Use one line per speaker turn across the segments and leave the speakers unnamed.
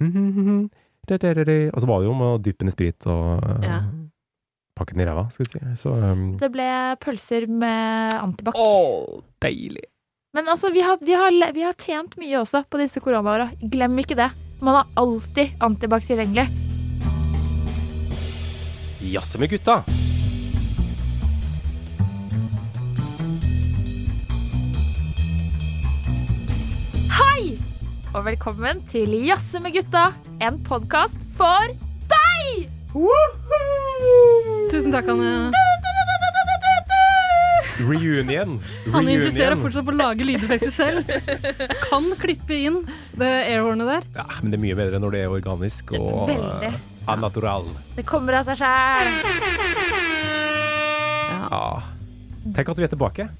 Hm, Og så var det jo med å dyppe den i sprit og eh,
Ja.
pakke den i ræva, skal vi si. Så um,
Det ble pølser med antibac.
deilig!
Men altså, vi har, vi, har, vi har tjent mye også på disse koronaåra. Glem ikke det. Man har alltid antibac tilgjengelig.
Jazze med gutta!
Og velkommen til Jazze med gutta, en podkast for
Tusen takk, Hanne.
Reunion!
Hanne insisterer fortsatt på å lage lydeffekter selv. Kan klippe inn det airhornet der.
Ja, men det er mye bedre når det er organisk og
Veldig.
eh, ah, natural.
Det kommer av seg sjæl.
Ja. Tenk at vi er tilbake.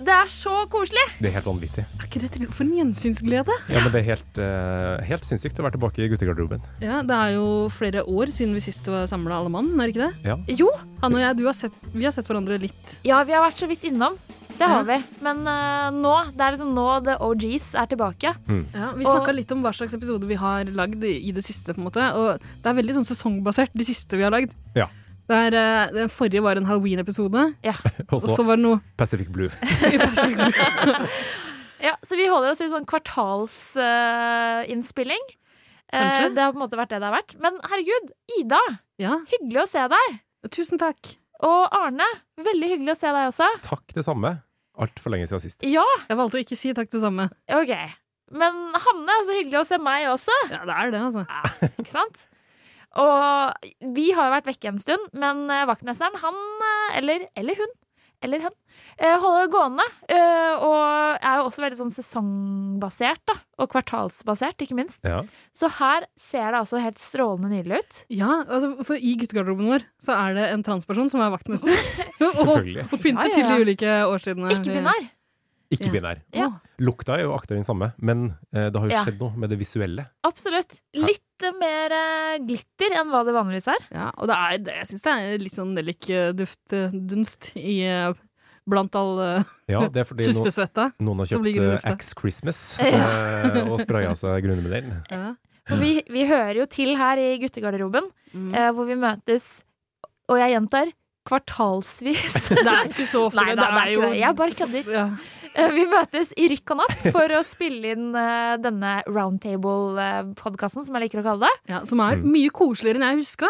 Det er så koselig.
Det er helt vanvittig.
Er ikke dette for en gjensynsglede?
Ja, men det er helt, eh, helt sinnssykt å være tilbake i guttegarderoben.
Ja, Det er jo flere år siden vi sist var samla alle mann, er det ikke det?
Jo,
Hanne og jeg, du har sett, vi har sett hverandre litt.
ja, vi har vært så vidt innom. Det
Ja.
har vi. Men eh, nå det er liksom nå the OGs er tilbake.
Ja, Vi
Og-
snakka litt om hva slags episode vi har lagd i i det siste, på en måte. Og det er veldig sånn sesongbasert, de siste vi har lagd.
Ja.
Det er, eh, den forrige var en halloween-episode,
Og
og
så
så var det noe
Pacific Blue.
Ja, Så vi holder oss i sånn kvartalsinnspilling. Eh,
Kanskje.
det har på en måte vært det det har vært. Men herregud, Ida,
Ja,
hyggelig å se deg.
tusen takk.
Og Arne, veldig hyggelig å se deg også.
Takk, det samme. Altfor lenge siden sist.
Ja,
Jeg valgte å ikke si takk det samme.
OK. Men Hanne, så hyggelig å se meg også.
Ja, det er det, altså.
Ikke sant? Og vi har jo vært vekke en stund, men eh, vaktmesteren, han eh, eller, eller hun eller hen, eh, holder det gående. eh, Og er jo også veldig sånn sesongbasert, da. Og kvartalsbasert, ikke minst.
Ja.
Så her ser det altså helt strålende nydelig ut.
Ja, altså for i guttegarderoben vår så er det en transperson som er vaktmester.
Selvfølgelig.
Og, og pynter
Ja, ja,
til
ja.
de ulike årstidene.
Ikke binær.
Ikke
Ja.
binær.
Ja.
Å,
Lukta er jo akkurat den samme, men eh, det har jo
Ja.
skjedd noe med det visuelle.
Absolutt. Litt eh, mer eh, glitter enn hva det vanligvis er.
ja, og det er, det, jeg syns det er litt sånn nellikdunst i eh, Blant all eh,
Ja, det er fordi no,
suspesvetta.
noen har
som
kjøpt
ligger i
eh,
lufta.
Axe Christmas
Ja.
eh, og spraya seg grunne med den.
Ja.
Og vi, vi hører jo til her i guttegarderoben,
Mm.
eh, hvor vi møtes, og jeg gjentar, kvartalsvis.
Det er ikke så ofte.
Nei, da, det er ikke det. Jeg bare kødder.
ja.
Eh, Vi møtes i rykk og napp for å spille inn eh, denne roundtable-podkasten, som jeg liker å kalle det.
ja, Som er
Mm.
mye koseligere enn jeg huska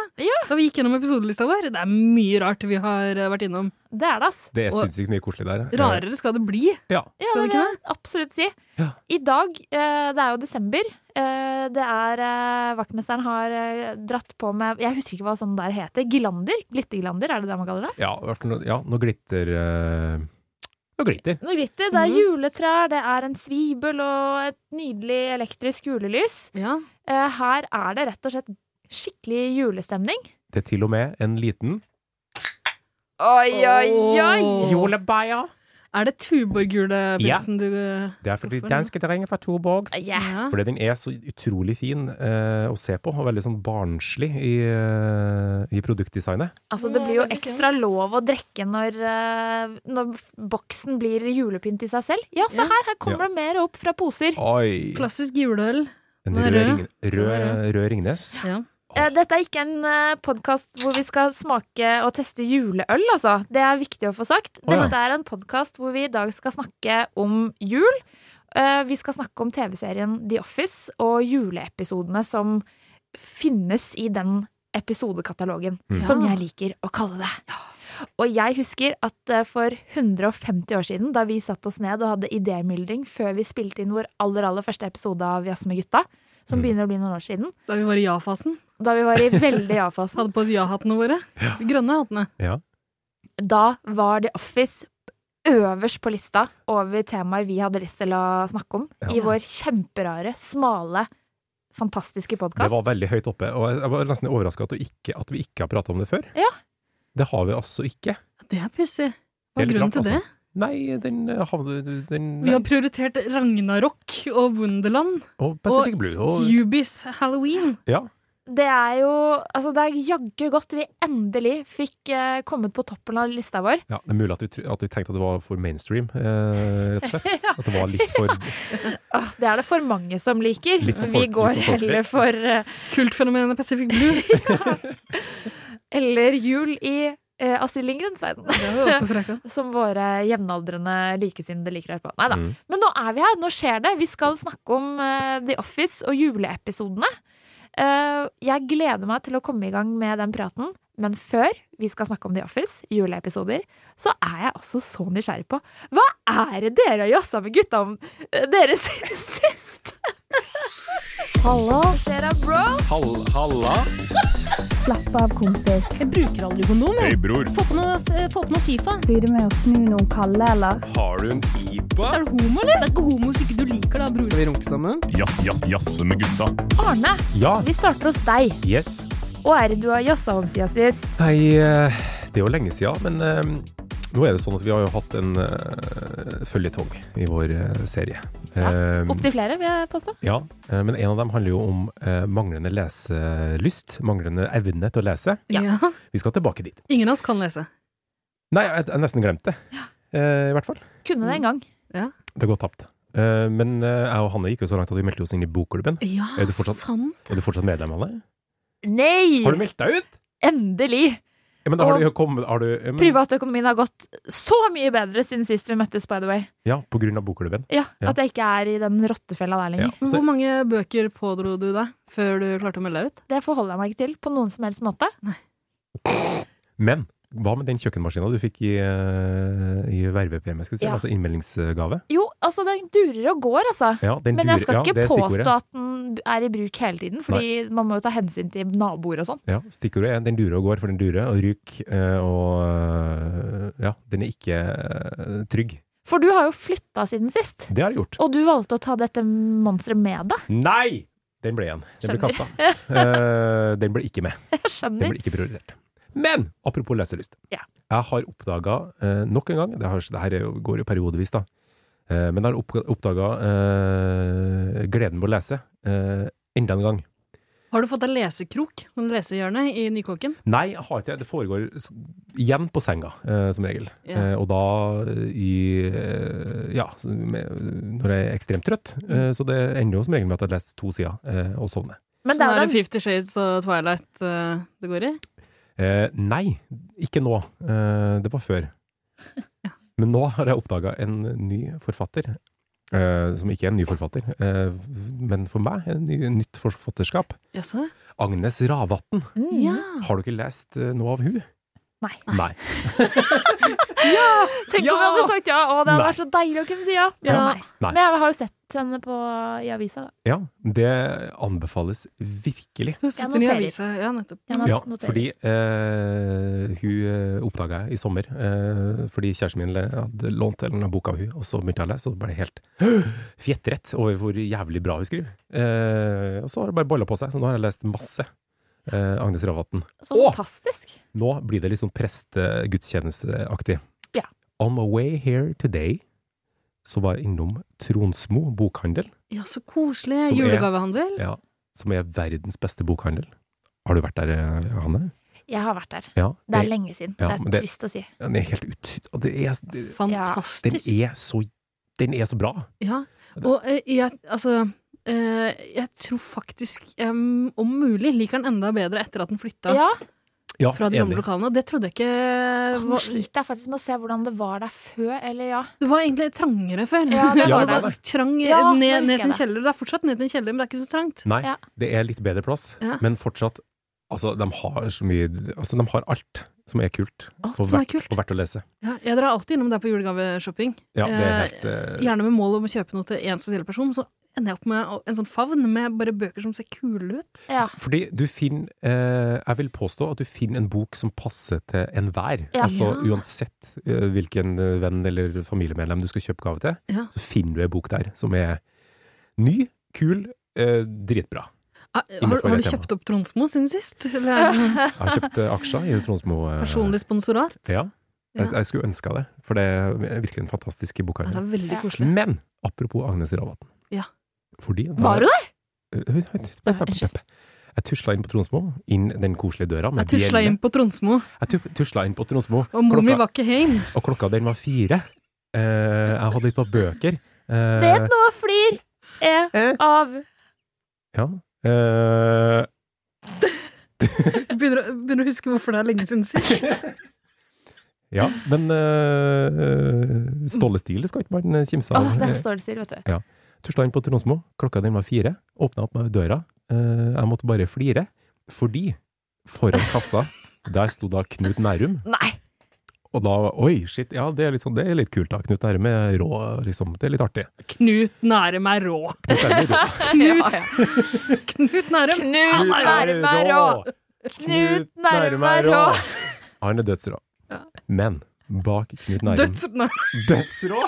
da vi gikk gjennom episodelista vår. Det er mye rart vi har eh, vært innom.
Det er det, ass.
Det er
Og-
sinnssykt mye koselig der. eh.
Rarere skal det bli.
Ja.
Ja,
Skal det
det vil
ikke
jeg absolutt si.
Ja.
I dag, eh, det er jo desember. eh, Det er eh, Vaktmesteren har eh, dratt på med Jeg husker ikke hva sånn der heter. Gilander? Glittergilander, er det det man kaller det?
Ja, i hvert fall noe, ja, noe glitter eh, Noe glitter.
Noe glitter. Det er
Mhm.
juletrær, det er en svibel og et nydelig elektrisk julelys.
Ja.
Eh, Her er det rett og slett skikkelig julestemning.
Det er til og med en liten
Oi,
Åh.
Julebaya.
Er det Tuborg-julepilsen du
Det er fordi
Hvorfor det?
danske terrenget fra Torborg.
Yeah.
ja.
Fordi den er så utrolig fin eh, å se på, og veldig sånn barnslig i, eh, i produktdesignet.
Altså, det blir jo ekstra lov å drikke når, eh, når boksen blir julepynt i seg selv. Ja, se
Ja.
her! Her kommer det mer opp fra poser.
Oi!
Klassisk juleøl.
En
Den
rød,
er rød.
ring,
Den er
rød, rød Ringnes.
Ja.
Eh, Dette er ikke en podkast hvor vi skal smake og teste juleøl, altså. Det er viktig å få sagt.
Å, ja.
Dette er en podkast hvor vi i dag skal snakke om jul. Eh, Vi skal snakke om TV-serien The Office og juleepisodene som finnes i den episodekatalogen,
Mm.
som
Ja.
jeg liker å kalle det. Og jeg husker at eh, for 150 år siden, da vi satt oss ned og hadde idémyldring før vi spilte inn vår aller, aller første episode av Jazz med gutta, som
Mm.
begynner å bli noen år siden,
Da vi var i ja-fasen.
da vi var i veldig ja-fasen,
Hadde på oss ja-hattene våre. De grønne hattene.
da var The Office øverst på lista over temaer vi hadde lyst til å snakke om i
Ja.
vår kjemperare, smale, fantastiske
Det var
podkast.
veldig høyt oppe, og jeg var nesten overraska at, du ikke- at vi ikke har prata om det før.
Ja.
Det har vi altså ikke.
Ja, Det er pussig.
Det
Hva
er
er
litt
grunnen
rart,
til det?
Nei, den eh, havnet den,
Vi
nei.
har prioritert Ragnarok og Wunderland.
Og Pacific Blue. Og,
Jubies Halloween.
ja.
det er jo Altså, det er jaggu godt vi endelig fikk eh, kommet på toppen av lista vår.
Ja, det er mulig at du, tr- at du tenkte at det var for mainstream, eh, rett og slett. At det var litt for
Åh, det er det for mange som liker.
Litt for folk-
vi
litt
går
for folkelig.
heller for eh,
Kultfenomenet Pacific Blue.
Eller Jul i eh, Astrid Lindgrens verden.
Det var jo også fra Eka.
Som våre jevnaldrende likesinnede liker å høre på. Nei da.
Mm.
Men nå er vi her. Nå skjer det. Vi skal snakke om eh, The Office og juleepisodene. Eh, jeg gleder meg til å komme i gang med den praten. Men før vi skal snakke om The Office, juleepisoder, så er jeg altså så nysgjerrig på Hva er det dere har jazza med gutta om eh, dere siden sist? Hallo. Hva skjer da, bro?
Halla!
Slapp av, kompis.
Jeg bruker aldri kondom. jeg.
bror,
Få på noe, eh, få på noe Fifa.
Blir du med å snu noen kalde, eller?
har du en pipa?
Er du homo, eller? Det er ikke homo hvis ikke du liker det, bror.
Skal vi runke sammen?
Jazze med gutta.
Arne,
Ja.
vi starter hos deg.
Yes.
Hva er det du har jazza om siden sist?
Nei, eh, det er jo lenge siden, men eh, nå er det sånn at vi har jo hatt en eh, føljetong i vår eh, serie. Eh,
Opptil flere, vil jeg påstå.
ja, eh, men en av dem handler jo om eh, manglende leselyst, manglende evne til å lese.
Ja.
Vi skal tilbake dit.
Ingen av oss kan lese.
Nei, jeg jeg har nesten glemt det, eh, i hvert fall.
Kunne det en gang.
Det går tapt. Eh, men eh, jeg og Hanne gikk jo så langt at vi meldte oss inn i bokklubben.
Ja,
Er du fortsatt-
sant.
Er du fortsatt medlem, Hanne?
Nei!
Har du meldt deg ut?
Endelig!
Ja, men har du kommet har du, ja, men,
Privatøkonomien har gått så mye bedre siden sist vi møttes, by the way.
ja, på grunn av bokklubben.
Ja,
Ja.
At jeg ikke er i den rottefella
Ja,
der lenger.
Men
så,
Hvor mange bøker pådro du deg før du klarte å melde deg ut?
Det forholder jeg meg ikke til på noen som helst måte.
men hva med den kjøkkenmaskina du fikk i, eh, i vervepremie, skal vi si,
Ja.
altså innmeldingsgave?
Jo, altså, den durer og går, altså.
Ja, den
Men jeg
durer-
skal
ja, det
ikke
er stikkordet.
påstå at den er i bruk hele tiden, fordi man må jo ta hensyn til naboer og sånn.
Ja, stikkordet er den durer og går, for den durer og ryker, eh, og eh, ja, den er ikke eh, trygg.
For du har jo flytta siden sist,
Det har jeg gjort.
og du valgte å ta dette monsteret med deg.
Nei! Den ble igjen. Den ble kasta. den ble ikke med.
Jeg
Den
skjønner.
ble ikke prioritert. Men apropos leselyst.
Ja.
Jeg har oppdaga nok en gang Det, har, det her er jo, går jo periodevis, da. Eh, men jeg har oppdaga gleden ved å lese eh, enda en gang.
Har du fått deg lesekrok, sånn lesehjørne, i Nykåken?
Nei, jeg har ikke det. Det foregår s- igjen på senga, eh, som regel. Eh, og da eh, i eh, Ja, så med, når jeg er ekstremt trøtt. Eh, så det ender jo som regel med at jeg leser to sider eh, og sovner.
Men
Sånn
det
er
er jo
det
den
Fifty Shades og Twilight eh, det går i?
Eh, nei, ikke nå. Eh, det var før. Men nå har jeg oppdaga en ny forfatter. Eh, som ikke er en ny forfatter, eh, men for meg en ny, nytt forfatterskap.
Jaså?
Agnes Ravatn.
mm.
Ja.
Har du ikke lest eh, noe av hun?
Nei.
Nei.
Tenk om jeg hadde sagt ja! Å, det hadde vært så deilig å kunne si ja.
Ja.
Nei.
Nei.
Men jeg har jo sett henne på, i avisa, da.
Ja, det anbefales virkelig.
Du sitter i
noterer.
avisa. Ja, nettopp.
Jeg
Ja,
noterer.
fordi eh, hun oppdaga jeg i sommer, eh, fordi kjæresten min le- hadde lånt en bok av hun, og så begynte jeg å lese, og det ble helt fjettrett over hvor jævlig bra hun skriver. Eh, og så har det bare bolla på seg, så nå har jeg lest masse eh, Agnes Ravatn.
Så
Å!
fantastisk.
Nå blir det litt sånn prestegudstjenesteaktig.
Ja.
On my way here today så var jeg innom Tronsmo bokhandel,
Ja, så koselig.
Som er-
Julegavehandel.
ja, som er verdens beste bokhandel. Har du vært der, eh, Hanne?
Jeg har vært der.
Ja.
Det er lenge siden.
Ja,
det er
men det-
trist å si.
Den er helt ut... og Det er, det- den
Fantastisk.
er så Den er så bra!
Ja, og eh, jeg, altså eh, Jeg tror faktisk jeg m- om mulig liker den enda bedre etter at den flytta
Ja,
Ja,
fra de gamle
enig.
lokalene. Og det trodde jeg ikke
Nå
var,
sliter jeg faktisk med å se hvordan det var der før, eller ja.
Det var egentlig trangere før.
Ja, det
Ja, var
altså,
det.
Trang
Ja, nå
ned,
husker
ned
jeg
til en
det.
kjeller. Det er fortsatt ned til en kjeller, men det er ikke så trangt.
Nei,
Ja.
det er litt bedre plass,
Ja.
men fortsatt Altså, de har så mye Altså, de har alt som er kult,
Alt
og
som er
verdt,
kult.
og verdt å lese.
Ja, jeg drar alltid innom der på julegaveshopping.
Ja, det er
Eh,
helt eh,
Gjerne med mål om å kjøpe noe til én spesiell person. Så ender jeg opp med en sånn favn med bare bøker som ser kule ut.
ja.
Fordi du finner eh, Jeg vil påstå at du finner en bok som passer til enhver.
Ja.
Altså
Ja.
uansett eh, hvilken eh, venn eller familiemedlem du skal kjøpe gave til,
Ja.
så finner du ei bok der som er ny, kul, eh, dritbra.
Ah, Har,
Innenfor
har
det
du
temaet.
kjøpt opp Tronsmo siden sist? Eller er det noe
Jeg har kjøpt eh, aksjer i Tronsmo. eh,
personlig sponsorat?
Ja.
Ja.
Jeg, jeg skulle ønska det, for det er virkelig en fantastisk
Ja, det
bokhandel.
er veldig
Ja.
koselig.
Men apropos Agnes Ravatn.
Ja.
Fordi
Var du der?
der? Jeg tusla inn på Tronsmo, inn den koselige døra med
Jeg tusla inn
Mm, bjelle.
på Tronsmo,
Jeg tu- tusla inn på Tronsmo,
og mor mi
klokka,
var ikke heim.
og klokka den var fire. Eh, jeg hadde lyst på bøker. Eh,
Vet noe flir er
eh,
av
ja. Eh,
Jeg Begynner, å- begynner å huske hvorfor det er lenge siden sist.
ja, men eh, Ståle Stile skal ikke man kimse
Åh,
av.
det står det stille, vet du.
Tusla inn på Tronsmo, klokka den var fire. Åpna opp med døra. Eh, jeg måtte bare flire, fordi foran kassa, der sto da Knut Nærum.
Nei!
Og da Oi, shit. Ja, det er litt, sånn, det er litt kult, da. Knut Nærum er rå, liksom. Det er litt artig.
Knut Nærum er rå.
Knut Nærum er rå.
Knut, Knut Nærum.
Knut Nærum er rå! Knut Nærum er rå!
Han er dødsrå.
Ja.
Men bak Knut Nærum
Døds... Nei,
Dødsrå?!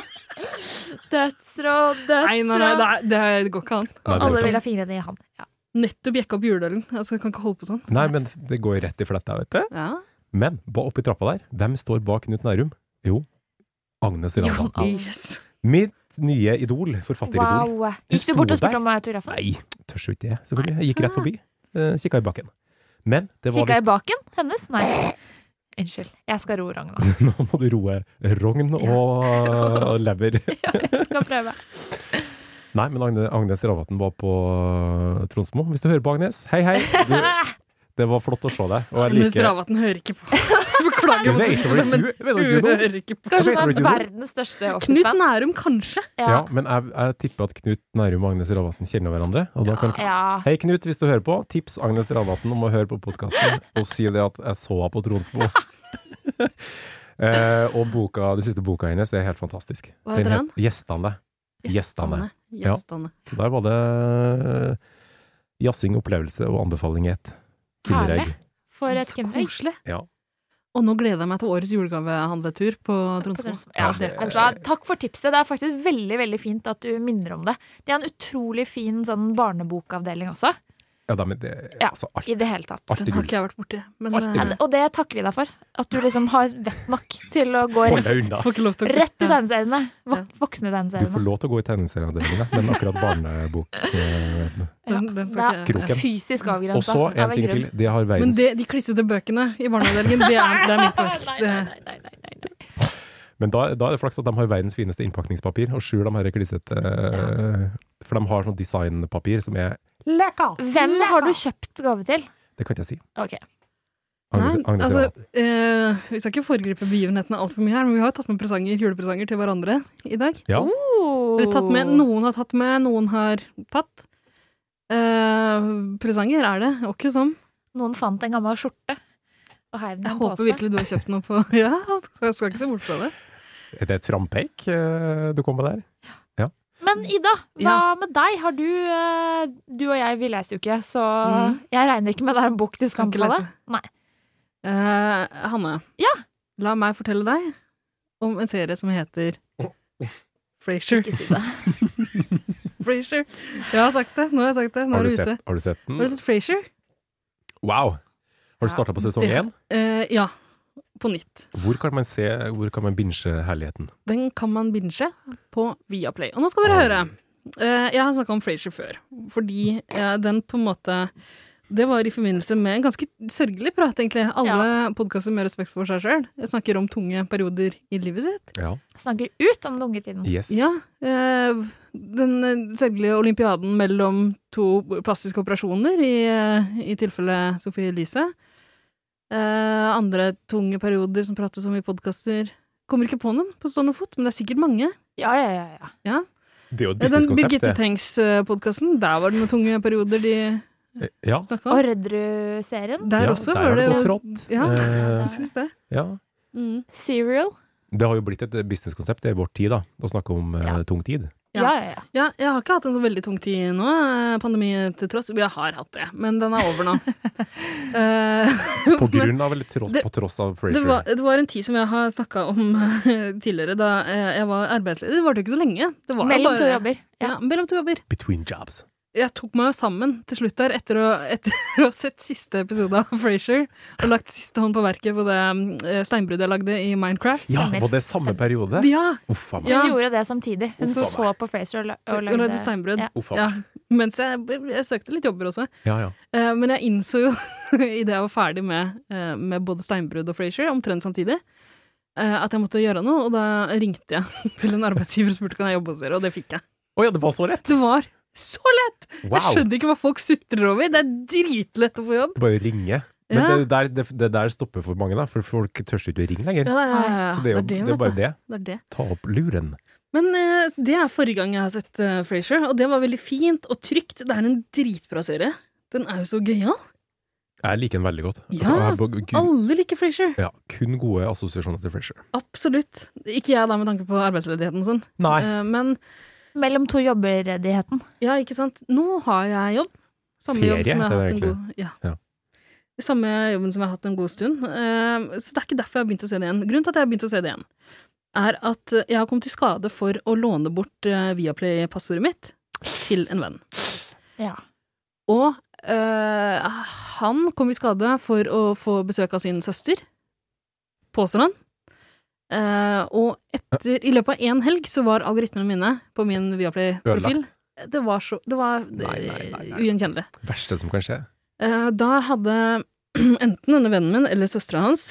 Dødsrå,
nei, nei,
dødsrå.
det, er- det går ikke an.
Nei, det går
Alle
ikke
vil
an.
ha fingrene i han. Ja.
Nettopp jekka opp juleølen. Altså, jeg kan ikke holde på sånn.
Nei, men det går rett i fletta, vet du.
Ja.
Men ba- oppi trappa der, hvem står bak Knut Nærum? Jo, Agnes Randa.
Yes.
Mitt nye idol, forfatteridol.
Wow.
Hun
Gikk du bort
sto
og spurte
der.
om autografen?
Nei, tør jo ikke det, selvfølgelig. Jeg gikk rett forbi. eh, Kikka i bakken. Men det var
Kikka
litt
i baken hennes? Nei. Unnskyld. Jeg skal ro Ragna.
Nå må du roe rogn og lever.
Jeg skal prøve.
Nei, men Agne, Agnes Ravatn var på eh, Tronsmo. Hvis du hører på, Agnes, hei, hei! Du, det var flott å se deg. Og jeg
Agnes
liker
Ravatn hører ikke på. Beklager,
Du
jeg måtte
vet
si
vel
det,
ikke
men
du, vet vel
hun
ikke du noe?
hører ikke på.
Kanskje
Kanskje
vet han er du
han er
ikke hvor-
verdens største
Knut
offersvenn.
Nærum, kanskje?
Ja,
Ja.
men jeg, jeg tipper at Knut Nærum og Agnes Ravatn kjenner hverandre. Og da kan
ja.
Hei, Knut, hvis du hører på, tips Agnes Ravatn om å høre på podkasten og si det at jeg så henne på Tronsmo. eh, og boka, den siste boka hennes er helt fantastisk.
Hva heter
het Gjestene. Gjestene. Ja.
Gjestene.
Så der var det eh, jazzing, opplevelse og anbefaling i ett. Kinderegg.
Herlig. For et
Så
kinderegg.
koselig.
Ja.
Og nå gleder jeg meg til årets julegavehandletur på
På
Tronsmo.
Tromsø. Ja,
Ja, det-
vet du hva? Takk for tipset. Det er faktisk veldig veldig fint at du minner om det. Det er en utrolig fin sånn barnebokavdeling også,
Ja, da, men det
Ja.
Altså, alt,
i det hele tatt.
alt
Den
er
har
gull.
ikke jeg vært borti. Men
Artig
eh,
gull.
Og det takker de deg for. At du liksom har vett nok til å gå
Hold
rett,
deg unna.
får ikke lov til å
rett til
Ja.
tegneseriene. Vok voksne
Du får
tegneseriene.
lov til å gå i tegneserieavdelingen, men akkurat barnebok eh,
Ja.
Den, den
Det
skal
er
ikke
Kroken.
Fysisk
Og
avgrensa.
så en ting til. Det har
Men
verdens
det, de klissete bøkene i barneavdelingen, det er, det er mitt verk.
Nei,
Det,
nei, nei, nei, nei, nei.
Men da, da er det flaks at de har verdens fineste innpakningspapir, og skjul de her klissete eh, For de har sånn designpapir som er
Hvem har du kjøpt gave til?
Det kan ikke jeg si.
Ok.
Agnes,
Nei,
Agnes
altså,
Ravatn.
eh, vi skal ikke foregripe begivenhetene altfor mye her, men vi har jo tatt med presanger, julepresanger til hverandre i dag.
Ja.
Oh.
Eller tatt med, noen har tatt med, noen har tatt. Eh, presanger er det, og ikke som.
Noen fant en gammel skjorte og heiv den i
Jeg
en
håper
pose.
virkelig du har kjøpt noe på Ja, jeg skal ikke se bort fra det.
Er det et frampeik eh, du kom med der?
Men Ida,
Mm.
hva
Ja.
med deg? Har du eh, Du og jeg, vi leser jo ikke, så
Mhm.
jeg regner ikke med det er en bok du skal
Kan ikke
anbefale.
lese.
Nei.
Eh, Hanne,
Ja.
la meg fortelle deg om en serie som heter Frasier.
Ikke si det.
Frasier. Jeg har sagt det, nå har jeg sagt det. Nå
Har
er
du,
du ute.
sett, har du sett den?
Har du sett Frasier?
Wow! Har du starta på sesong
Det-
én?
Eh, ja. På nytt.
Hvor kan man se Hvor kan man binche herligheten?
Den kan man binge på Viaplay. Og nå skal dere
Oi.
høre. Eh, Jeg har snakka om Frasier før, fordi eh, den på en måte Det var i forbindelse med en ganske sørgelig prat, egentlig. Alle podkaster med respekt for seg sjøl snakker om tunge perioder i livet sitt.
Ja.
Snakker ut om lungetiden.
Yes.
Ja, eh, den eh, sørgelige olympiaden mellom to plastiske operasjoner, i, eh, i tilfelle Sophie Elise. Eh, Andre tunge perioder som prates om i podkaster. Kommer ikke på noen på stående fot, men det er sikkert mange.
Ja, ja, ja. ja.
Det er jo et
Ja, Den
businesskonsept.
Birgitte
det.
Tengs-podkasten, der var det noen tunge perioder de
Eh, Ja.
snakka
Og
om.
Rødrud-serien.
Der
Ja, der
også var
har
det
det gått trått.
Ja,
Eh,
jeg syns det.
ja.
Mm.
Serial.
Det har jo blitt et businesskonsept i vår tid, da, å snakke om eh,
Ja.
tung tid.
Ja.
Ja, ja, ja.
Ja, jeg har ikke hatt en så veldig tung tid nå, eh, pandemi til tross. Jeg har hatt det, men den er over nå. Eh,
På
men-
grunn av, eller tross,
det-
på tross av
Det
Frasier.
var, det var en tid som jeg har snakka om eh, tidligere, da eh, jeg var arbeidsledig. Det varte jo ikke så lenge. Det var jo
Mellom
bare,
to jobber.
Ja.
Ja.
mellom to jobber.
Between jobs.
jeg tok meg jo sammen til slutt der, etter å, etter å ha sett siste episode av Frasier, og lagt siste hånd på verket på det eh, steinbruddet jeg lagde i Minecraft.
Ja,
Stemmer.
på det samme
Stemmer.
periode?
Ja!
Uff a meg.
Ja.
Hun gjorde det samtidig. Hun
Uff,
så på Fraser og, la- og
Og
lagde
lagde steinbrudd.
Ja.
Uff a
Ja.
meg.
Mens jeg, jeg søkte litt jobber også.
Ja, ja.
Eh, men jeg innså jo, idet jeg var ferdig med, eh, med både Steinbrudd og Frasier, omtrent samtidig, eh, at jeg måtte gjøre noe, og da ringte jeg til en arbeidsgiver og spurte kan jeg jobbe hos dere, og det fikk jeg.
Å ja, det var så rett!
Det var så lett!
Wow!
Jeg skjønner ikke hva folk sutrer over. Det er dritlett å få jobb.
Bare ringe. Men
Ja.
det, der, det, det der stopper for mange, da. For folk tør ikke å ringe lenger.
Ah, ja,
Så det er jo det er bare det.
Det er det.
Ta opp luren.
Men eh, det er forrige gang jeg har sett uh, Frasier, og det var veldig fint og trygt. Det er en dritbra serie. Den er jo så gøyal.
Jeg liker den veldig godt. Altså,
Ja,
jeg har bare kun,
Alle liker Frasier.
ja, kun gode assosiasjoner til Fresher.
Absolutt. Ikke jeg, da, med tanke på arbeidsledigheten og sånn.
Nei.
Eh, men
Mellom to jobber-redigheten.
ja, ikke sant. Nå har jeg jobb. Samme jobb
Ferie,
som jeg
det er
har hatt en
egentlig.
god ja.
Ja.
Samme jobben som jeg har hatt en god stund. Eh, så det er ikke derfor jeg har begynt å se det igjen. Grunnen til at jeg har begynt å se det igjen, er at eh, jeg har kommet i skade for å låne bort eh, Viaplay-passordet mitt til en venn.
Ja.
Og eh, han kom i skade for å få besøk av sin søster, påstår han. Eh, og etter, i løpet av én helg så var algoritmene mine på min Viaplay-profil Det var så Det var eh,
Nei, nei, nei, nei.
ugjenkjennelig.
Verste som kan skje.
Eh, da hadde enten denne vennen min eller søstera hans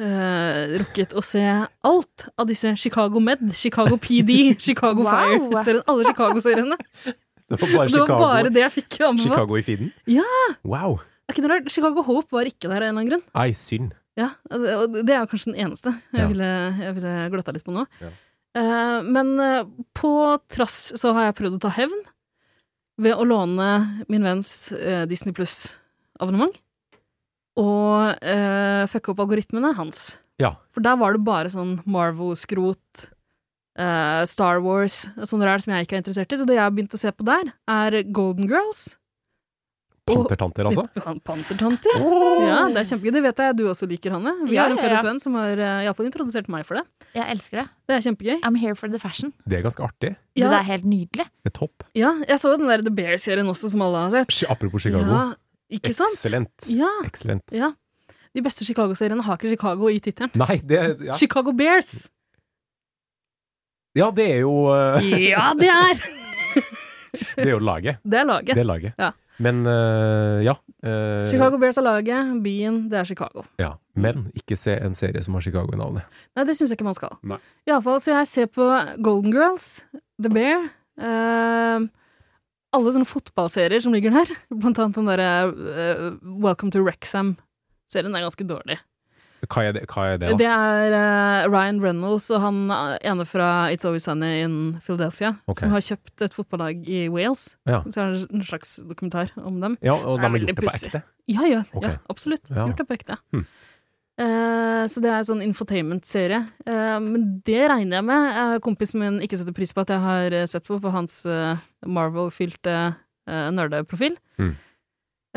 eh, rukket å se alt av disse Chicago Med, Chicago PD, Chicago
Wow.
Fire serien, Alle Chicago-seriene.
Det var bare
Det var
Chicago,
bare det jeg fikk anbefalt.
Chicago i feeden?
Ja.
Wow.
Er ikke det rart? Chicago Hope var ikke der av en eller annen grunn.
Nei, synd.
Ja, og det er jo kanskje den eneste jeg,
Ja.
ville, jeg ville gløtta litt på nå.
Ja.
Eh, men eh, på trass så har jeg prøvd å ta hevn ved å låne min venns eh, Disney Pluss-abonnement. Og eh, fucke opp algoritmene hans.
Ja.
For der var det bare sånn Marvel-skrot, eh, Star Wars, sånne ræl som jeg ikke er interessert i. Så det jeg har begynt å se på der, er Golden Girls.
Pantertanter, altså?
Pantertante, ja. Ja, det er kjempegøy. Det vet jeg du også liker, Hanne. Vi
Ja,
har en
ja,
felles
ja.
venn som har eh, i alle fall introdusert meg for det.
Jeg elsker det.
Det er kjempegøy.
I'm here for the fashion.
Det er ganske artig.
Det
Ja,
er helt nydelig.
Det er topp.
ja, jeg så jo den der The Bear-serien også, som alle har sett.
Sh- Apropos Chicago.
Ja, ikke sant?
Excellent.
Ja,
Excellent.
ja. De beste Chicago-seriene har ikke Chicago i tittelen.
Nei, det ja.
Chicago Bears!
ja, det er jo eh,
Ja, det er!
Det er jo laget.
Det er laget.
Det er laget.
Ja.
Men eh, ja. eh,
Chicago Bears er laget, byen, det er Chicago.
ja. Men ikke se en serie som har Chicago i navnet.
Nei, det syns jeg ikke man skal.
Nei.
I alle fall, så jeg ser på Golden Girls, The Bear eh, Alle sånne fotballserier som ligger der. Blant annet den derre eh, Welcome to Rexham-serien er ganske dårlig.
Hva er det, hva er det da?
Det er eh, Ryan Reynolds og han eh, ene fra It's Always Sunny in Philadelphia
Ok.
som har kjøpt et fotballag i Wales.
Ja.
Så er det en slags dokumentar om dem.
Ja, og de
Det er
har
veldig
gjort det på
pussig.
ekte.
Ja, ja,
Ok.
ja absolutt.
Ja.
Gjort det på ekte.
Hmm.
Eh, så det er sånn infotainment-serie. Eh, men det regner jeg med. Eh, kompisen min ikke setter pris på at jeg har eh, sett på på hans eh, Marvel-fylte eh, nerdeprofil.
Hmm.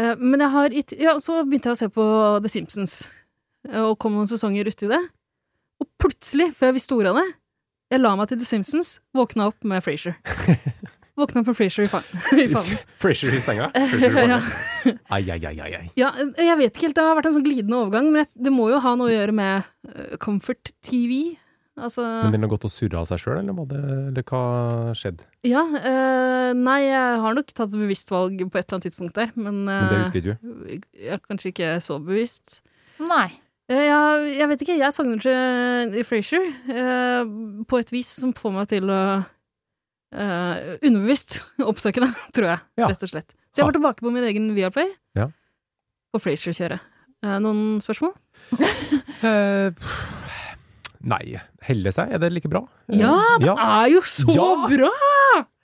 Eh, men jeg har it ja, så begynte jeg å se på The Simpsons, eh, og kom noen sesonger uti det. Og plutselig, før jeg visste ordet av det, jeg la meg til The Simpsons, våkna opp med Frasier. våkna opp med Frasier i fa- i favnen.
Fresher i senga. Frasier i
ja.
fanget. Ai, ai, ai, ai, ai.
Ja, eh, jeg vet ikke helt, det har vært en sånn glidende overgang, men jeg- det må jo ha noe å gjøre med eh, comfort TV.
Men
Altså,
den har gått og surra av seg sjøl, eller, var det- eller hva skjedde?
ja, eh, nei, jeg har nok tatt et bevisst valg på et eller annet tidspunkt der, men,
Men det
eh,
husker ikke du.
jeg er kanskje ikke så bevisst.
Nei.
Eh, Jeg, jeg vet ikke, jeg sogner til Frasier eh, på et vis som får meg til å eh, underbevisst oppsøke det, tror jeg,
Ja.
rett og slett. Så jeg var tilbake på min egen Viaplay
Ja.
på Frasier-kjøret. Eh, noen spørsmål?
Eh, pff, nei. Helle seg, er det like bra? Eh,
Ja, det
ja.
er jo så
Ja!
bra!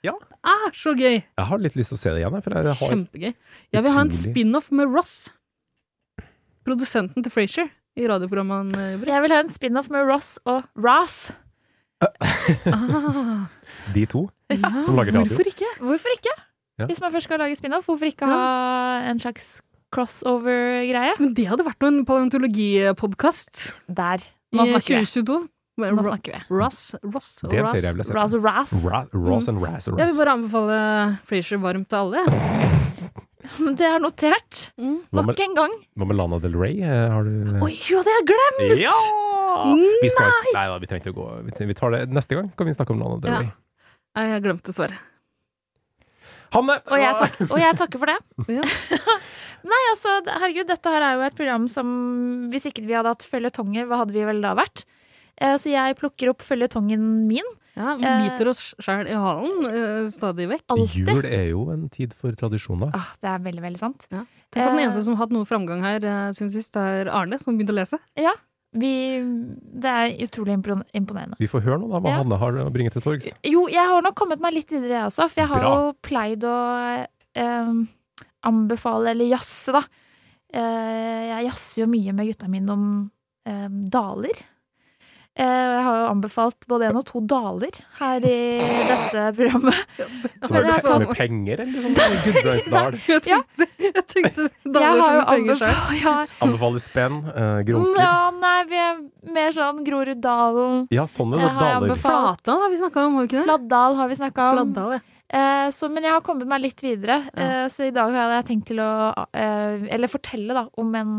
Ja.
Det er så gøy!
Jeg har litt lyst til å se det igjen, jeg, for jeg har
Kjempegøy. Jeg vil ha en
Utrolig.
spin-off med Ross, produsenten til Frasier, i radioprogrammet han eh, jobber i.
Jeg vil ha en spin-off med Ross og Ross.
Ah,
de to.
ja,
Som lager radio.
Hvorfor ikke?
Hvorfor ikke?
Ja.
Hvis man først skal lage spin-off, hvorfor ikke ha en slags crossover-greie?
Men det hadde vært noen paleontologipodkast
Der.
i
Nå snakker vi.
2022. Men
Nå
Ro-
snakker vi.
Ross, Ross og
Det er en
Ross.
serie jeg ville sett.
Razz og Razz.
Ra Ross and Razz og
Jeg
Razz.
vil bare anbefale Frasier varmt til alle. jeg.
Men det er notert.
Hva
Nok
med-
en gang.
Hva med Lana Del Rey? Eh, Har du
Oi, jo, det har jeg glemt!
Ja! Vi skal, nei da, vi trengte å gå vi- Vi tar det neste gang, kan vi snakke om Lana Del
Ja.
Rey.
Nei, jeg har glemt dessverre.
Hanne!
Og jeg, tak og jeg takker for det.
Ja.
Nei, altså, det- herregud, dette her er jo et program som Hvis ikke vi hadde hatt føljetonger, hva hadde vi vel da vært? Eh, Så jeg plukker opp føljetongen min.
Ja, vi
Eh.
biter oss sjæl i halen eh, stadig vekk.
Alltid.
Jul er jo en tid for tradisjoner.
Ah, det er veldig, veldig sant.
Tenk at den
Eh.
eneste som har hatt noe framgang her eh, siden sist, er Arne, som begynte å lese.
Vi, det er utrolig impro- imponerende.
Vi får høre nå da, hva
Ja.
Hanne har å bringe til torgs.
Jo, jeg har nok kommet meg litt videre, jeg også. For jeg har
Bra.
jo pleid å eh, anbefale, eller jazze, da. Eh, jeg jazzer jo mye med gutta mine om eh, daler. Eh, jeg har jo anbefalt både én og to daler her i dette programmet.
Som er,
Men jeg
som
har-
er penger, eller sånn? Gudbrandsdal.
Jeg tenkte, jeg tenkte
Jeg
daler
har jo
som penger selv.
anbefalt ja,
Anbefaler spenn, eh, groker.
ja, Nei, vi er mer sånn Groruddalen.
Ja, sånn sånne
Jeg har
daler.
anbefalt-
Flatdal har vi snakka om, har vi ikke det?
Fladdal har vi snakka om.
Fladdal, ja.
Eh, så, men jeg har kommet meg litt videre, eh, så i dag hadde jeg tenkt til å eh, Eller fortelle, da, om en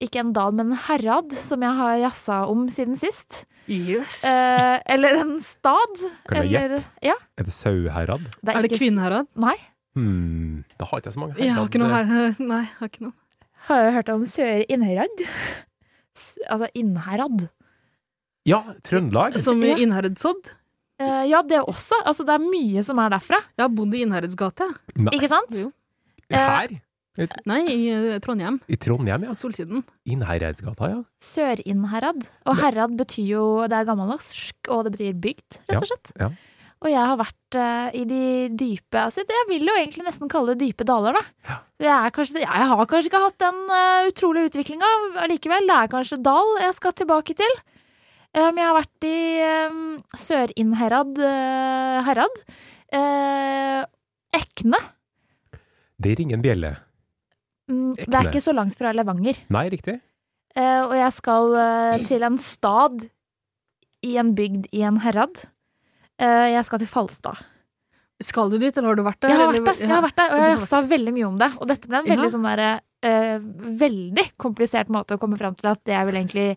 Ikke en dal, men en herad som jeg har jazza om siden sist.
Yes.
Eh, eller en stad.
Kan jeg
eller, ja,
Er det sauherad?
det
Er det
ikke-
Kvinnherad?
Nei.
Hmm, da har ikke jeg så mange eh.
Jeg har ikke noe
herad.
her. Nei, jeg har ikke noe.
Har jeg hørt om Sør Innherad? S- Altså Innherad.
Ja, Trøndelag.
Som i
Ja.
Innherredsodd?
Eh, ja, det også. Altså, det er mye som er derfra.
Jeg har bodd i Innherredsgata, jeg.
Nei,
Ikke sant?
Jo.
her?
Nei, i eh, Trondheim.
I Trondheim, ja.
På Solsiden.
Innherredsgata, ja.
Sørinnherad. Og herad betyr jo Det er gammelnorsk, og det betyr bygd, rett og slett.
ja.
Og jeg har vært eh, i de dype altså Jeg vil jo egentlig nesten kalle det dype daler, da. Så Jeg, er kanskje, jeg har kanskje ikke hatt den eh, utrolige utviklinga allikevel. Det er kanskje dal jeg skal tilbake til. Um, jeg har vært i um, Sørinnherad eh, herad. Eh, Ekne.
Det ringer en bjelle.
Mm, Det
Ekne.
er ikke så langt fra Levanger.
Nei, riktig.
Eh, og jeg skal eh, til en stad i en bygd i en herad. Eh, jeg skal til Falstad.
Skal du dit, eller har du vært der?
Jeg har vært
eller-
der, jeg har
Ja.
vært der og
Du har
jeg
vært
sa veldig mye om det. Og dette ble en
Ja.
veldig, sånn der, eh, veldig komplisert måte å komme fram til at det jeg vil egentlig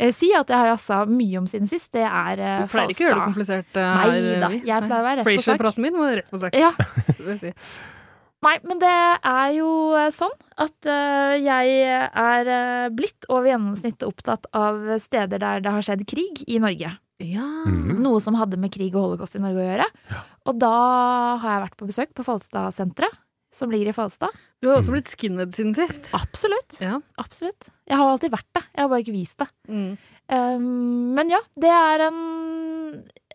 eh, si at jeg har jazza mye om siden sist, det er eh,
Du pleier ikke å gjøre det
Falstad.
komplisert. eh,
Nei da, jeg pleier å være rett på sak.
Frasier-praten min var rett på sak.
Ja.
Det vil si.
Nei, men det er jo eh, sånn at eh, jeg er eh, blitt over gjennomsnittet opptatt av steder der det har skjedd krig i Norge.
ja.
Mhm.
Noe som hadde med krig og holocaust i Norge å gjøre. Og da har jeg vært på besøk på Falstadsenteret, som ligger i Falstad.
Du har også blitt skinhead siden sist.
Absolutt.
Ja.
Absolutt. Jeg har alltid vært det, jeg har bare ikke vist det.
Mm.
Um, men ja, det er en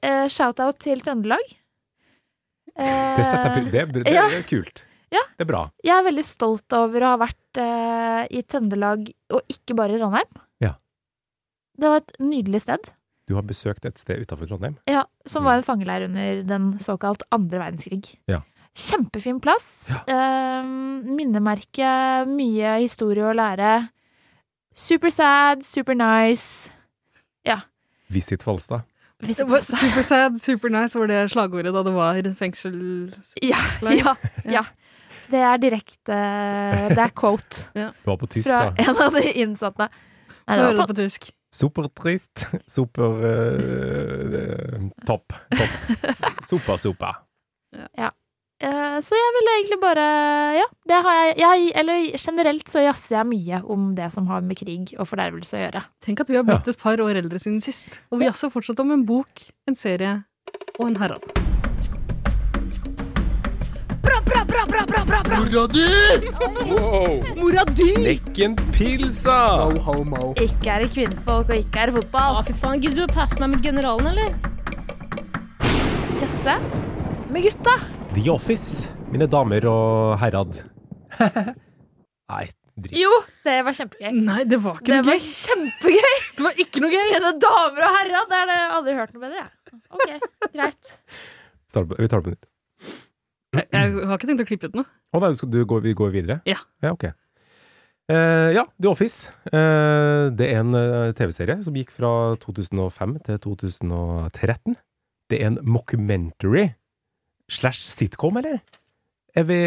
eh, shout-out til Trøndelag. Eh,
Det, setter, jeg pr- det, det, det
Ja.
er kult.
Ja.
Det er bra.
jeg er veldig stolt over å ha vært eh, i Trøndelag, og ikke bare i Trondheim.
Ja.
Det var et nydelig sted,
Du har besøkt et sted utafor Trondheim.
ja, som
Mm.
var en fangeleir under den såkalt andre verdenskrig.
Ja.
Kjempefin plass. Eh, minnemerke, mye historie å lære. Super sad, super nice.
Visit Falstad.
Hvis
Det var Super sad, super nice var det slagordet da det var fengsel...
Ja, ja, ja. Det er direkte Det er quote
Du var på tysk,
fra
da.
en av de innsatte. Nei, det
Hører
var
det på tysk.
Supertrist. Super eh, eh, Topp. Topp. Sopa, sopa.
Eh, Så jeg ville egentlig bare Ja, det har jeg, jeg Eller generelt så jazzer jeg mye om det som har med krig og fordervelse å gjøre.
Tenk at vi har blitt et par år eldre siden sist. Og vi jazzer fortsatt om en bok, en serie og en herrad.
Mora di!
Lekken pilsa!
Ikke er det kvinnfolk, og ikke er det
Å,
fotball.
fy faen. Gidder du å passe meg med generalen, eller?
Jazze med gutta.
The Office, mine damer og herrad. Nei, drit.
Jo, det var kjempegøy.
Nei, det var ikke
Det
noe
var
gøy!
kjempegøy!
Det var ikke noe gøy!
Mine damer og herrer, det er det jeg aldri hørt noe bedre, jeg. Ok, greit.
Starter på- Vi tar det på nytt.
Jeg, jeg har ikke tenkt å klippe ut noe.
Å nei, du skal, du går, vi går videre?
Ja.
ja ok. Eh, ja, The Office. Eh, det er en eh, TV-serie som gikk fra 2005 til 2013. Det er en mockumentary slash sitcom, eller? Er vi,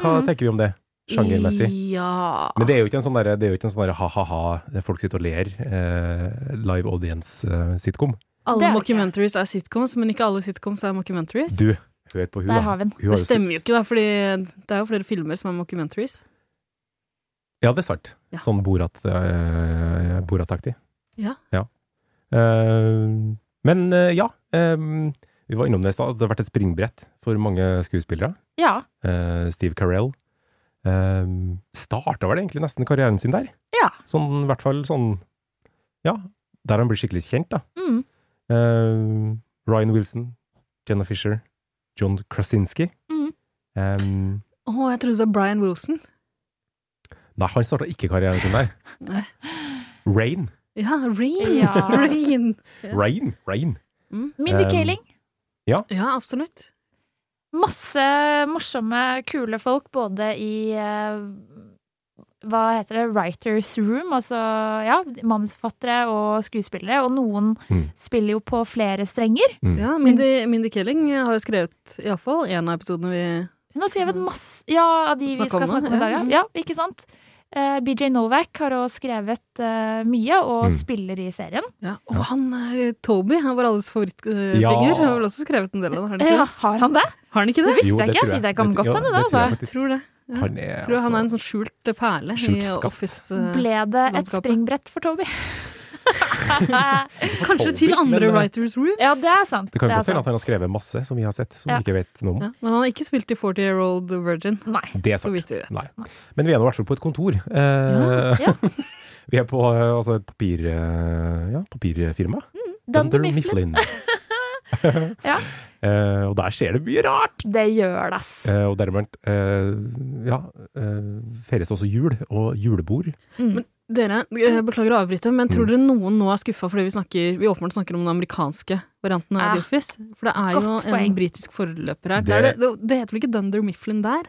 hva
Mhm.
tenker vi om det? Sjangermessig.
Ja.
Men det er jo ikke en sånn derre- det er jo ikke en sånn derre ha-ha-ha, der folk sitter og ler, eh, live eh, audience-sitcom.
Det er
Alle
det ikke.
mockumentaries er sitcoms, men ikke alle sitcoms er mockumentaries.
du, hør på hun,
Der
da.
har vi den.
Hun har
Det
jo-
stemmer jo ikke, da, fordi det er jo flere filmer som er mockumentaries.
Ja, det er sant.
Ja.
Sånn Borat, eh, Borat-aktig.
Ja.
Eh, men eh, ja, eh, vi var innom det i stad. Det har vært et springbrett for mange skuespillere.
Ja.
Eh, Steve Carell uh, starta vel egentlig nesten karrieren sin der.
Ja.
Sånn, i hvert fall sånn Ja, der han blir skikkelig kjent, da.
Mm.
Eh, Ryan Wilson, Jenna Fisher, John Krasinski.
Mm.
Mhm.
Eh,
Å, jeg trodde du sa Brian Wilson.
nei, han starta ikke karrieren sin der.
Nei.
Rain.
Ja, Rain!
Ja.
Rain. Ja.
Rain. Rain.
Mindy
Um,
Kaling.
ja absolutt.
Masse morsomme, kule folk både i eh, Hva heter det? Writers room. Altså ja, manusforfattere og skuespillere. Og noen
Mm.
spiller jo på flere strenger.
Mm.
Ja, Mindy, Mindy Kelling har jo skrevet iallfall én av episodene vi
Hun har skrevet masse Ja, av de vi
Mm. Snakke om
skal
det,
snakke om i dag, ja.
ja.
ja ikke sant? Eh, BJ Novak har også skrevet eh, mye, og
Mm.
spiller i serien.
ja. Og han eh, Toby, han var alles favorittfigur,
Ja.
har vel også skrevet en del av det? Har han
Eh,
ikke det?
har han det?
Har han ikke
Det
det?
visste
Jo,
jeg
det
ikke.
tror jeg.
Det kan
Det-
godt
ja,
hende,
det
det.
tror jeg
Altså.
faktisk.
Tror det. Ja.
Han er,
Tror han er en
altså,
sånn skjult perle
Skjult
i
skatt.
Office. eh,
Ble det et
landskapet.
springbrett for Toby?
ikke for
Kanskje
Toby,
til andre
men, eh,
writers' rooms.
ja, det er sant.
Det kan
det
jo
er
godt hende at
sant.
han har skrevet masse som vi har sett, som
Ja.
vi ikke vet noe om.
Ja, men han har ikke spilt i 40 Year Old Virgin,
Nei.
Det er
så
sant.
vidt vi vet.
Nei. Men vi er nå i hvert fall på et kontor. Eh,
Ja,
vi er på eh, altså et papir, eh, ja, papirfirma.
Dunder Mifflin.
Mifflin.
Ja.
Eh, og der skjer det mye rart!
Det gjør det, ass.
Eh, og dermed eh, ja, eh, feires også jul og julebord.
Dere, eh, beklager å avbryte, men tror
Mm.
dere noen nå er skuffa fordi vi snakker Vi åpenbart snakker om den amerikanske varianten av
Ah,
The Office? For det er jo
godt
en
poeng.
britisk forløper her.
Det-
Det, det, det, det heter vel ikke Dunder Mifflin der?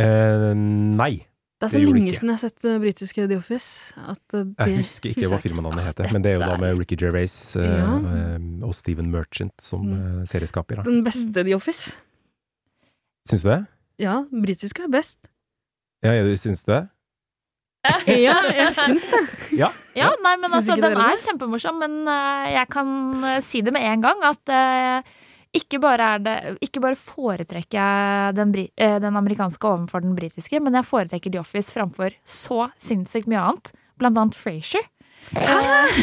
Eh, nei,
Det er så
Det gjorde det
lenge
ikke.
siden jeg har sett eh, britiske The Office at eh, det
jeg husker ikke hva firmanavnet heter, men det er jo da med Ricky Gervais eh,
Ja.
eh, og Steven Merchant som eh, serieskaper. da.
Den beste The Office.
Syns du det?
Ja, den britiske er best.
Ja, ja, syns du det?
Ja, jeg syns det.
Ja, nei, men
Syns
altså,
ikke
den
dere
er kjempemorsom, men eh, jeg kan eh, si det med en gang at eh, ikke bare, er det, ikke bare foretrekker jeg den, bri- eh, den amerikanske overfor den britiske, men jeg foretrekker The Office framfor så sinnssykt mye annet, blant annet Frasier. Eh,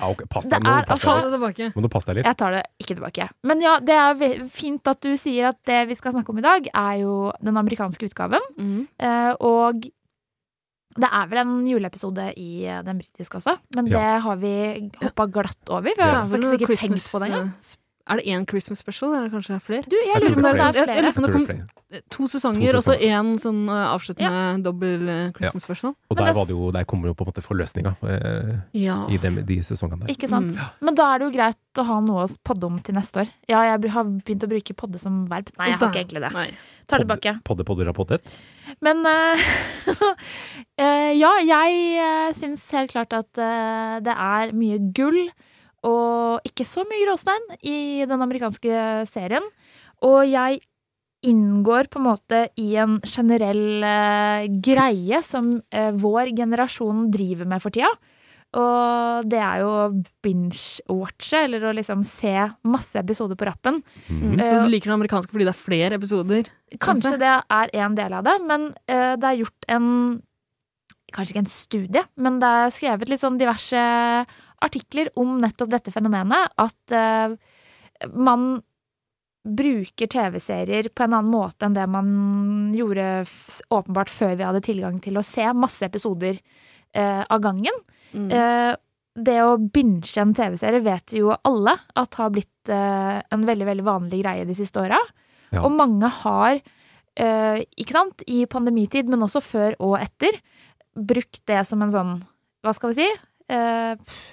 Ja, ok, pass
Det
deg, må
er
du passe
Ta
deg litt.
det altså- tilbake.
Må du passe deg litt.
Jeg tar det ikke tilbake. Men ja, det er ve- fint at du sier at det vi skal snakke om i dag, er jo den amerikanske utgaven.
Mm.
Eh, og det er vel en juleepisode i eh, den britiske også, men
Ja.
det har vi hoppa glatt over. Vi
Det
har
er vel
faktisk
noe
ikke tenkt
Christmas,
på det engang.
eh, sp- Er det én Christmas special, eller kanskje flere?
Du, jeg
Jeg tror
lurer på om det
det
er
er flere.
flere.
Men
Jeg
det
tror det
kom-
er flere.
To sesonger,
To
og så
sesonger.
én sånn eh, avsluttende dobbel eh, Christmas special.
Og
Men
der,
det-
var det jo, der kommer jo på en måte forløsninga eh,
Ja.
i de, de sesongene der.
Ikke sant? Men da er det jo greit å ha noe å podde om til neste år. Ja, jeg br- har begynt å bruke podde som verb. Nei, jeg har ikke egentlig det.
Nei.
Tar det tilbake.
Podde, podde, rapportet.
Men eh, eh, ja, jeg uh, syns helt klart at eh, det er mye gull og ikke så mye gråstein i den amerikanske serien. Og jeg inngår på en måte i en generell eh, greie som eh, vår generasjon driver med for tida. Og det er jo å binge-watche, eller å liksom se masse episoder på rappen.
Mhm.
Mm.
Eh,
Så du liker den amerikanske fordi det er flere episoder?
Kanskje det er en del av det, men eh, det er gjort en Kanskje ikke en studie, men det er skrevet litt sånn diverse artikler om nettopp dette fenomenet. At eh, man bruker TV-serier på en annen måte enn det man gjorde f åpenbart før vi hadde tilgang til å se masse episoder eh, av gangen.
Mm.
Eh, det å binge en TV-serie vet vi jo alle at har blitt eh, en veldig veldig vanlig greie de siste åra.
Ja.
Og mange har, eh, ikke sant, i pandemitid, men også før og etter, brukt det som en sånn, hva skal vi si, eh, pff,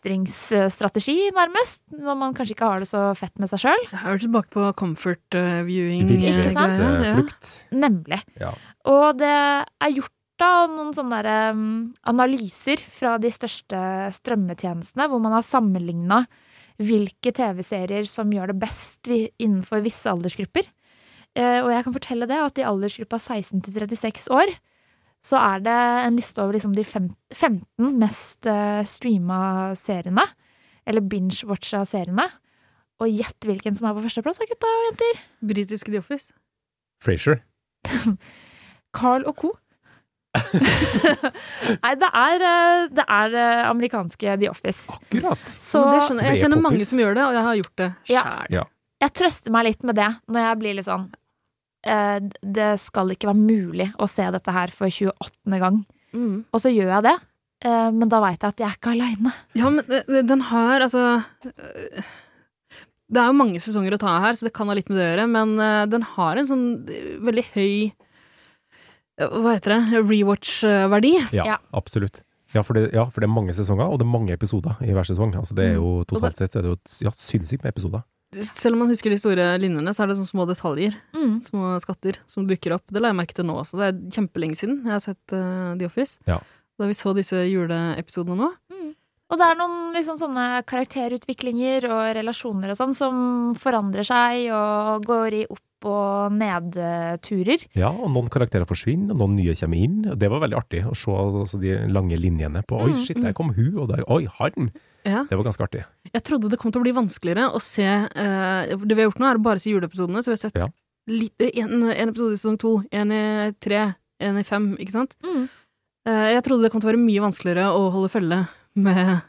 mestringsstrategi, nærmest. Når man kanskje ikke har det så fett med seg sjøl.
Jeg er tilbake på comfort eh, viewing. eh,
Ikke sant?
greia.
Virkelighetsflukt.
Nemlig.
Ja.
Og det er gjort da noen sånne der, um, analyser fra de største strømmetjenestene, hvor man har sammenligna hvilke TV-serier som gjør det best vi- innenfor visse aldersgrupper. Eh, og jeg kan fortelle det at i aldersgruppa 16 til 36 år så er det en liste over liksom de fem, 15 mest eh, streama seriene. Eller binge-watcha seriene. Og gjett hvilken som er på førsteplass, da, gutta og jenter.
Britiske The Office.
Frasier.
Carl og co. Nei, det er, eh, det er eh, amerikanske The Office.
Akkurat.
Så
Men det skjønner, jeg. jeg kjenner mange
Spedpoppis.
som gjør det, og jeg har gjort det
Ja.
sjæl.
jeg trøster meg litt med det når jeg blir litt sånn eh, Det skal ikke være mulig å se dette her for 28. gang.
Mm.
Og så gjør jeg det, eh, men da veit jeg at jeg er ikke aleine.
Ja, men det- det- den har altså øh, Det er jo mange sesonger å ta her, så det kan ha litt med det å gjøre, men øh, den har en sånn øh, veldig høy øh, Hva heter det? Rewatch-verdi.
Ja,
Ja.
absolutt. Ja for, det, ja, for det er mange sesonger, og det er mange episoder i hver sesong. Altså, det er jo Totalt sett så er det jo et- ja, sinnssykt med episoder.
Selv om man husker de store linjene, så er det sånne små detaljer,
Mm.
små skatter, som dukker opp. Det la jeg merke til nå også. Det er kjempelenge siden jeg har sett øh, The Office.
Ja.
Da vi så disse juleepisodene nå.
Og det er noen liksom sånne karakterutviklinger og relasjoner og sånn som forandrer seg og går i opp- og nedturer.
Ja, og noen karakterer forsvinner, og noen nye kommer inn. og Det var veldig artig å se altså, de lange linjene på Oi,
Mm,
shit, der kom hun, og der Oi, han!
Ja.
Det var ganske artig.
Jeg trodde det kom til å bli vanskeligere å se eh, Det vi har gjort nå, er å bare se juleepisodene. Så vi har sett
Ja.
li- eh, en, en episode i sesong to, en i tre, en i fem, ikke sant?
Mm.
Eh, jeg trodde det kom til å være mye vanskeligere å holde følge med,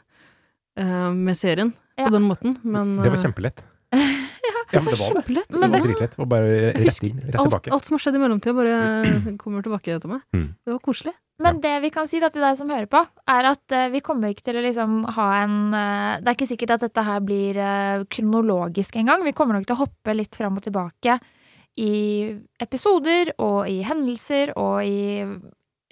eh, med serien
Ja.
på den måten, men
Det var
eh,
kjempelett. ja, men det var det.
kjempelett.
Det
Men
var
det,
dritlett. Og bare rett inn, rett
alt,
tilbake.
alt som har skjedd i mellomtida, bare kommer tilbake til meg.
Mm.
Det var koselig.
Men det vi kan si da til deg som hører på, er at eh, vi kommer ikke til å liksom ha en eh, Det er ikke sikkert at dette her blir eh, kronologisk engang. Vi kommer nok til å hoppe litt fram og tilbake i episoder og i hendelser og i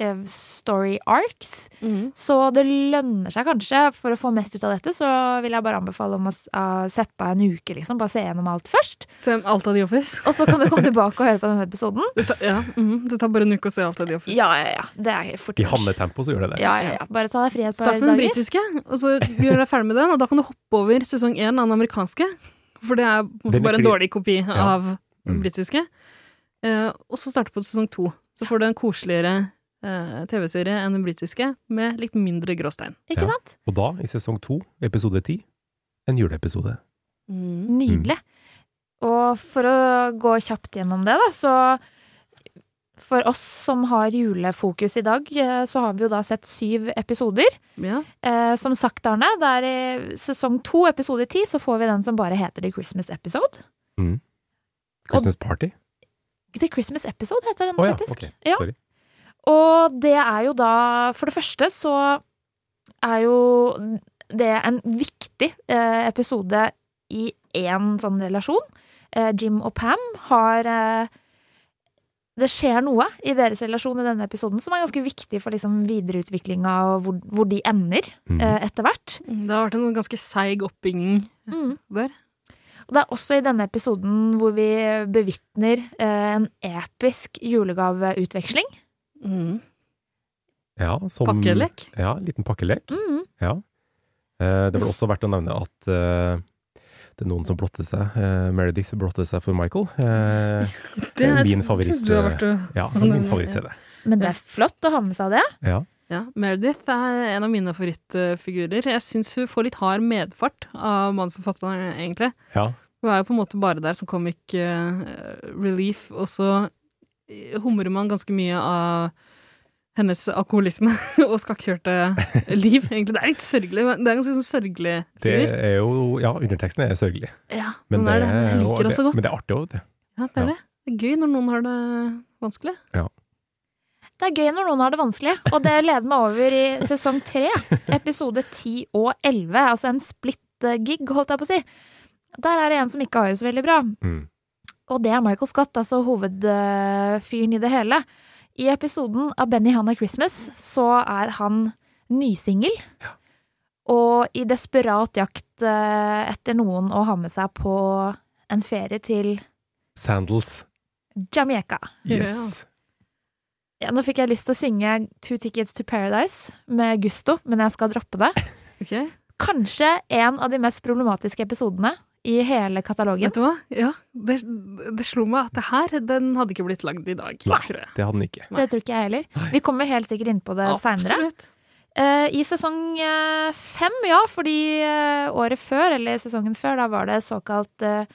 eh, story arcs.
Mm.
Så det lønner seg kanskje, for å få mest ut av dette, så vil jeg bare anbefale om å s- eh, sette av en uke, liksom. Bare se gjennom alt først.
Se alt av The Office.
Og så kan du komme tilbake og høre på denne episoden.
Det tar, ja, mhm, det tar bare en uke å se alt av The Office.
Ja, ja, ja. Det er fort
I
gjort.
hannetempo så gjør det det.
Ja, ja, ja. Bare ta deg frihet på
Start med den britiske, og så gjør deg ferdig med den, og da kan du hoppe over sesong én av den amerikanske. For det er på en
Den er
måte bare en
kli-
dårlig kopi
Ja.
av
Mm.
den britiske. Eh, og så starte på sesong to. Så får du en koseligere eh, TV-serie enn den britiske, med litt mindre gråstein.
Ikke
Ja.
sant?
Og da, i sesong to, episode ti, en juleepisode.
Mm.
Nydelig. Og for å gå kjapt gjennom det, da, så For oss som har julefokus i dag, eh, så har vi jo da sett syv episoder.
Ja.
Eh, som sagt, Arne, det er i sesong to, episode ti, så får vi den som bare heter The Christmas Episode.
Christmas Party.
The Christmas Episode heter den
Å ja,
Mm, faktisk.
ok.
Ja.
Sorry.
Og det er jo da For det første så er jo det en viktig eh, episode i én sånn relasjon. Eh, Jim og Pam har eh, Det skjer noe i deres relasjon i denne episoden som er ganske viktig for liksom, videreutviklinga og hvor, hvor de ender
Mhm.
eh, etter hvert.
Det har vært en sånn ganske seig oppbygging der.
Og det er også i denne episoden hvor vi bevitner eh, en episk julegaveutveksling.
Mm.
Ja, som,
Pakkelek.
Ja, en liten pakkelek.
Mm.
Eh, det ble også verdt å nevne at eh, det er noen som blotter seg. Eh, Meredith blotter seg for Michael. Eh, Det er min favoritt,
synes du har vært å-
ja, det er min favorittside.
Men det er flott å ha med seg det.
Ja.
Ja, Meredith er en av mine favorittfigurer. Jeg syns hun får litt hard medfart av mannsforfatteren, egentlig.
Ja.
Hun er jo på en måte bare der som comic eh, relief, og så eh, humrer man ganske mye av hennes alkoholisme og skakkjørte liv, egentlig. Det er litt sørgelig, men det er en ganske sånn sørgelig
Det
figur.
er jo Ja, underteksten er sørgelig.
ja,
Men,
den er det, men jeg
jo-
liker det
det,
også godt.
men det er artig òg, vet du.
ja, det, er
ja.
det. det er gøy når noen har det vanskelig.
Det er gøy når noen har det vanskelig, og det leder meg over i sesong tre, episode 10 og 11, altså en splitt-gig, holdt jeg på å si. Der er det en som ikke har det så veldig bra,
Mm.
og det er Michael Scott, altså hovedfyren i det hele. I episoden av Benny Hanna Christmas så er han nysingel. Og i desperat jakt eh, etter noen å ha med seg på en ferie til
Sandals.
Jamaica.
Yes.
Ja, nå fikk jeg lyst til å synge Two Tickets to Paradise med Gusto, men jeg skal droppe det.
Ok,
Kanskje en av de mest problematiske episodene i hele katalogen.
Vet du hva? Ja, det, det slo meg at det her, den hadde ikke blitt lagd i dag,
Nei.
tror jeg.
Det hadde den ikke.
Det tror ikke jeg heller. Vi kommer helt sikkert inn på det seinere.
Absolutt.
Eh, I sesong eh, fem, ja, fordi eh, året før, eller sesongen før, da var det såkalt eh,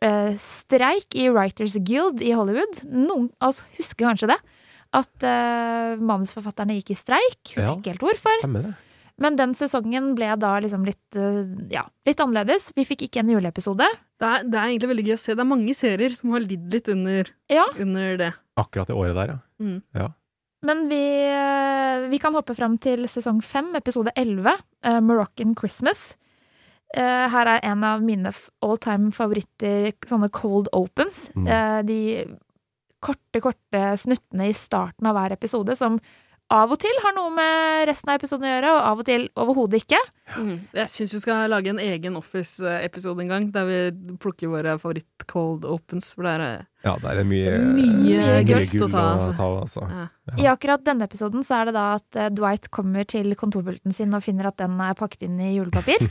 eh, streik i Writers Guild i Hollywood. Noen av oss husker kanskje det. At eh, manusforfatterne gikk i streik. Husker
Ja.
ikke helt hvorfor.
Stemmer det.
Men den sesongen ble da liksom litt, eh, ja, litt annerledes. Vi fikk ikke en juleepisode.
Det er, det er egentlig veldig gøy å se. Det er mange serier som har lidd litt under,
Ja.
under det.
Akkurat det året der, ja.
Men vi, eh, vi kan hoppe fram til sesong fem, episode elleve, eh, Moroccan Christmas. Eh, her er en av mine f- all time favoritter, sånne cold opens.
Mm.
Eh, de korte, korte snuttene i starten av hver episode som av og til har noe med resten av episoden å gjøre, og av og til overhodet ikke.
Mm. Jeg syns vi skal lage en egen Office-episode en gang, der vi plukker våre favoritt-cold opens. For det er eh,
Ja, det er mye,
mye
mye
gøtt
gull
å ta. Altså.
altså.
Ja.
I akkurat denne episoden så er det da at eh, Dwight kommer til kontorpulten sin og finner at den er pakket inn i julepapir.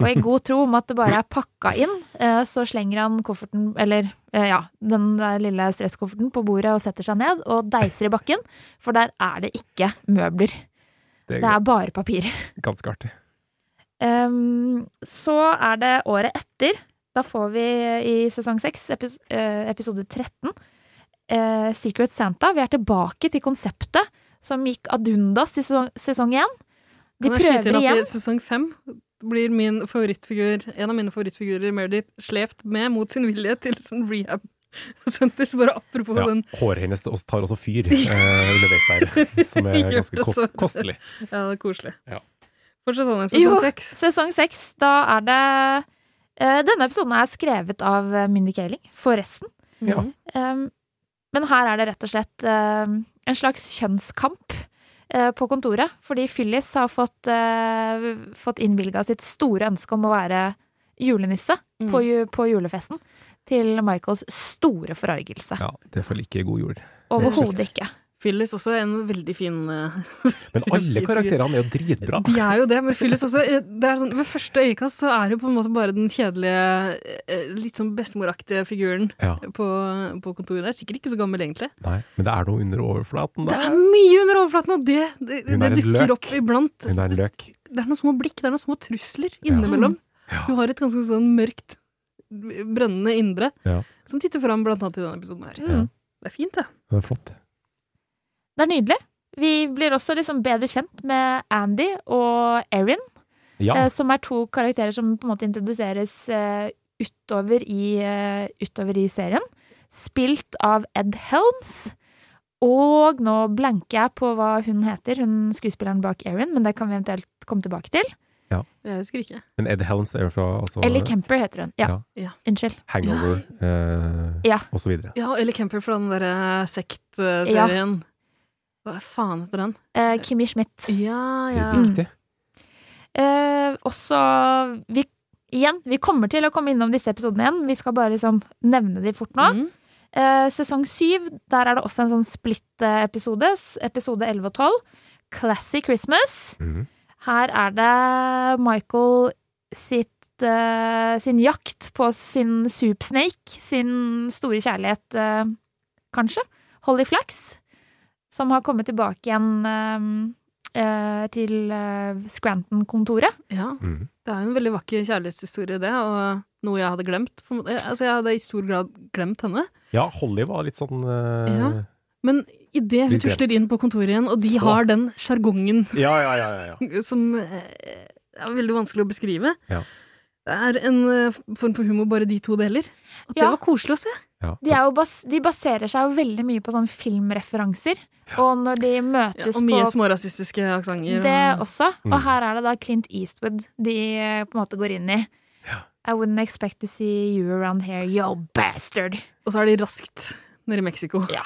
Og i god tro om at det bare er pakka inn, eh, så slenger han kofferten, eller eh, ja, den der lille stresskofferten på bordet og setter seg ned og deiser i bakken, for der er det ikke møbler.
Det
Det
er
er bare papir.
ganske artig.
Ehm, så er det året etter. Da får vi eh, i sesong 6, epis eh, episode 13, eh, Secret Santa. Vi er tilbake til konseptet som gikk ad undas i sesong, sesong 1. De
Kan jeg skyte
prøver
inn
igjen.
at i sesong fem blir min favorittfigur, en av mine favorittfigurer, Meredith, slept med mot sin vilje til sånn rehab-senter. Så bare apropos
Ja,
den
håret hennes tar også fyr eh, underveis der, som er
Gjør
ganske
det sånn.
kost,
så.
kostelig.
Ja, det er koselig.
Ja.
Fortsett, Anne.
Jo.
Sesong seks.
Sesong 6, da er det eh, Denne episoden er skrevet av eh, Mindy Kaling, forresten.
Ja.
Mhm.
Ehm, men her er det rett og slett ehm, en slags kjønnskamp eh, på kontoret. Fordi Phyllis har fått, uh, fått innvilga sitt store ønske om å være julenisse
Mm.
på, ju på julefesten. Til Michaels store forargelse.
Ja, det får like god jord.
Overhodet ikke.
Phyllis også er en veldig fin eh,
Men alle karakterene er jo dritbra.
De er jo det, men Phyllis også eh, det er sånn, Ved første øyekast så er hun på en måte bare den kjedelige, eh, litt sånn bestemoraktige figuren
Ja,
på, på kontoret. Er sikkert ikke så gammel, egentlig.
nei, men det er noe under overflaten
Det
der.
er mye under overflaten, og det, det,
Hun
det
er en
dukker
løk.
opp iblant.
Hun er en løk.
Det er noen små blikk, det er noen små trusler
Ja.
innimellom.
Ja.
Hun har et ganske sånn mørkt, brennende indre
Ja.
som titter fram blant annet i denne episoden her.
Ja.
Det er fint, det.
Det er flott.
Mm. Det er nydelig. Vi blir også liksom bedre kjent med Andy og Erin,
Ja,
eh, som er to karakterer som på en måte introduseres eh, utover, i, eh, utover i serien. Spilt av Ed Helms. Og nå blanker jeg på hva hun heter, hun skuespilleren bak Erin, men det kan vi eventuelt komme tilbake til.
Jeg husker ikke.
men Ed Helms er jo fra altså,
Ellie Kemper heter hun. Ja.
Ja. Ja.
Unnskyld.
Hangover eh,
Ja.
og så videre.
Ja, Ellie Kemper fra den derre sektserien. Hva faen heter den? Mm.
Eh, Kimmy Schmidt.
Ja, ja.
Riktig.
Eh, også vi, Igjen, vi kommer til å komme innom disse episodene igjen. Vi skal bare liksom nevne de fort nå.
Mm.
Eh, sesong syv, der er det også en sånn splitt-episode. Episode 11 og 12. Classy Christmas.
Mm.
Mhm.
Her er det Michael sitt, eh, sin jakt på sin Soup Snake, sin store kjærlighet, eh, kanskje, Holly Flax, som har kommet tilbake igjen eh, eh, til eh, Scranton-kontoret.
ja.
Mhm.
Det er jo en veldig vakker kjærlighetshistorie, det, og noe jeg hadde glemt. på en måte. Altså, jeg hadde i stor grad glemt henne.
Ja, Holly var litt sånn
Ja.
eh,
Men idet hun
Litt
tusler inn på kontoret igjen, og de
Så.
har den sjargongen
ja, ja, ja, ja, ja.
som eh, er veldig vanskelig å beskrive
Ja.
Det er en eh, form for humor bare de to deler. At det
Ja.
var koselig å se.
ja.
De, er jo bas de baserer seg jo veldig mye på sånne filmreferanser, og når de
Ja,
møtes
og mye
på
smårasistiske aksenter.
Det også.
Mm.
Og her er det da Clint Eastwood de eh, på en måte går inn i. I wouldn't expect to see you around here, yo bastard.
Og så er de raskt nede i Mexico.
Ja.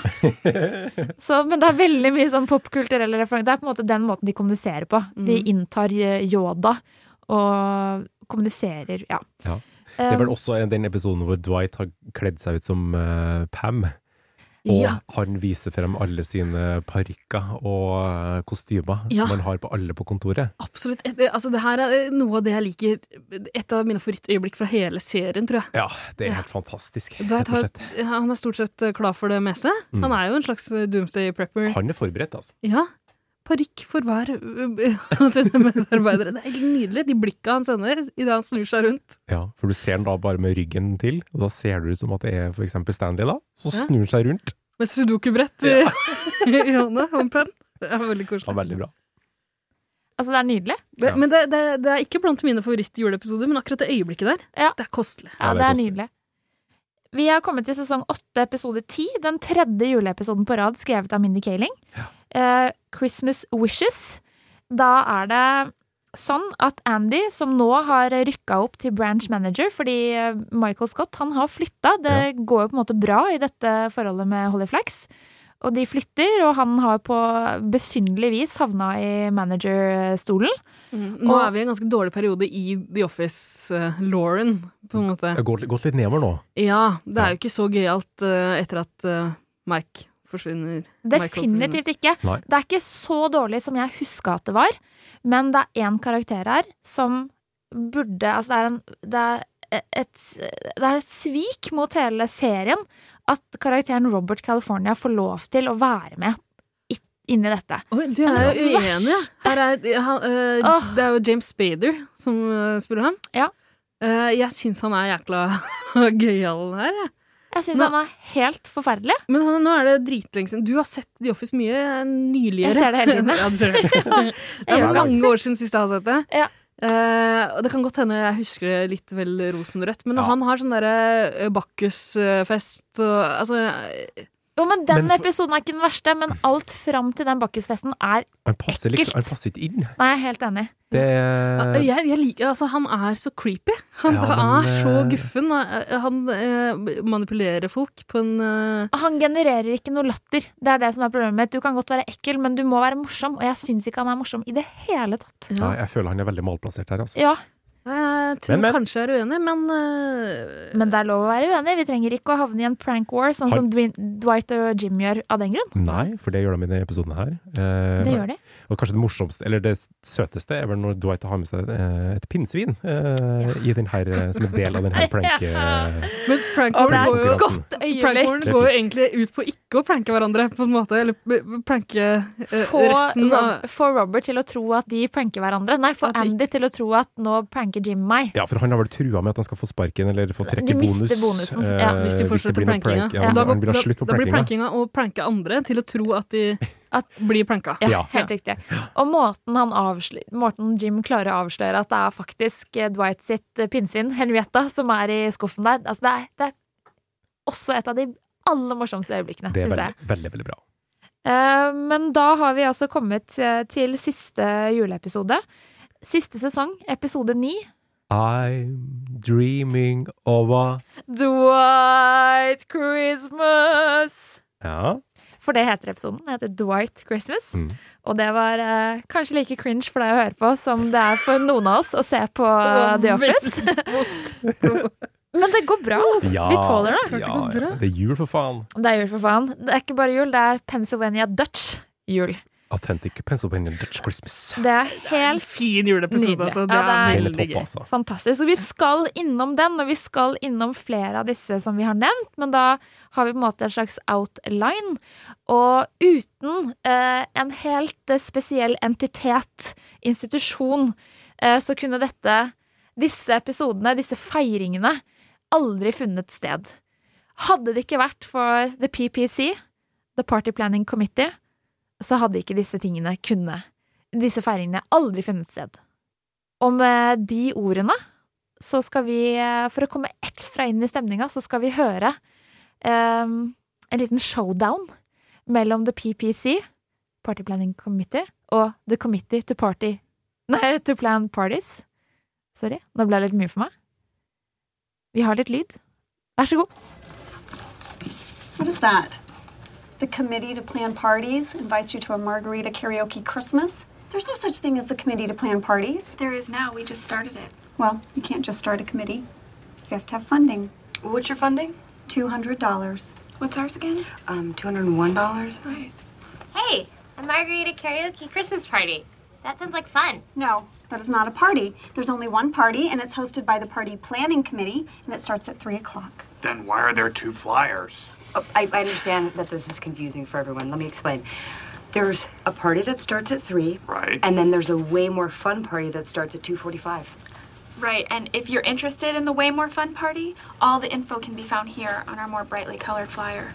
Så, men det er veldig mye sånn popkulturelle referanser. Det er på en måte den måten de kommuniserer på. De
Mm.
inntar eh, Yoda og kommuniserer, ja.
Det er
Um,
vel også den episoden hvor Dwight har kledd seg ut som eh, Pam. Og
Ja.
han viser frem alle sine parykker og eh, kostymer
Ja.
som han har på alle på kontoret.
Absolutt. Et, altså, det her er noe av det jeg liker Et av mine favorittøyeblikk fra hele serien, tror jeg.
Ja, det er
Ja.
helt fantastisk.
Du vet,
rett og slett.
har- han er stort sett eh, klar for det meste.
Mm.
Han er jo en slags eh, doomsday prepper.
Han er forberedt, altså.
Ja. Parykk for hver eh, av sine medarbeidere. Det er helt nydelig, de blikka han sender idet han snur seg rundt.
Ja, for du ser han da bare med ryggen til, og da ser det ut som at det er for eksempel Stanley, da. Så
Ja.
snur han seg rundt.
Med sudoku-brett i, i hånda og en penn. Det er veldig
Ja,
koselig.
veldig bra.
Altså, det er nydelig.
Det,
Ja.
men det, det, det er ikke blant mine favorittjuleepisoder, men akkurat det øyeblikket der,
Ja.
det er kostelig.
Ja,
Ja, det er
det er
koselig.
nydelig. Vi har kommet til sesong åtte, episode ti. Den tredje juleepisoden på rad skrevet av Mindy Kaling. Eh, Christmas Wishes. Da er det sånn at Andy, som nå har rykka opp til branch manager fordi eh, Michael Scott han har flytta. Det går jo på en måte bra i dette forholdet med Holly Flax. Og de flytter, og han har på besynderlig vis havna i managerstolen.
Nå
Og-
er vi i en ganske dårlig periode i The Office, eh, Lauren, på en måte.
Jeg har gått, gått litt nedover nå.
Ja, det
Ja.
er jo ikke så gøyalt eh, etter at eh, Mike forsvinner. Michael
Definitivt ikke.
Nei.
Det er ikke så dårlig som jeg huska at det var, men det er én karakter her som burde Altså, det er en Det er et, det er et svik mot hele serien at karakteren Robert California får lov til å være med i- inni dette.
Oi, du jeg er jo
Ja.
uenig. jeg. Her er, han, eh,
Åh.
Det er jo James Spader som eh, spiller ham.
Ja.
Eh, jeg syns han er jækla gøyal her. jeg.
Jeg syns
Nå-
han er helt forferdelig.
Men han, nå er det dritlenge siden. Du har sett The Office mye nyligere.
Jeg ser det hele tiden, jeg.
ja, du ser det. det
Jeg
er
gjør
mange
det.
år siden sist jeg har sett det.
Ja.
Eh, og det kan godt hende jeg husker det litt vel rosenrødt, men
Ja.
han har sånn derre Bakkus-fest og altså
Jo, men Den
Men for-
episoden er ikke den verste, men alt fram til den bakkusfesten er
Han passer
Ekkelt.
liksom, han passer ikke inn.
Nei, jeg er helt enig.
Det
Ja, Jeg, jeg liker, altså Han er så creepy. Han
Eh, Ja, men,
er så
eh,
guffen. og, eh, Han eh, manipulerer folk på en eh,
Han genererer ikke noe latter. Det er det som er problemet mitt. Du kan godt være ekkel, men du må være morsom, og jeg syns ikke han er morsom i det hele tatt.
ja. Eh,
Nei, jeg føler han er veldig malplassert her, altså.
Ja,
Jeg tror
Men, men.
kanskje jeg er uenig, men eh,
Men det er lov å være uenig. Vi trenger ikke å havne i en prank war, sånn som Dwin- Dwight og Jim gjør av den grunn.
Nei, for det gjør de i denne episoden her. Eh,
Det gjør de.
Og kanskje det morsomste, eller det søteste, er vel når Dwight har med seg eh, et pinnsvin eh, i den her, eh, som en del av den her prank... eh,
Men prank
Og det
Prank
war går jo
er et godt
Prank
øyeblikk.
warren
Det er
går jo egentlig ut på ikke å pranke hverandre, på en måte. Eller b- b- pranke eh,
Få,
resten
Rob,
av
få Robert til å tro at de pranker hverandre. Nei, få
At de-
Andy til å tro at nå pranker Jim meg.
Ja, for han har vel trua med at han skal få sparken, eller få trekke
De mister
bonus.
bonusen,
eh,
ja,
hvis de fortsetter
blir noe
prankinga.
prank. Ja,
Så da,
han vil ha
da,
slutt på
da blir
prankinga.
prankinga å pranke andre til å tro at de
At-
blir pranka.
Ja,
Ja.
helt riktig. Og måten, han avslø- måten Jim klarer å avsløre at det er faktisk eh, Dwight sitt eh, pinnsvin, Henrietta, som er i skuffen der, altså det, er, det er også et av de aller morsomste øyeblikkene,
Det er
syns jeg.
veldig, veldig, veldig bra.
Eh, Men da har vi altså kommet eh, til siste juleepisode. Siste sesong, episode ni.
I'm dreaming of a
Dwight Christmas!
Ja.
For det heter episoden. Den heter Dwight Christmas.
Mm.
Og det var eh, kanskje like cringe for deg å høre på som det er for noen av oss å se på eh,
Det
The
var
Office. Men det går bra.
Ja,
Vi tåler det.
Ja, ja. Det er jul, for faen.
Det er jul, for faen. Det er ikke bare jul, det er Pennsylvania Dutch jul.
Authentic Pennsylvania Dutch Christmas.
Det er helt
Fin juleepisode,
Nydelig.
altså. Det
Ja,
er
det er-
Hele
veldig
topp,
gøy.
altså.
Fantastisk. Og vi skal innom den, og vi skal innom flere av disse som vi har nevnt, men da har vi på en måte en slags outline. Og uten eh, en helt eh, spesiell entitet, institusjon, eh, så kunne dette, disse episodene, disse feiringene, aldri funnet sted. Hadde det ikke vært for The PPC, The Party Planning Committee, så hadde ikke disse tingene kunne, disse feiringene aldri funnet sted. Og med de ordene så skal vi, eh, for å komme ekstra inn i stemninga, så skal vi høre eh, en liten showdown mellom The PPC, Party Planning Committee, og The Committee to Party Nei, To Plan Parties. Sorry, nå ble det litt mye for meg. Vi har litt lyd. Vær så god.
What is that? The Committee to Plan Parties invites you to a margarita karaoke Christmas? There's no such thing as the Committee to Plan Parties.
There is now. We just started it.
Well, you can't just start a committee. You have to have funding.
What's your funding?
$200. What's ours again? Um, $201. Right.
Hey, a margarita karaoke Christmas party. That sounds like fun.
No, that is not a party. There's only one party, and it's hosted by the party planning committee, and it starts at 3 o'clock.
Then why are there two flyers?
Oh, I, I understand that this is confusing for everyone. Let me explain. There's a party that starts at three,
Right.
And then there's a way more fun party that starts at two forty-five.
Right, and if you're interested in the way more fun party, all the info can be found here on our more brightly colored flyer.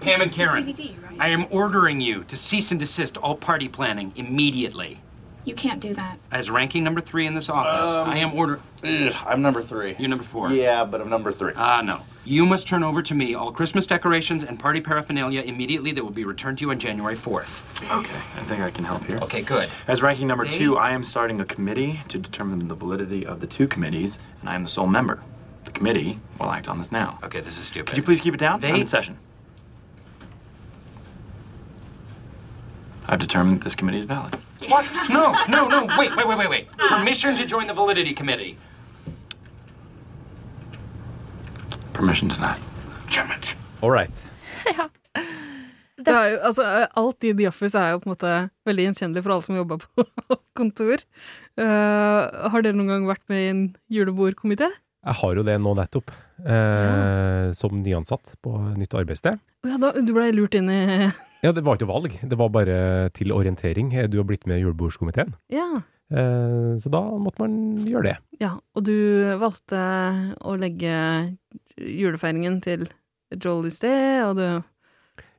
Pam and Karen,
DVD, right?
I am ordering you to cease and desist all party planning immediately.
You can't do that.
As ranking number three in this
Ah,
office,
Um,
I am order.
Ugh, I'm number three.
You're number four.
Yeah, but I'm number three.
Ah, no. You must turn over to me all Christmas decorations and party paraphernalia immediately that will be returned to you on January 4th.
Okay, I think I can help here.
Okay, good.
As ranking number
They-
two, I am starting a committee to determine the validity of the two committees, and I am the sole member. The committee will act on this now.
Okay, this is stupid.
Could you please keep it down?
They-
I'm in session. I've determined this committee is valid.
What? No, no, no. Wait, wait, wait, wait, wait. Permission to join the validity committee.
Permission denied.
All right.
Ja.
Det er jo, altså, alt i The Office er jo på en måte veldig gjenkjennelig for alle som jobber på kontor. Eh, har dere noen gang vært med i en julebordkomité?
Jeg har jo det nå nettopp, eh, som nyansatt på nytt arbeidssted.
Å Ja, da, du ble lurt inn i
Ja, det var ikke noe valg, det var bare til orientering. Eh, Du har blitt med i julebordskomiteen,
Ja.
eh, så da måtte man gjøre det.
ja. Og du valgte å legge julefeiringen til Joel i sted, og du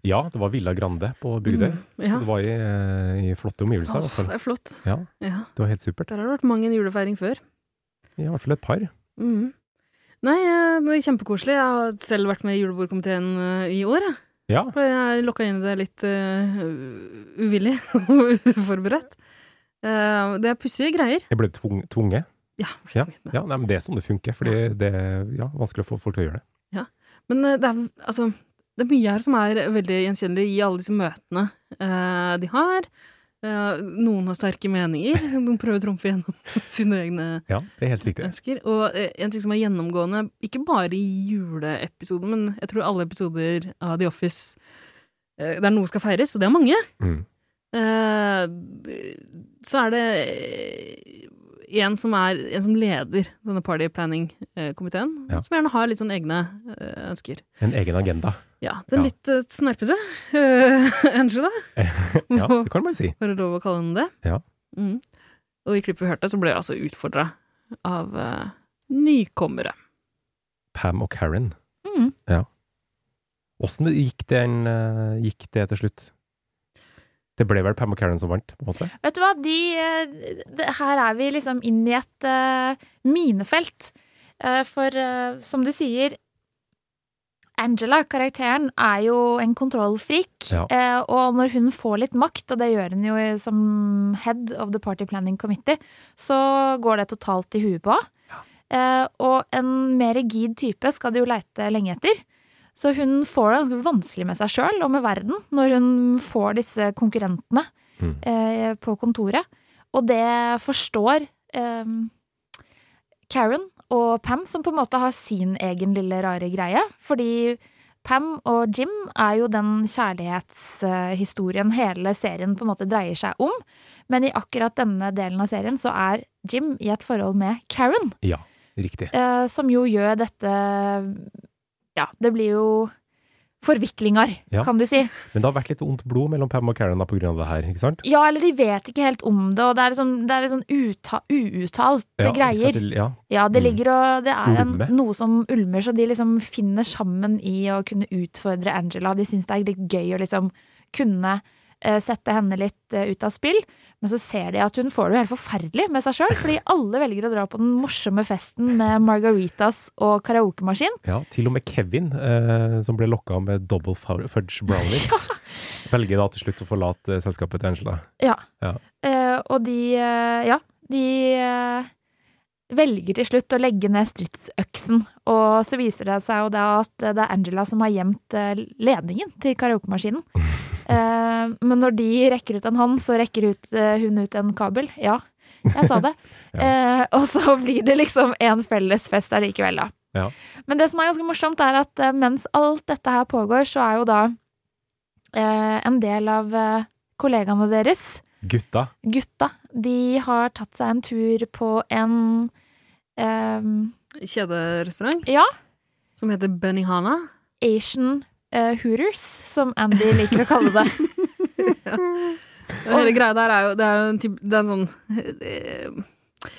Ja, det var Villa Grande på Bygdøy,
Mm, ja.
så det var i, eh, i flotte omgivelser. i hvert
Åh,
fall.
det er flott.
Ja,
Ja.
det var helt supert.
Der har det vært mange en julefeiring før.
I hvert fall et par.
Mhm. Nei, eh, det er kjempekoselig. Jeg har selv vært med i julebordkomiteen eh, i år, jeg.
Ja,
For jeg lokka inn i det litt eh, uvillig og uforberedt. Eh, det er pussige greier.
jeg ble tvung, tvunget.
Ja,
ja, ja nei, men det er sånn det funker, fordi det er ja, vanskelig å få folk til å gjøre det.
Men eh, det, er, altså, det er mye her som er veldig gjenkjennelig i alle disse møtene eh, de har. Eh, noen har sterke meninger. De prøver å trumfe gjennom sine egne
Ja, det er helt riktig.
ønsker. Og eh, en ting som er gjennomgående, ikke bare i juleepisoden, men jeg tror alle episoder av The Office eh, der noe skal feires, og det er mange,
Mm.
eh, så er det eh, en som, er, en som leder denne party planning-komiteen,
Ja.
som gjerne har litt sånn egne eh, ønsker.
En egen agenda.
Ja, den
Ja.
litt eh, snerpete eh, Angela,
ja, det kan man si.
var det lov å kalle henne det?
Ja.
Mm. Og i klippet vi hørte, så ble jeg altså utfordra av eh, nykommere.
Pam og Karen.
Mm.
Ja. Åssen gikk, den, eh, gikk det til slutt? Det ble vel Pam og Karen som vant, på en måte?
Vet du hva, de eh, det, Her er vi liksom inn i et eh, minefelt. Eh, for eh, som du sier Angela, karakteren, er jo en kontrollfrik.
Ja.
Eh, og når hun får litt makt, og det gjør hun jo i- som head of the party planning committee, så går det totalt i huet på henne. Eh, og en mer rigid type skal du jo leite lenge etter. Så hun får det ganske vanskelig med seg sjøl og med verden når hun får disse konkurrentene eh, på kontoret. Og det forstår eh, Karen og Pam, som på en måte har sin egen lille rare greie. Fordi Pam og Jim er jo den kjærlighetshistorien hele serien på en måte dreier seg om. Men i akkurat denne delen av serien så er Jim i et forhold med Karen.
Ja, riktig.
Eh, som jo gjør dette Ja, det blir jo forviklinger,
Ja.
kan du si.
Men det har vært litt ondt blod mellom Pam og Karen da, på grunn av det her, ikke sant?
Ja, eller de vet ikke helt om det, og det er liksom, det er litt sånn uta, uuttalte
Ja, ikke sant? Mm.
greier.
Det- Ja,
Ja, det ligger og Det er en,
Ulme.
noe som ulmer, så de liksom finner sammen i å kunne utfordre Angela. De syns det er litt gøy å liksom kunne eh, sette henne litt eh, ut av spill. Men så ser de at hun får det jo helt forferdelig med seg sjøl, fordi alle velger å dra på den morsomme festen med margaritas og karaokemaskin.
ja, til og med Kevin, eh, som ble lokka med double fu- fudge brownies, velger da til slutt å forlate eh, selskapet til Angela.
Ja.
Ja.
Eh, og de eh, Ja, de eh, velger til slutt å legge ned stridsøksen. Og så viser det seg jo da at eh, det er Angela som har gjemt eh, ledningen til karaokemaskinen. Eh, men når de rekker ut en hånd, så rekker ut, eh, hun ut en kabel. Ja, jeg sa det. Eh, og så blir det liksom en felles fest allikevel, da.
Ja.
Men det som er ganske morsomt, er at eh, mens alt dette her pågår, så er jo da eh, en del av eh, kollegaene deres,
Gutta.
gutta, de har tatt seg en tur på en ehm,
Kjederestaurant?
Ja.
Som heter Benihana?
Asian eh, Hooters, som Andy liker å kalle det.
Og hele greia der er jo Det er jo en, typ, det er en sånn eh,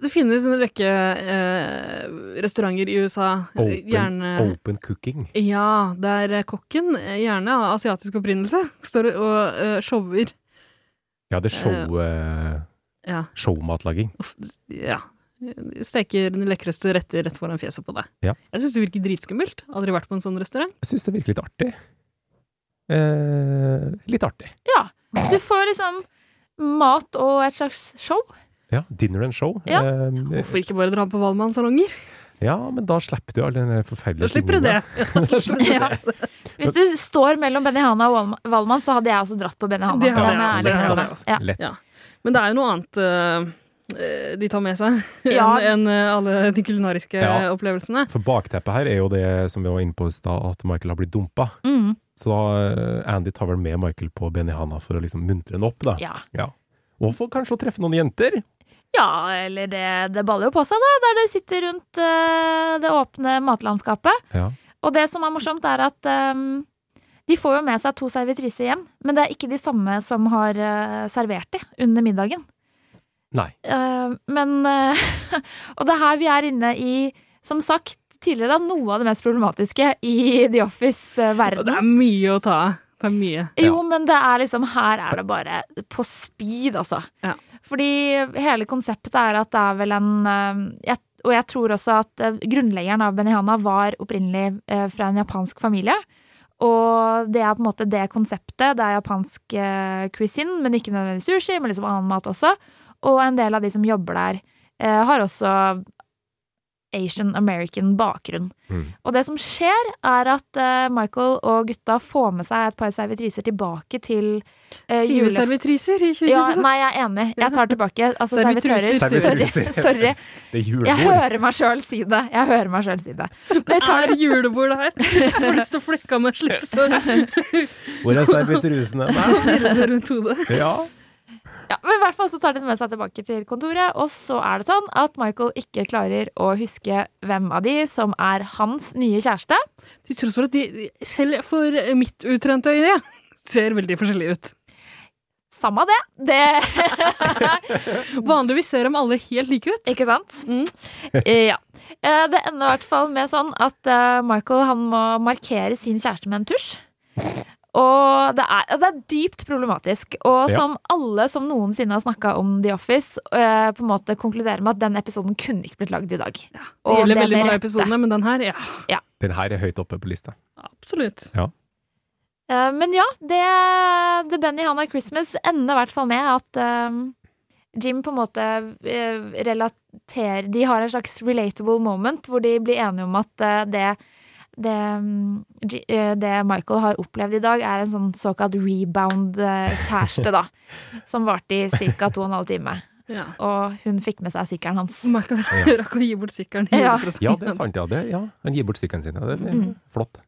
Det finnes en rekke eh, restauranter i USA.
Open,
Eh, gjerne
open cooking.
Ja, der kokken, eh, gjerne av asiatisk opprinnelse, står og eh, shower.
Ja, det er show, eh,
Ja.
showmatlaging.
ja. Steker de lekreste retter rett foran fjeset på deg.
Ja.
Jeg syns det virker dritskummelt. Aldri vært på en sånn restaurant.
Jeg syns det virker litt artig. Eh, litt artig.
Ja. Du får liksom mat og et slags show.
Ja, dinner and show.
Ja.
Eh,
Hvorfor ikke bare dra på Valmann-salonger?
ja, men da slipper du all den der forferdelige
Da slipper du det.
tingene. Da slipper du
Ja. Hvis du står mellom Benihana og Valm- Valmann, så hadde jeg også dratt på Benihana.
Det hadde
Den er
jeg, det
ærlig.
hadde jeg også.
Ja.
Lett.
Ja. Men det er jo noe annet eh, de tar med seg
Ja.
enn eh, alle de kulinariske
Ja.
opplevelsene.
For bakteppet her er jo det som vi var inne på i stad, at Michael har blitt dumpa.
Mm.
Så da eh, Andy tar vel med Michael på Benihana for å liksom muntre henne opp, da.
Ja.
Og for kanskje å treffe noen jenter.
ja, eller det, det baller jo på seg, da, der det sitter rundt eh, det åpne matlandskapet.
Ja.
Og det som er morsomt, er at ehm, de får jo med seg to servitriser hjem, men det er ikke de samme som har eh, servert de under middagen.
Nei.
Eh, men eh, Og det er her vi er inne i, som sagt tidligere, da, noe av det mest problematiske i The
Og det
Office-verden.
er mye å ta av. Det er mye.
Jo, men det er liksom Her er det bare på speed, altså. Fordi hele konseptet er at det er vel en eh, jeg, Og jeg tror også at eh, grunnleggeren av Benihana var opprinnelig eh, fra en japansk familie. Og det er på en måte det konseptet. Det er japansk eh, cuisine, men ikke nødvendigvis sushi, men liksom annen mat også. Og en del av de som jobber der, eh, har også Asian American bakgrunn. Og det som skjer, er at eh, Michael og gutta får med seg et par servitriser tilbake til uh,
Sier vi servitriser i 2022?
Ja, nei, jeg er enig. Jeg tar tilbake. Altså, servitører.
Servitruser.
Sorry.
Servitruser.
Sorry.
Det er
Jeg
julebord.
hører meg sjøl si det. Jeg hører meg selv si det. Men jeg tar
Er det julebord her? Jeg Får lyst til å flekke av meg slipset.
Hvor er servitrusene? Nei.
Virre rundt hodet.
Ja.
Ja, men i hvert fall så tar de det med seg tilbake til kontoret, og så er det sånn at Michael ikke klarer å huske hvem av de som er hans nye kjæreste.
Til tross for at de, selv for mitt utrente øye, ser veldig forskjellige ut.
Samme det. det.
Vanligvis ser de alle helt like ut.
Ikke sant?
Mm.
Eh, Ja. Eh, Det ender i hvert fall med sånn at eh, Michael han må markere sin kjæreste med en tusj. Og det er, altså det er dypt problematisk. Og
Ja.
som alle som noensinne har snakka om The Office, eh, på en måte konkluderer med at den episoden kunne ikke blitt lagd i dag.
Det gjelder veldig
med
mange av
rette.
episodene, men den her, ja.
Den her er høyt oppe på lista.
Absolutt.
Ja.
Eh, Men ja, det, det Benny Hannah Christmas ender i hvert fall med at eh, Jim på en måte eh, relaterer De har en slags relatable moment hvor de blir enige om at eh, det det, mm, Ji- eh, det Michael har opplevd i dag, er en sånn såkalt rebound-kjæreste, da. Som varte i ca. to og en halv time.
Ja.
Og hun fikk med seg sykkelen hans.
Michael
Ja.
rakk å gi bort sykkelen.
Ja.
100%.
Ja, det er sant. Ja, det, ja. Han gir bort stykkene sine. Ja, det er
Mm.
flott.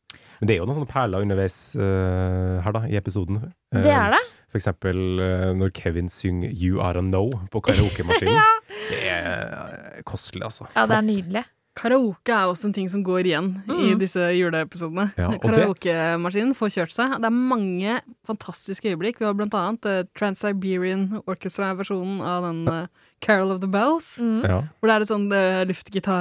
Men det er jo noen sånne perler underveis eh, her, da, i episoden. Eh,
Det er det.
For eksempel eh, når Kevin synger 'You Are A No' på karaokemaskinen. Det er kostelig, altså.
Ja, det er nydelig.
Karaoke er også en ting som går igjen i
Mm.
disse juleepisodene.
Ja, og det-
Karaokemaskinen får kjørt seg. Det er mange fantastiske øyeblikk. Vi har blant annet eh, Trans-Siberian Orchestra-versjonen av den eh, Carol of the Bells,
Mm.
Ja.
hvor det er et sånn eh,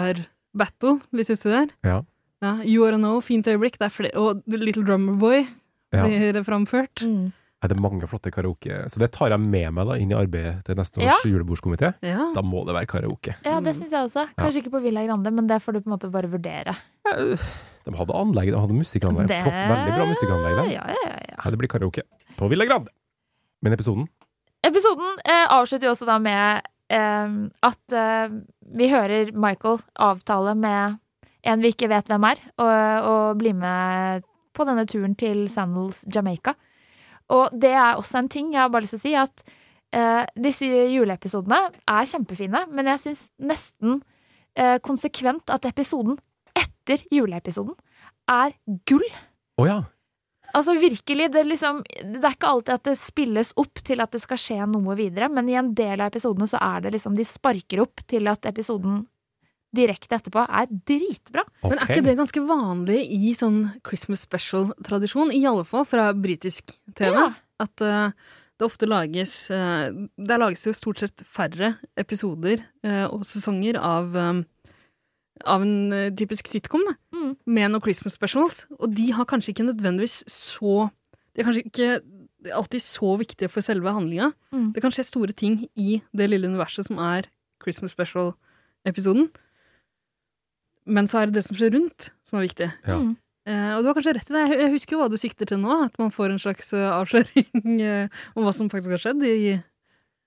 luftgitar-battle litt uti der.
Ja.
Ja, you Are Know, fint øyeblikk. Det er flere, og Little Drummer Boy
Ja.
blir
Mm.
framført.
Nei, det er mange flotte karaoke. Så det tar jeg med meg da inn i arbeidet til neste
Ja.
års julebordskomité.
Ja.
Da må det være karaoke.
Ja, det syns jeg også. Kanskje ikke på Villa Grande, men det får du på en måte bare vurdere.
De hadde anlegg, de hadde musikkanlegg.
Det-
Flott, veldig bra musikkanlegg der.
Ja, ja, ja, ja.
Nei, det blir karaoke på Villa Grande. Men episoden
Episoden eh, avslutter jo også da med eh, at eh, vi hører Michael avtale med en vi ikke vet hvem er, og, og bli med på denne turen til Sandals Jamaica. Og det er også en ting jeg har bare lyst til å si, at eh, disse juleepisodene er kjempefine, men jeg syns nesten eh, konsekvent at episoden etter juleepisoden er gull.
Å ja.
Altså virkelig, det, er liksom, det er ikke alltid at det spilles opp til at det skal skje noe videre, men i en del av episodene så er det liksom de sparker opp til at episoden direkte etterpå er dritbra.
Men er ikke det ganske vanlig i sånn Christmas special-tradisjon? I alle fall fra britisk TV. At eh, det ofte lages eh, Der lages jo stort sett færre episoder eh, og sesonger av eh, av en eh, typisk sitcom, da, med noen Christmas specials. Og de har kanskje ikke nødvendigvis så De er kanskje ikke alltid så viktige for selve handlinga.
Mm.
Det kan skje store ting i det lille universet som er Christmas special-episoden. Men så er det det som skjer rundt, som er viktig.
Ja. Mm.
Eh, og du har kanskje rett i det. Jeg- Jeg husker jo hva du sikter til nå. At man får en slags eh, avsløring eh, om hva som faktisk har skjedd i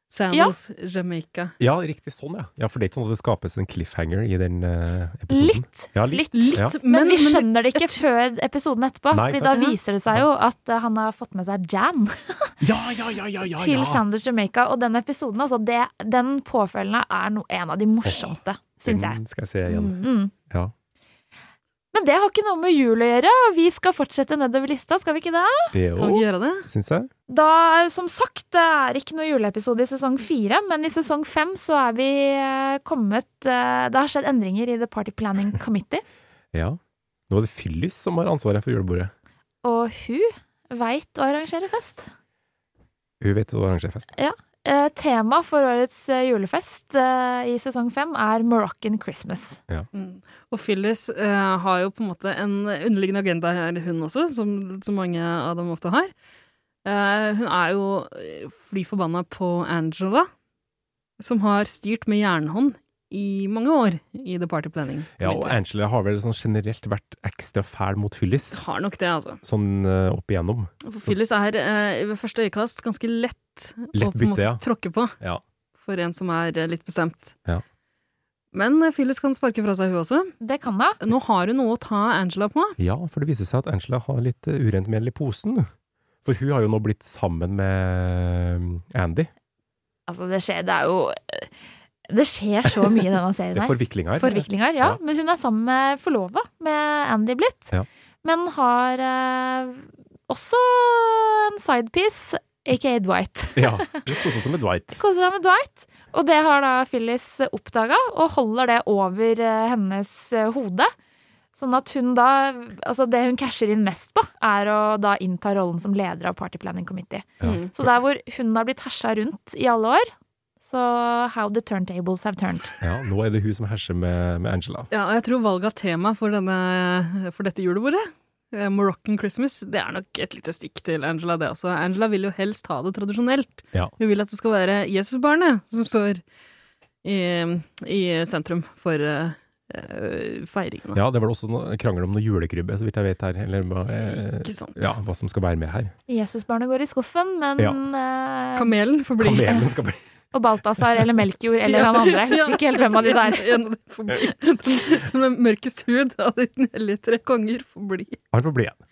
Sandals Jamaica.
Ja, riktig sånn, ja. ja. For det er ikke sånn at det skapes en cliffhanger i den eh, episoden.
Litt.
Ja,
Litt.
litt. ja.
Men, vi skjønner det ikke før episoden etterpå,
Nei,
Fordi da
sant.
viser det seg jo at eh, han har fått med seg Jan
Ja, ja, ja, ja, ja,
til
ja.
Sanders Jamaica. Og den episoden, altså, det, den påfølgende er no, en av de morsomste, syns jeg.
Den skal jeg se igjen.
Mm.
Ja.
Men det har ikke noe med jul å gjøre, og vi skal fortsette nedover lista, skal vi ikke det?
Jo,
Kan vi ikke gjøre det?
Syns jeg.
Da, som sagt, det er ikke noe juleepisode i sesong fire, men i sesong fem så er vi eh, kommet eh, Det har skjedd endringer i The Party Planning Committee,
Ja. Nå er det Fyllis som har ansvaret for julebordet.
og hun veit å arrangere fest.
Hun vet å arrangere fest.
Ja. Eh, tema for årets eh, julefest eh, i sesong fem er Moroccan Christmas.
Ja.
Og Phyllis eh, har jo på en måte en underliggende agenda her, hun også, som så mange av dem ofte har. Eh, hun er jo eh, fly forbanna på Angela, som har styrt med jernhånd i mange år i The Party Planning.
Ja, og Angela har vel sånn generelt vært ekstra fæl mot Fyllis.
Har nok det, altså.
Sånn eh, opp igjennom.
For Phyllis er eh, ved første øyekast ganske lett, å
Lett
på en
bytte,
måte
ja.
tråkke på
Ja.
for en som er eh, litt bestemt.
Ja.
Men eh, Phyllis kan sparke fra seg, hun også.
Det kan da.
Nå har hun noe å ta Angela på.
ja, for det viser seg at Angela har litt eh, urent mel i posen. For hun har jo nå blitt sammen med eh, Andy.
Altså, det skjer Det er jo eh, Det skjer så mye i denne serien
Det
her.
er forviklinger.
Forviklinger,
Ja.
ja. Men hun er sammen med forlova med Andy blitt.
Ja.
Men har eh, også en sidepiece, aka Dwight.
Ja. Hun koser seg med Dwight.
Koser seg med Dwight. Og det har da Phyllis oppdaga, og holder det over eh, hennes eh, hode. Sånn at hun da Altså, det hun casher inn mest på, er å da innta rollen som leder av Party Planning Committee.
Ja.
Så der hvor hun har blitt hersa rundt i alle år, så how the turntables have turned.
Ja, nå er det hun som herser med, med Angela.
Ja, og jeg tror valget av tema for, denne, for dette julebordet, eh, Moroccan Christmas, det er nok et lite stikk til Angela, det også. Angela vil jo helst ha det tradisjonelt.
Ja.
Hun vil at det skal være Jesusbarnet som står i, i sentrum for eh, eh, feiringene.
Ja, det var det også noe krangel om noe julekrybbe, så vidt jeg vet her. Eller hva, eh,
Ikke sant.
Ja, hva som skal være med her.
Jesusbarnet går i skuffen, men
Ja.
eh,
Kamelen får bli.
Kamelen skal bli
Og Balthazar eller Melkjord eller han andre. Jeg husker ikke helt hvem av de der.
En av de får bli. Den med mørkest hud av de hellige tre konger får bli.
Han får bli igjen.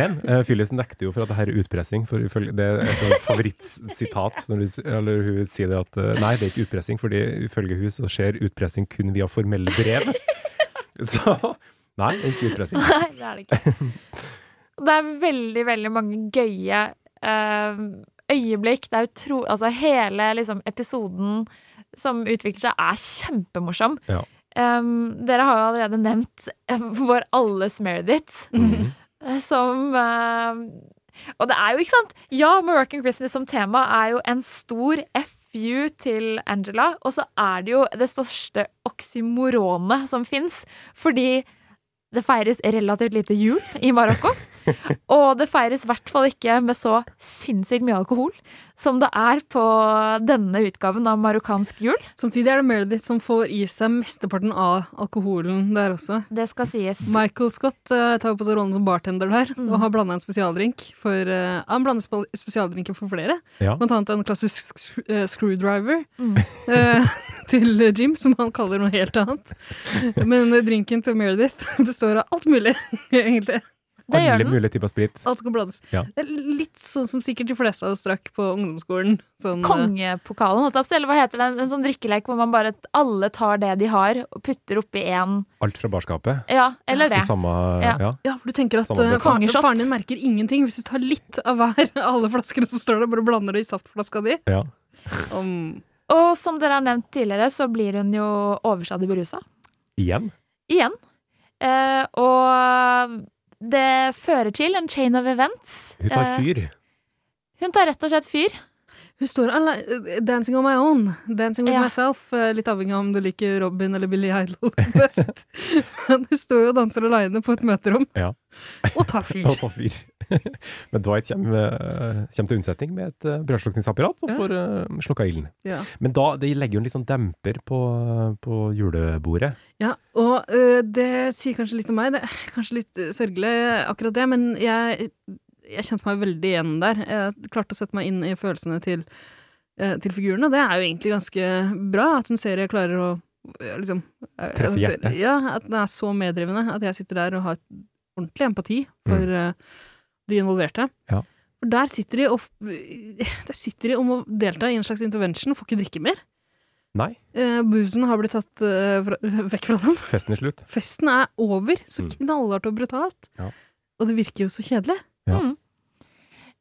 Men uh, Phyllis nekter jo for at det her er utpressing. For ifølge, det er et sånt favorittsitat når du, s- eller hun sier det at eh, nei, det er ikke utpressing, fordi ifølge hun så skjer utpressing kun via formelle brev. Så nei, det er ikke utpressing.
Nei, det er det ikke. Det er veldig, veldig mange gøye eh, øyeblikk. Det er utro... Altså hele liksom, episoden som utvikler seg, er kjempemorsom.
Ja.
Em, dere har jo allerede nevnt eh, vår alles Meredith,
Mhm.
som eh, Og det er jo, ikke sant Ja, Moroccan Christmas som tema er jo en stor FU til Angela, og så er det jo det største oksymoronet som fins, fordi det feires relativt lite jul i Marokko. Og det feires i hvert fall ikke med så sinnssykt mye alkohol som det er på denne utgaven av marokkansk jul.
Samtidig er det Meredith som får i seg mesteparten av alkoholen der også.
Det skal sies.
Michael Scott eh, tar jo på seg rollen som bartender der, og har blanda en spesialdrink for eh, Han blander spe- spesialdrinken for flere,
Ja.
blant annet en klassisk sk- eh, screwdriver eh, til eh, Jim, som han kaller noe helt annet. Men eh, drinken til Meredith består av alt mulig, egentlig. Det gjør
Alle
den.
mulige typer sprit.
Alt skal blandes.
Ja.
Det er litt sånn som sikkert de fleste av oss drakk på ungdomsskolen. Sånn,
Kongepokalen, holdt jeg på å si, eller hva heter det? En sånn drikkelek hvor man bare alle tar det de har, og putter oppi én
Alt fra barskapet.
Ja, eller det.
I samme
Ja.
Ja.
Ja, for du tenker at
Samme
eh,
bøtte.
faren,
Kongeshot.
faren din merker ingenting hvis du tar litt av hver av alle flaskene som står der, bare blander det i saftflaska di.
ja.
Om,
Og som dere har nevnt tidligere, så blir hun jo overstadig berusa.
Igjen.
Igjen. Eh, og det fører til en chain of events.
Hun tar
Eh,
fyr.
hun tar rett og slett fyr.
hun står alle- eh, 'Dancing on my own', 'Dancing with
Ja.
myself', eh, litt avhengig av om du liker Robin eller Billy Idol best. Men hun står jo og danser aleine på et møterom
Ja.
og tar fyr.
Og tar fyr. Men Dwight kommer, eh, kommer til unnsetning med et eh, brødslukningsapparat og
Ja.
får eh, slukka ilden.
Ja.
Men da det legger hun litt sånn demper på, på julebordet.
Ja, og ø, det sier kanskje litt om meg. Det er kanskje litt ø, sørgelig, akkurat det, men jeg, jeg kjente meg veldig igjen der. Jeg klarte å sette meg inn i følelsene til, ø, til figurene, og det er jo egentlig ganske bra at en serie klarer å ø, liksom ø, at en serie-
hjertet.
Ja, at den er så meddrivende. At jeg sitter der og har ordentlig empati for ø, de involverte.
Mm. Ja.
For der sitter de og f- Der sitter de om å delta i en slags intervention, får ikke drikke mer.
Nei,
Uh, Boozen har blitt tatt ø, fra, vekk fra dem.
festen er slutt.
Festen er over, så
Mm.
knallhardt og brutalt.
Ja.
Og det virker jo så kjedelig.
Mm.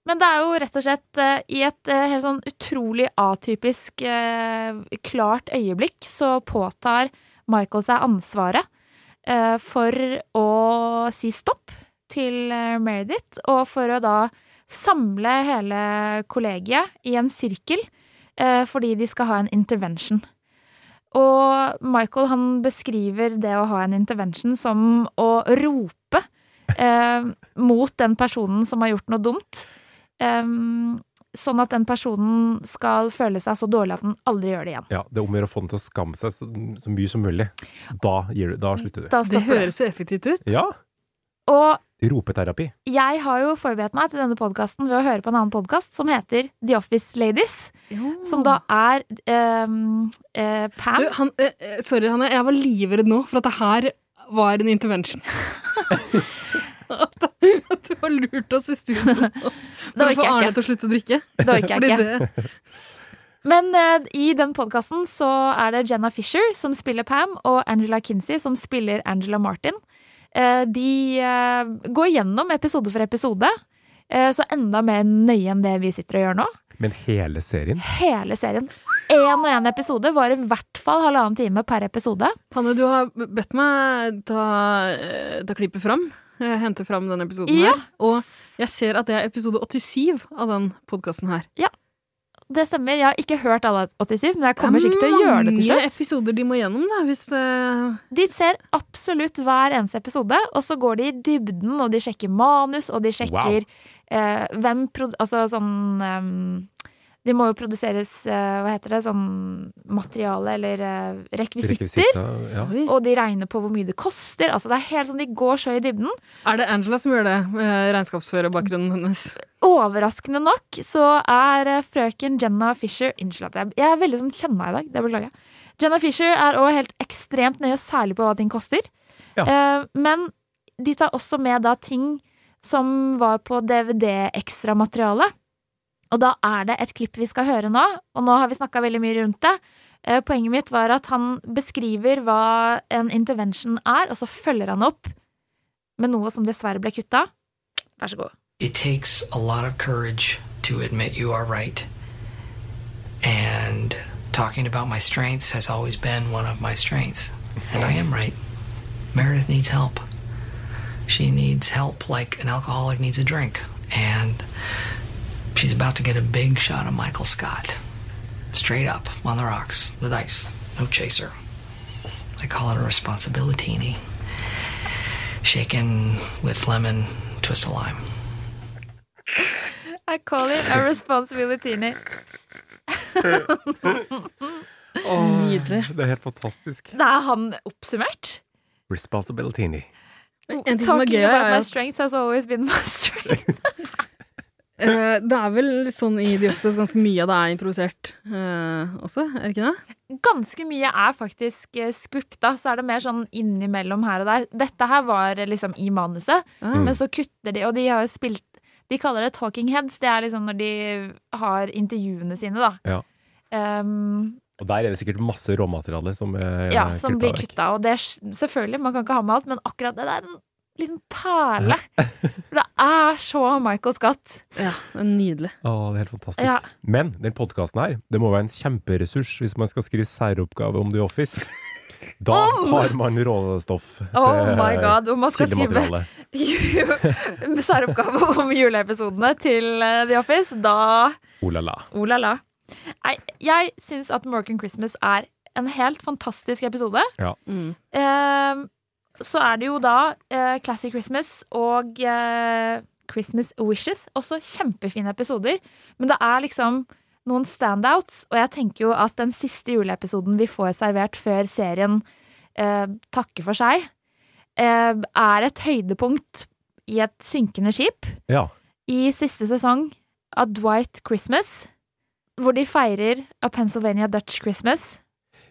Men det er jo rett og slett eh, i et eh, helt sånn utrolig atypisk, eh, klart øyeblikk, så påtar Michael seg ansvaret eh, for å si stopp til eh, Meredith, og for å da samle hele kollegiet i en sirkel eh, fordi de skal ha en intervention. Og Michael han beskriver det å ha en intervention som å rope eh, mot den personen som har gjort noe dumt. Em, sånn at den personen skal føle seg så dårlig at den aldri gjør det igjen.
Ja, det er om å gjøre å få den til å skamme seg så, så mye som mulig. Da, gir du, da slutter du.
Da
Det
stopper det.
høres jo effektivt ut.
Ja,
Og
ropeterapi.
jeg har jo forberedt meg til denne podkasten ved å høre på en annen podkast som heter The Office Ladies. Som da er em, eh, Pam
Du, han, eh, eh, sorry, Hanne, jeg var livredd nå for at det her var en intervention. at, at du har lurt oss i studio nå for å
orker
få
jeg
Arne
ikke.
til å slutte å drikke.
Det orker jeg
Fordi
ikke.
det-
Men eh, i den podkasten så er det Jenna Fisher som spiller Pam, og Angela Kinsey som spiller Angela Martin. Eh, de eh, går gjennom episode for episode, eh, så enda mer nøye enn det vi sitter og gjør nå.
Men hele serien
Hele serien. Én og én episode var i hvert fall halvannen time per episode.
Hanne, du har bedt meg ta, eh, ta klippet fram. eh, Hente fram denne episoden
Ja.
her. Og jeg ser at det er episode 87 av den podkasten her.
Det stemmer. Jeg har ikke hørt alle 87, men jeg kommer sikkert til å gjøre det til
Det er mange
slutt.
episoder de må gjennom, da, hvis eh,
De ser absolutt hver eneste episode, og så går de i dybden, og de sjekker manus, og de
Wow.
sjekker eh, hvem prod... Altså sånn em, De må jo produseres, eh, hva heter det, sånn materiale eller eh, rekvisitter.
Rekvisitter, ja.
Oi.
Og de regner på hvor mye det koster. Altså det er helt sånn, De går så i dybden.
Er det Angela som gjør det, eh, med regnskapsførerbakgrunnen hennes?
Overraskende nok så er eh, frøken Jenna Fisher Unnskyld at jeg, jeg er veldig sånn kjenner meg i dag. Det beklager jeg. Jenna Fisher er òg helt ekstremt nøye, særlig på hva ting koster. Eh, men de tar også med da ting som var på DVD-ekstramateriale. Og da er det et klipp vi skal høre nå, og nå har vi snakka veldig mye rundt det. Eh, Poenget mitt var at han beskriver hva en intervention er, og så følger han opp med noe som dessverre ble kutta. Vær så god.
It takes a lot of courage to admit you are right. And talking about my strengths has always been one of my strengths. And I am right. Meredith needs help. She needs help like an alcoholic needs a drink. And she's about to get a big shot of Michael Scott. Straight up, on the rocks, with ice. No chaser. I call it a responsibilitini. Shaken with lemon, twist of lime.
I call it a responsibility.
Nydelig.
Det er helt fantastisk.
Det er han oppsummert.
Responsibility.
En ting som er gøy,
about
er
my
at
strengths has always been my strength.
Eh, det er vel sånn i The Office at ganske mye av det er improvisert eh, også, er det ikke det?
Ganske mye er faktisk eh, scripta, så er det mer sånn innimellom her og der. Dette her var eh, liksom i manuset,
Mm.
men så kutter de, og de har jo spilt De kaller det talking heads. Det er liksom når de har intervjuene sine, da.
Ja.
Ehm,
Og der er det sikkert masse råmateriale som, eh,
ja, som
kutta
blir
vekk.
kutta. Og det er s- selvfølgelig, man kan ikke ha med alt, men akkurat det der er en liten perle. For det er så Michael Scott.
Ja, nydelig.
Å, det er helt fantastisk.
Ja.
Men den podkasten her, det må være en kjemperessurs hvis man skal skrive særoppgave om The Office. Da
Om!
har man råstoff til
Oh my god, hvor man skal
kildemateriale.
skrive ju- særoppgave om juleepisodene til eh, The Office, da
Oh la la.
oh la la. Nei, jeg syns at Morgan Christmas er en helt fantastisk episode.
Ja.
Ehm, så er det jo da eh, Classic Christmas og eh, Christmas Wishes. Også kjempefine episoder. Men det er liksom noen standouts, og jeg tenker jo at den siste juleepisoden vi får servert før serien eh, takker for seg, eh, er et høydepunkt i et synkende skip
Ja.
i siste sesong av Dwight Christmas, hvor de feirer av Pennsylvania Dutch Christmas.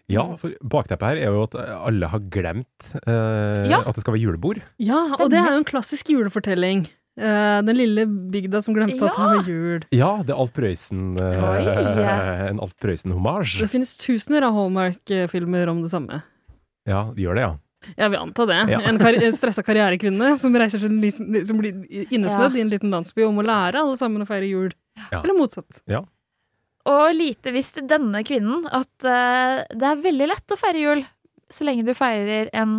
ja, for bakteppet her er jo at alle har glemt eh,
Ja.
at det skal være julebord.
Ja, og det er jo en klassisk julefortelling. Eh, den lille bygda som glemte at det var jul.
Ja, det er Alf Prøysen eh,
Oi.
En Alf Prøysen-hommage.
Det finnes tusener av Hallmark-filmer om det samme.
Ja, det gjør det, ja.
Jeg vil anta det.
Ja.
En kar stressa karrierekvinne som reiser til en liten, som blir innesnødd
Ja.
i en liten landsby og må lære alle sammen å feire jul.
Ja.
Eller motsatt.
ja.
Og lite visste denne kvinnen at eh, det er veldig lett å feire jul så lenge du feirer en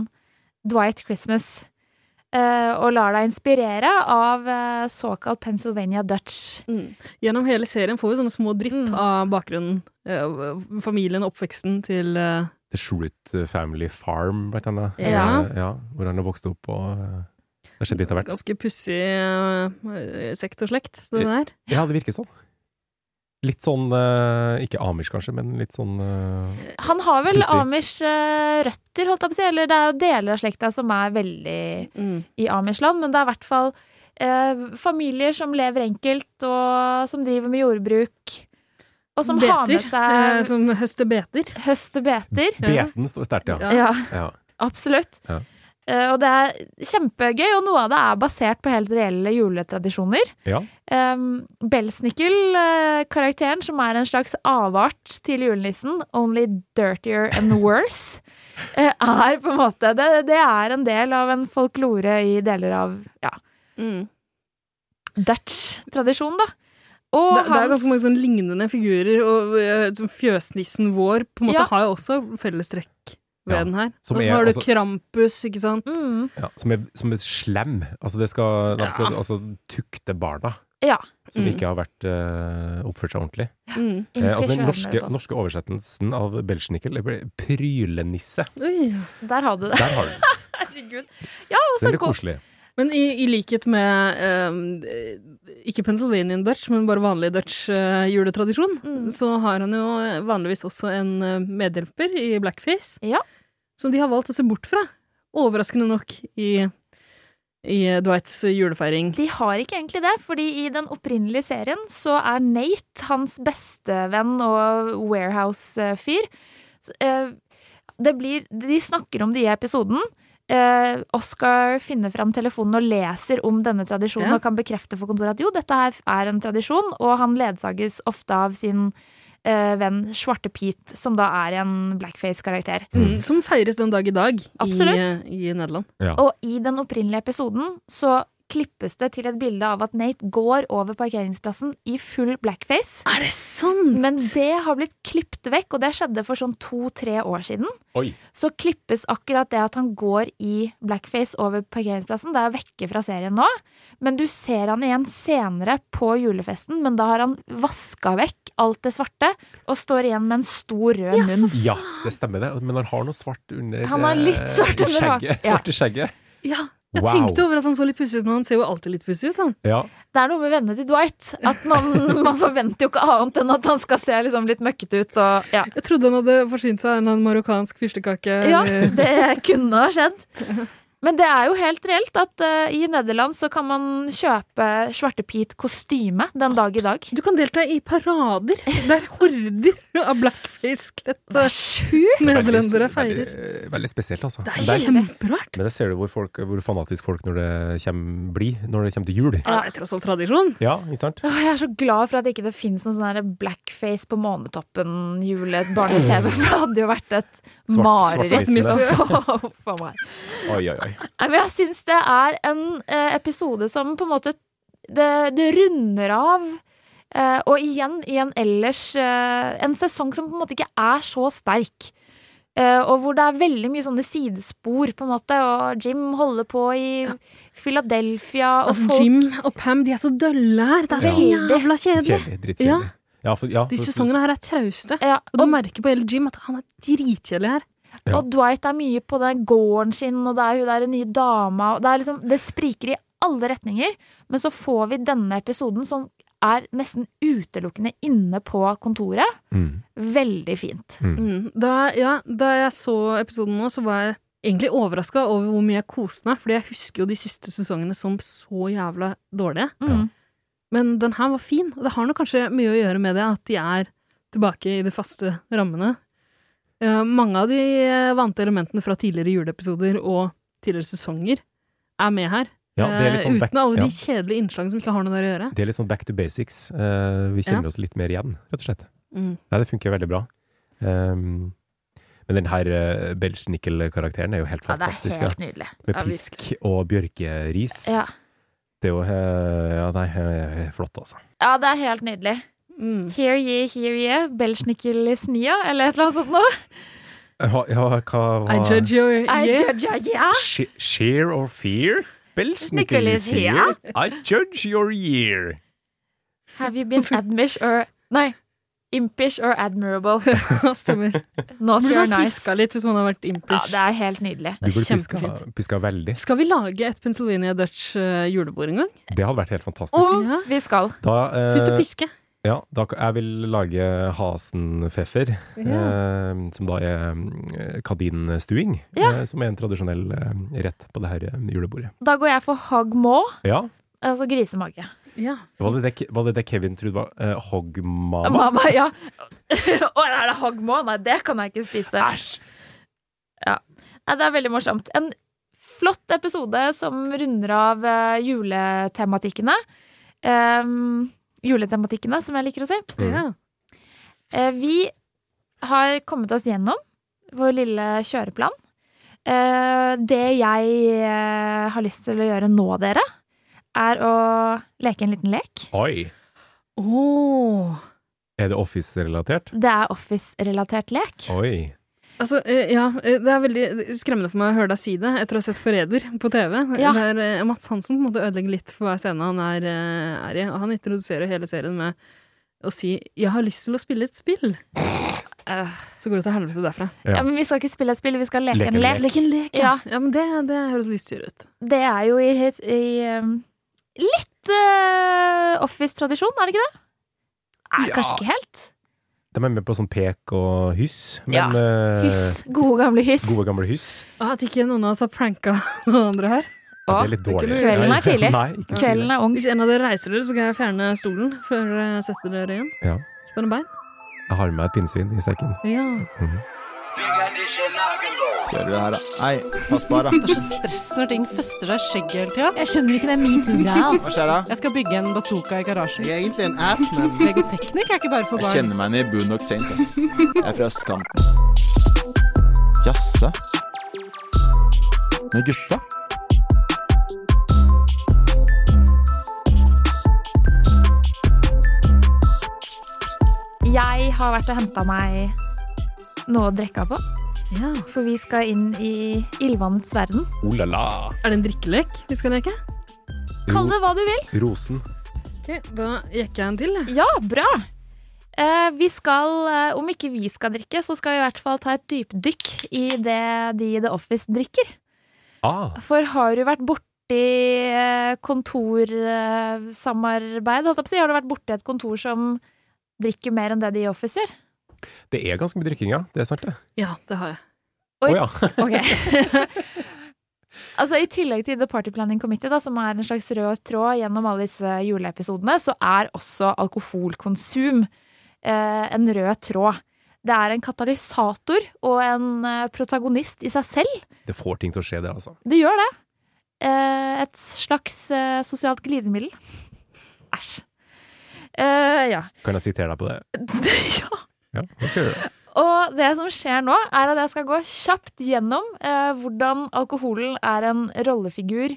Dwight Christmas. eh, og lar deg inspirere av eh, såkalt Pennsylvania Dutch.
Gjennom hele serien får vi sånne små drypp
Mm.
av bakgrunnen, eh, familien og oppveksten til eh,
The Shroot Family Farm, blant annet.
Ja.
Eh, ja hvor han har vokst opp og eh, Det har skjedd litt av hvert.
ganske pussig eh, sekt og slekt, det der.
Ja, det virker sånn. Litt sånn eh, Ikke amish, kanskje, men litt sånn eh,
Han har vel
Pussig.
amish eh, røtter, holdt jeg på å si. Eller det er jo deler av slekta som er veldig i amishland, men det er i hvert fall eh, familier som lever enkelt, og som driver med jordbruk. Og som har med
Beter,
seg
eh, som høster beter.
Høster beter.
Beten står sterkt, ja.
Ja.
ja.
Absolutt.
Ja.
Eh, og det er kjempegøy, og noe av det er basert på helt reelle juletradisjoner.
Ja.
Um, Belsnickel, eh, karakteren som er en slags avart til julenissen, only dirtier and worse, eh, er på en måte det, det er en del av en folklore i deler av ja, Mm. Dutch-tradisjonen, da. Og
det, det er
hans-
ganske mange sånn lignende figurer, og eh, sånn fjøsnissen vår på en måte
Ja.
har jo også fellestrekk ved
Ja,
den her.
som
Og
er
så
altså-
har du
også-
Krampus, ikke sant?
Mm,
ja. Som, er, som er slem. Altså, det skal, de skal
Ja.
altså, tukte barna
Ja. Mm.
som ikke har vært, eh, oppført seg ordentlig.
Mm.
Eh, altså, den
Impersonal
norske,
robot.
norske oversettelsen av Belschnickel det ble prylenisse.
Der har du det.
Der har du den.
Herregud. Ja, og så
Den er
går-
koselig.
Men i, i likhet med eh, ikke Pennsylvania Dutch, men bare vanlig Dutch eh, juletradisjon, så har han jo vanligvis også en eh, medhjelper i blackface, som de har valgt å se bort fra, overraskende nok, i, i Dwights julefeiring.
De har ikke egentlig det, fordi i den opprinnelige serien så er Nate hans bestevenn og warehouse-fyr. Så, eh, Det blir De snakker om det i episoden. Eh, Oscar finner fram telefonen og leser om denne tradisjonen
Ja.
og kan bekrefte for kontoret at jo, dette her er en tradisjon, og han ledsages ofte av sin eh, venn Svarte Pete, som da er en blackface-karakter.
Mm, som feires den dag i dag i, eh,
Absolutt.
i Nederland.
Og i den opprinnelige episoden så klippes det til et bilde av at Nate går over parkeringsplassen i full blackface.
Er det sant?
Men det har blitt klippet vekk, og det skjedde for sånn to-tre år siden.
Oi.
Så klippes akkurat det at han går i blackface over parkeringsplassen. Det er vekke fra serien nå. Men du ser han igjen senere på julefesten, men da har han vaska vekk alt det svarte og står igjen med en stor rød munn.
Ja, det stemmer det. Men han har noe svart under
Han har litt
eh,
svart under
skjegget.
haken. Ja.
Svarte skjegget.
Ja, jeg
Wow.
tenkte over at han så litt pussig ut, men han ser jo alltid litt pussig ut, han.
Ja.
Det er noe med vennene til Dwight. At man, man forventer jo ikke annet enn at han skal se liksom litt møkkete ut. Og, ja.
Jeg trodde han hadde forsynt seg av en eller annen marokkansk fyrstekake. eh,
ja,
eller-
det kunne ha skjedd. Men det er jo helt reelt at eh, i Nederland så kan man kjøpe svartepit-kostyme den dag i dag.
Du kan delta i parader der horder av blackface-kledde nederlendere feirer.
Veldig, veldig spesielt, altså.
Det er
Men der-
kjemperart.
Men der ser du hvor, folk, hvor fanatisk folk når det kjem, blir når det kommer til jul.
Ja, det er tross alt tradisjon.
Ja, ikke sant?
Åh, jeg er så glad for at ikke det ikke finnes noen sånn her blackface på månetoppen-jule-barne-TV, for det hadde jo vært et
Svart-
mareritt å
svartnisse.
få for meg.
Oi, oi, oi.
Nei, men jeg syns det er en eh, episode som på en måte Det, det runder av. eh, og igjen i en ellers eh, En sesong som på en måte ikke er så sterk. Eh, og hvor det er veldig mye sånne sidespor, på en måte. Og Jim holder på i Philadelphia. Og
Altså,
folk
Jim og Pam de er så dølle her. Det er så
Ja.
jævla kjedelig.
Kjedelig.
Ja,
Drittkjedelig. Ja, for- ja,
de
for-
sesongene her er trauste. og du merker på hele Jim at han er dritkjedelig her.
Ja.
Og Dwight er mye på den gården sin, og det er hun der nye dama. Og det, er liksom, det spriker i alle retninger. Men så får vi denne episoden som er nesten utelukkende inne på kontoret.
Mm.
Veldig fint.
Mm. Da, ja, da jeg så episoden nå, så var jeg egentlig overraska over hvor mye jeg koste meg, fordi jeg husker jo de siste sesongene som så jævla dårlige.
Mm.
Men den her var fin, og det har nok kanskje mye å gjøre med det at de er tilbake i de faste rammene. Eh, mange av de eh, vante elementene fra tidligere juleepisoder og tidligere sesonger er med her.
Ja, det er litt
Eh,
sånn back-
Uten alle
ja.
de kjedelige innslagene som ikke har noe der å gjøre.
Det er litt sånn back to basics. Eh, vi kjenner
Ja.
oss litt mer igjen, rett og slett.
Mm.
Nei, det funker veldig bra. Um, men den her uh, Belschnickel-karakteren er jo helt
Ja, det er
fantastisk.
helt nydelig.
Med
Ja,
pisk og bjørkeris.
Ja.
Det er jo eh, Ja, det er eh, flott, altså.
Ja, det er helt nydelig.
Mm.
Here ye, here ye, Belschnikkelisnia, eller et eller annet sånt noe.
Ja, ja, hva var
I judge your year.
She- Sheer or fear? Belschnickel
Snickel
is
is here.
here. I judge your year.
Have you been admish or Nei. Impish or admirable.
Stemmer.
Not
Burde
your
man
nice.
piska litt hvis man har vært
Ja,
impish.
det er helt nydelig.
Du burde piska,
kjempefint.
piska veldig.
Skal vi lage et Pennsylvania Dutch eh, julebord en gang?
Det hadde vært helt fantastisk.
Om vi skal.
Da, eh,
Først å piske.
Ja, da, jeg vil lage hasenfeffer, eh, som da er eh, kardinstuing,
Ja.
eh, som er en tradisjonell eh, rett på det her eh, julebordet.
Da går jeg for hagmå,
Ja,
altså grisemage.
Ja.
var det det, Ke- var det, det Kevin trodde var eh, hoggmama?
Mamma, ja. Å, er det hagmå? Nei, det kan jeg ikke spise. Æsj! Ja. Nei, det er veldig morsomt. En flott episode som runder av eh, juletematikkene. Em, juletematikkene, som jeg liker å si.
Ja.
Eh, vi har kommet oss gjennom vår lille kjøreplan. Eh, det jeg eh, har lyst til å gjøre nå, dere, er å leke en liten lek.
Oi!
Åh.
Er det Office-relatert?
Det er Office-relatert lek.
Oi.
Altså, eh, ja, eh, det er veldig skremmende for meg å høre deg si det etter å ha sett Forræder på TV.
Ja.
Der eh, Mats Hansen på en måte ødelegger litt for hver scene han er, eh, er i. Og han introduserer hele serien med å si 'jeg har lyst til å spille et spill'. Så går det til helvete derfra.
Ja. men Vi skal ikke spille et spill, vi skal leke
Leke
en
en
lek.
lek. Leke en lek,
ja.
ja. men det, høres lystigere ut.
Det er jo i, i um, litt eh, Office-tradisjon, er det ikke det? Nei,
Ja.
Kanskje ikke helt.
De er med på sånn pek og hyss, men
Ja,
eh,
Hyss. Gode gamle hyss.
Gode gamle hyss.
Ah, at ikke noen av oss har pranka noen andre her.
Ja, det er litt dårlig.
Kvelden
Ja,
er tidlig.
Nei, ikke si det.
Kvelden er ung.
Hvis en av dere reiser dere, så kan jeg fjerne stolen før dere setter dere igjen.
Ja.
Spenn bein.
Jeg har med meg et pinnsvin i sekken.
Ja.
Kjører du her, da? Nei, pass på her,
Det er
da.
så stress når ting fester seg i skjegget hele tida.
Jeg skjønner ikke den metoo-greia.
Hva skjer da?
Jeg skal bygge en bazooka i garasjen.
Jeg er egentlig en ass, men
Legoteknikk er ikke bare for
Jeg
barn.
kjenner meg igjen i Boondock Saints, ass. Jeg er fra østkanten. Jasse? Med gutta?
Jeg har vært og henta meg noe å drikke på. For vi skal inn i ildvannets verden.
Oh la la.
Er det en drikkelek vi skal leke?
Kall det hva du vil.
Rosen.
Ok, Da jekker jeg en til. jeg.
Ja, bra! Eh, vi skal, eh, om ikke vi skal drikke, så skal vi i hvert fall ta et dypdykk i det de i The Office drikker.
Ah.
For har du vært borti eh, kontorsamarbeid, holdt jeg på å si, har du vært borti et kontor som drikker mer enn det de i Office gjør?
Det er ganske mye drikking, ja. Det er sant, det.
Ja, det har jeg.
Å ja.
Ok. Altså I tillegg til The Party Planning Committee, da, som er en slags rød tråd gjennom alle disse juleepisodene, så er også alkoholkonsum eh, en rød tråd. Det er en katalysator og en eh, protagonist i seg selv.
Det får ting til å skje, det, altså.
Det gjør det. Eh, et slags eh, sosialt glidemiddel. Æsj. Eh, ja.
Kan jeg sitere deg på det?
ja.
Ja, hva skal jeg gjøre?
Og det som skjer nå, er at jeg skal gå kjapt gjennom eh, hvordan alkoholen er en rollefigur.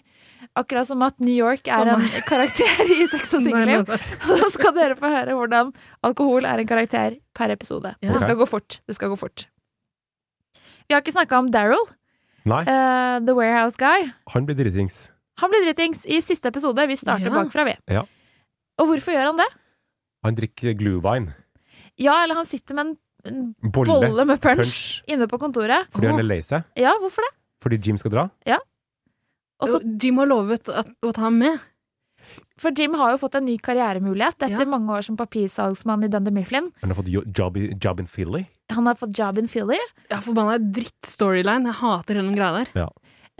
Akkurat som at New York er
Å,
en
nei.
karakter i Sex og
Nei, nei,
singelliv.
nei.
Så skal dere få høre hvordan alkohol er en karakter per episode.
Ja.
Det skal
Ok.
gå fort. Det skal gå fort. Vi har ikke snakka om Daryl,
Nei,
eh, The Warehouse Guy.
han blir dritings.
Han blir dritings i siste episode. Vi starter
Ja.
bakfra, vi.
Ja.
Og hvorfor gjør han det?
Han drikker glühwein
Ja, eller han sitter med en en
Bolle.
bolle, med punch,
Punch.
inne på kontoret.
fordi han er lei seg.
Ja, hvorfor det?
Fordi Jim skal dra.
Ja. Og så-
Jim har lovet at, å ta ham med.
For Jim har jo fått en ny karrieremulighet etter mange år som papirsalgsmann i Dunder Mifflin.
Han har fått jo- job, i- job in Philly.
Han har fått job in Philly.
Ja, forbanna dritt-storyline. Jeg hater hele den greia der.
Ja.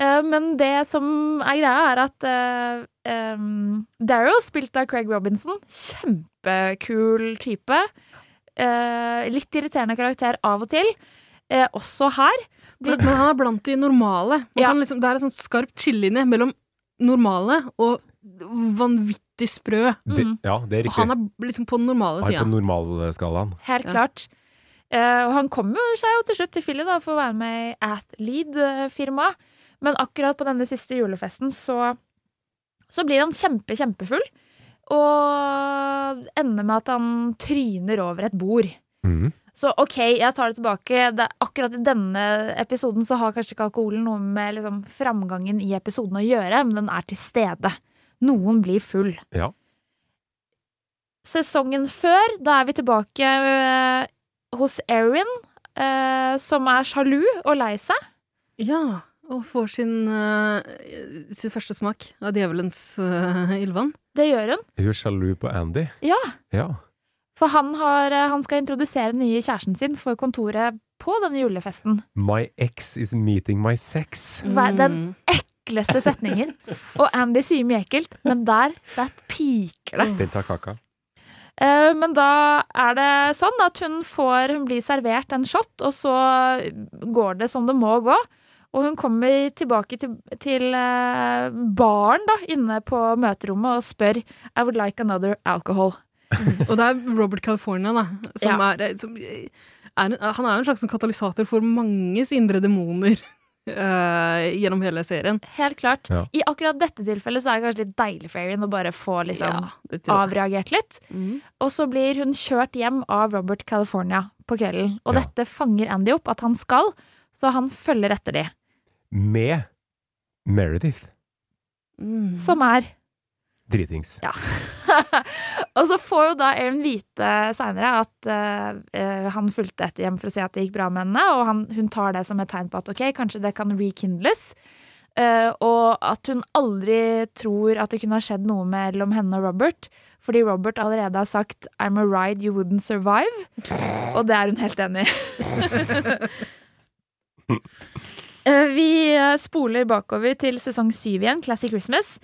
Eh, Men det som er greia, er at eh, em, Daryl, spilt av Craig Robinson, kjempekul type. eh, litt irriterende karakter av og til. eh, også her.
Men, men han er blant de normale. Man kan liksom, det er en sånn skarp skillelinje mellom normale og vanvittig sprø.
Det, Ja, det er
Og
riktig.
han er liksom på den normale
Han er
sida.
på normalskalaen.
Helt
Ja.
klart. Eh, og han kom jo seg jo til slutt til Philly da, for å være med i Athlead-firmaet. Men akkurat på denne siste julefesten så, så blir han kjempe, kjempefull. Og ender med at han tryner over et bord.
Mhm.
Så OK, jeg tar det tilbake. Det, akkurat i denne episoden så har kanskje ikke alkoholen noe med liksom, framgangen i episoden å gjøre, men den er til stede. Noen blir full.
Ja.
Sesongen før, da er vi tilbake øh, hos Erin, øh, som er sjalu og lei seg.
Ja, og får sin, eh, sin første smak av djevelens eh, ildvann.
Det gjør hun.
Er hun sjalu på Andy?
Ja.
Ja.
For han, har, øh, han skal introdusere den nye kjæresten sin for kontoret på denne julefesten.
My ex is meeting my sex.
Mm.
Hva- Den ekleste setningen. Og Andy sier mye ekkelt, men der, der piker det.
Den tar kaka.
Eh, Men da er det sånn at hun får Hun blir servert en shot, og så går det som det må gå. Og hun kommer tilbake til, til eh, baren da, inne på møterommet og spør I would like another alcohol.
Og det er Robert California, da, som
Ja.
er, eh, som er en, Han er jo en slags sånn katalysator for manges indre demoner eh, gjennom hele serien.
Helt klart.
Ja.
I akkurat dette tilfellet så er det kanskje litt deilig for Erin å bare få liksom,
Ja, det tror jeg.
avreagert litt. Og så blir hun kjørt hjem av Robert California på kvelden. Og
Ja.
dette fanger Andy opp at han skal, så han følger etter de.
Med Meredith.
Mm.
Som er
Dritings.
Ja. Og så får jo da Erin vite seinere at eh, eh, han fulgte etter hjem for å se at det gikk bra med henne, og han, hun tar det som et tegn på at ok, kanskje det kan rekindles. Eh, og at hun aldri tror at det kunne ha skjedd noe mellom henne og Robert, fordi Robert allerede har sagt 'I'm a ride you wouldn't survive', og det er hun helt enig i. Eh, Vi eh, spoler bakover til sesong syv igjen, Classic Christmas.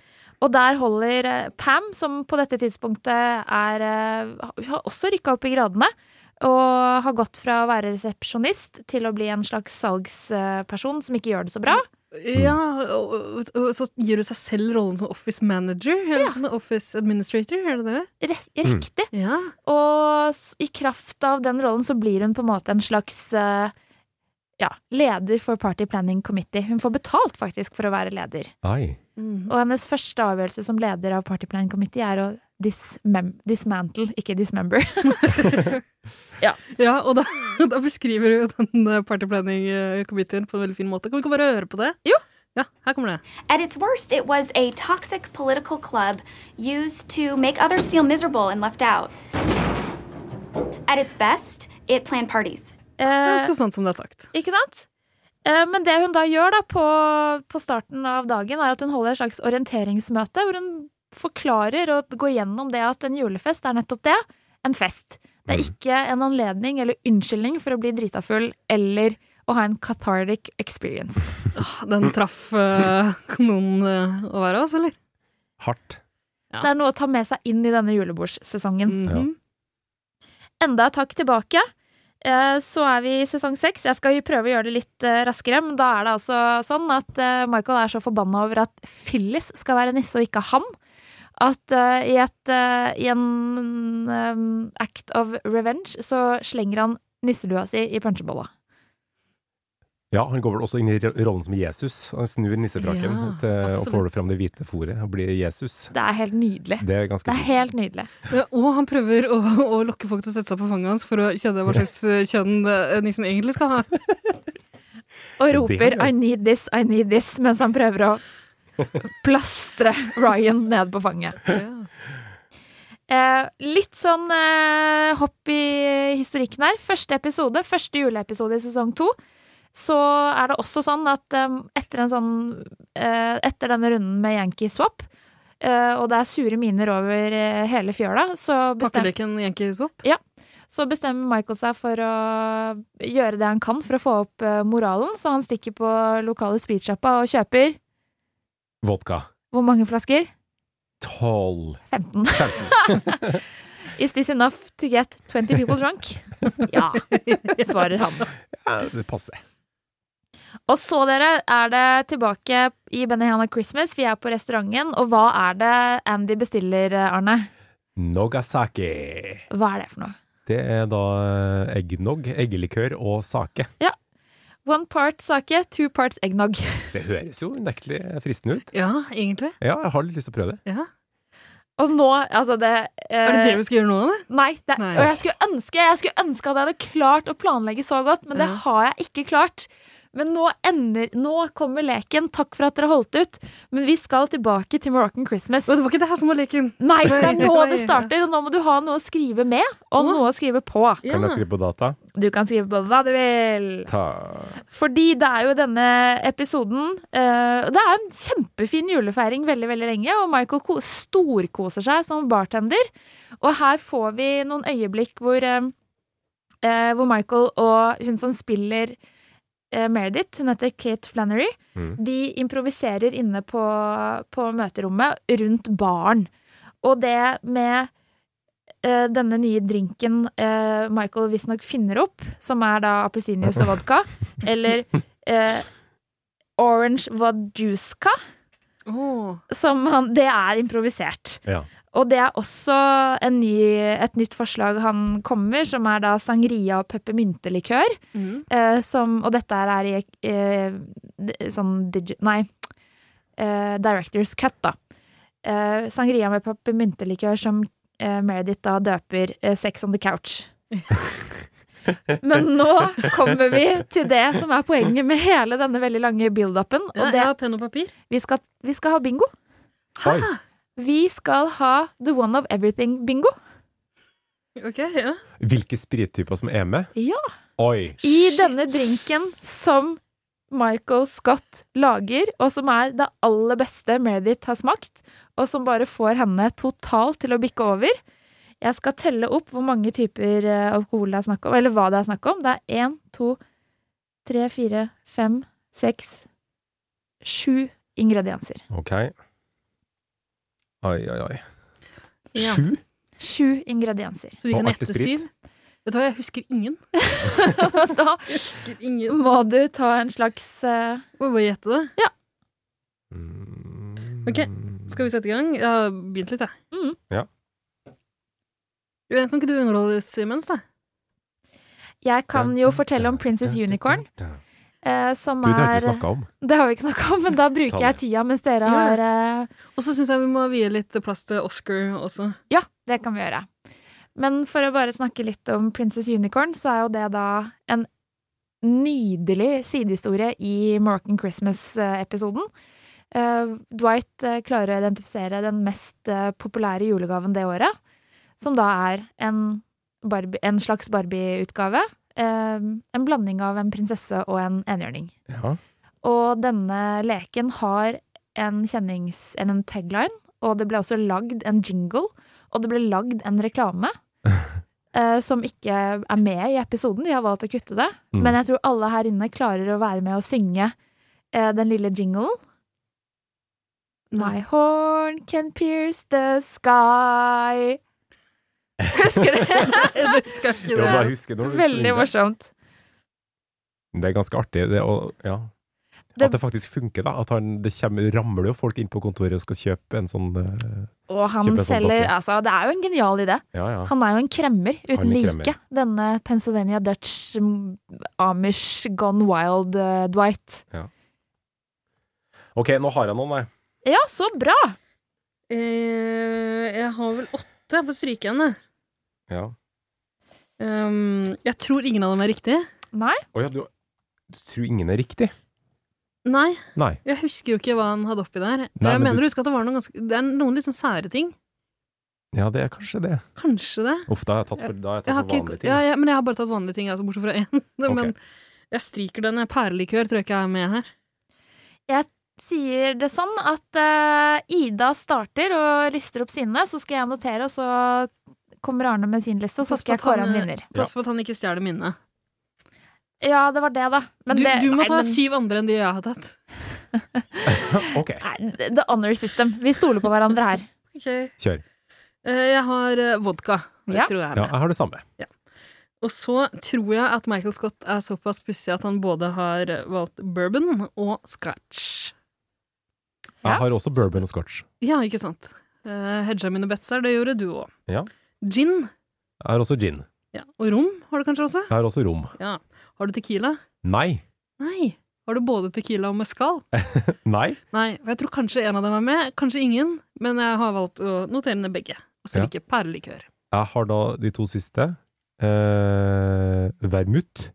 Og der holder eh, Pam, som på dette tidspunktet er eh, Hun har også rykka opp i gradene. Og har gått fra å være resepsjonist til å bli en slags salgsperson som ikke gjør det så bra.
Ja, og, og, og så gir hun seg selv rollen som office manager, eller sånn office administrator, er det det?
riktig.
Ja.
Mm. Og s- i kraft av den rollen så blir hun på en måte en slags eh, ja, leder for Party Planning Committee. Hun får betalt faktisk for å være leder.
Ai.
Mm.
Og hennes første avgjørelse som leder av Party Planning Committee er å dismem dismantle, ikke dismember. ja.
og da, da beskriver hun den eh, party planning-komiteen på en veldig fin måte. Kan vi ikke bare høre på det?
Jo.
Ja, her kommer det.
At its worst, it was a toxic political club used to make others feel miserable and left out. At its best, it planned parties.
Eh,
Det er så sant som det er sagt.
Ikke sant? Eh, Men det hun da gjør da på, på starten av dagen, er at hun holder et slags orienteringsmøte, hvor hun forklarer og går gjennom det at en julefest er nettopp det en fest. Det er ikke en anledning eller unnskyldning for å bli drita full eller og ha en cathartic experience.
Den traff eh, noen eh, å være oss, eller?
Hardt.
Det er noe å ta med seg inn i denne julebordsesongen.
Mhm.
Enda et hakk tilbake. eh, Så er vi i sesong seks. Jeg skal jo prøve å gjøre det litt eh, raskere, men da er det altså sånn at eh, Michael er så forbanna over at Phyllis skal være nisse og ikke han, at eh, i, et, eh, i en eh, act of revenge så slenger han nisselua si i punsjebolla.
Ja, han går vel også inn i ro- rollen som Jesus. Han snur nissefrakken
Ja,
til, og får
absolutt.
fram det hvite fòret og blir Jesus.
Det er helt nydelig.
Det er ganske
Det er helt nydelig.
Ja, og han prøver å, å lokke folk til å sette seg på fanget hans for å kjenne hva slags eh, kjønn eh, nissen egentlig skal ha.
Og
Det
roper
er det.
'I need this, I need this' mens han prøver å plastre Ryan ned på fanget. Eh, litt sånn eh, hopp i historikken her. Første episode, første juleepisode i sesong to, så er det også sånn at eh, etter, en sånn, eh, etter denne runden med Yankee Swap, eh, og det er sure miner over eh, hele fjøla, så bestem-
Pakkeleken Yankee Swap.
ja. Så bestemmer Michael seg for å gjøre det han kan for å få opp eh, moralen, så han stikker på lokale speedsjappa og kjøper
Vodka.
hvor mange flasker?
Tolv.
15. Is this enough to get 20 people drunk? Ja, svarer han.
Ja, det passer.
Og så, dere, er det tilbake i Benihana Christmas. Vi er på restauranten, og hva er det Andy bestiller, Arne?
Nogasaki.
Hva er det for noe?
Det er da eh, eggnog, eggelikør og sake.
Ja. One part sake, two parts eggnog.
Det høres jo unektelig fristende ut.
Ja, egentlig.
Ja, jeg har litt lyst til å prøve det.
Ja.
Og nå, altså det eh,
Er det det vi skal gjøre nå, eller?
Nei, det,
Nei.
og jeg skulle, ønske, jeg skulle ønske at jeg hadde klart å planlegge så godt, men det
Ja.
har jeg ikke klart. Men nå ender, nå kommer leken. Takk for at dere holdt ut. Men vi skal tilbake til Moroccan Christmas.
Og det var ikke det her som var leken.
Nei, det er nå
Nei.
det starter, og nå må du ha noe å skrive med, og noe å skrive på.
Kan jeg skrive på data?
Du kan skrive på hva du vil.
Ta
Fordi det er jo denne episoden eh, Det er en kjempefin julefeiring veldig, veldig lenge, og Michael ko- storkoser seg som bartender. Og her får vi noen øyeblikk hvor, eh, eh, hvor Michael og hun som spiller eh, Meredith, hun heter Kate Flannery,
Mm.
de improviserer inne på, på møterommet rundt baren. Og det med eh, denne nye drinken eh, Michael visstnok finner opp, som er da appelsinjuice og vodka, eller eh, orange vodjuska, som han Det er improvisert.
Ja.
Og det er også en ny, et nytt forslag han kommer, som er da sangria og peppermyntelikør.
Mm.
Eh, som, og dette her er i eh, d- sånn digi... Nei. Eh, director's cut, da. Eh, sangria med peppermyntelikør som eh, Meredith da døper eh, Sex on the couch. Men nå kommer vi til det som er poenget med hele denne veldig lange build-upen.
Ja,
det-
jeg har penn og papir.
vi skal, vi skal ha bingo.
Oi.
Vi skal ha The One of Everything-bingo.
Ok, ja.
Hvilke sprittyper som er med?
Ja.
Oi!
I denne drinken som Michael Scott lager, og som er det aller beste Meredith har smakt, og som bare får henne totalt til å bikke over. Jeg skal telle opp hvor mange typer eh, alkohol det er snakk om, eller hva det er snakk om. Det er én, to, tre, fire, fem, seks, sju ingredienser.
Ok. Oi, oi, oi.
Ja.
Sju?
Sju ingredienser.
vi Og kan gjette artesprit. syv?
Vet du hva, jeg husker ingen.
da må du ta en slags uh...
Må bare gjette det?
Ja.
Ok, skal vi sette i gang? Jeg har begynt litt, jeg.
Ja.
Jo, Kan ikke du underholdes imens, da?
Jeg kan jo fortelle om Princess Unicorn, eh, som
Du, det har vi
er
ikke snakket om.
Det har vi ikke snakka om, men da
Ta
bruker
det.
jeg tida mens dere
Ja.
har eh,
Og så syns jeg vi må vie litt plass til Oscar også.
Ja, det kan vi gjøre. Men for å bare snakke litt om Princess Unicorn, så er jo det da en nydelig sidehistorie i Moroccan Christmas-episoden. Eh, Dwight eh, klarer å identifisere den mest eh, populære julegaven det året, som da er en, Barbie, en slags Barbie-utgave. eh, en blanding av en prinsesse og en enhjørning.
Ja.
Og denne leken har en kjennings... eller en tagline, og det ble også lagd en jingle, og det ble lagd en reklame. eh, som ikke er med i episoden. De har valgt å kutte det.
Mm.
Men jeg tror alle her inne klarer å være med og synge eh, den lille jinglen. My horn can pierce the sky. Husker du?
Jeg husker ikke
Jo, det. bare husker når du synger det.
Veldig morsomt.
Det er ganske artig. Det, og, ja.
Det-
At det faktisk funker, da. At han, det kommer, ramler jo folk inn på kontoret og skal kjøpe en sånn eh,
Og han
kjøpe en sånn
selger
dokke.
Altså, det er jo en genial idé.
Ja, ja.
Han er jo en kremmer
Han
uten
er en
like.
kremmer.
Denne Pennsylvania Dutch mm, Amish Gone Wild eh, Dwight.
ja. Ok, nå har jeg noen, jeg.
Ja, så bra!
Eh, jeg har vel åtte på strykende.
Ja.
Um, jeg tror ingen av dem er riktig.
Nei.
Å ja, du, du tror ingen er riktig?
Nei.
Nei.
Jeg husker jo ikke hva han hadde oppi der.
Nei,
jeg
men
mener
du-
å huske at det var noen ganske Det er noen litt sånn sære ting.
Ja, det er kanskje det.
Kanskje det.
Uff, da har jeg tatt for, da har jeg tatt
har
for
ikke-
Altså vanlige ting.
Ja,
da.
ja, men jeg har bare tatt vanlige ting, altså, bortsett fra én. Men
Ok.
jeg stryker den. Perlikør tror jeg ikke er med her.
Jeg sier det sånn at eh, Ida starter og lister opp sine, så skal jeg notere, og så kommer Arne med sin liste, og så
Pass på
skal jeg
at han,
kåre en
eh,
vinner.
Pass på at han ikke stjeler minnet.
Ja, det var det, da. Men
Du,
det,
du må
nei,
ta
men-
syv andre enn de jeg har tatt.
Nei, The honor system. Vi stoler på hverandre her.
Kjør.
Eh, Jeg har eh, vodka. Det tror jeg er
Ja,
med.
jeg har det samme.
Og så tror jeg at Michael Scott er såpass pussig at han både har valgt bourbon og scratch.
Jeg har også bourbon og scotch.
Ja, ikke sant. Uh, Hedga mine bets her, det gjorde du òg.
Ja.
Gin
Jeg har også gin.
ja. og rom har du kanskje også?
Jeg har også rom.
Ja. Har du tequila?
Nei.
Nei. Har du både tequila og mescal?
Nei.
Nei, for jeg tror kanskje en av dem er med, kanskje ingen, men jeg har valgt å notere ned begge. Og så
Ja.
ikke perlikør.
Jeg har da de to siste. Eh, vermut.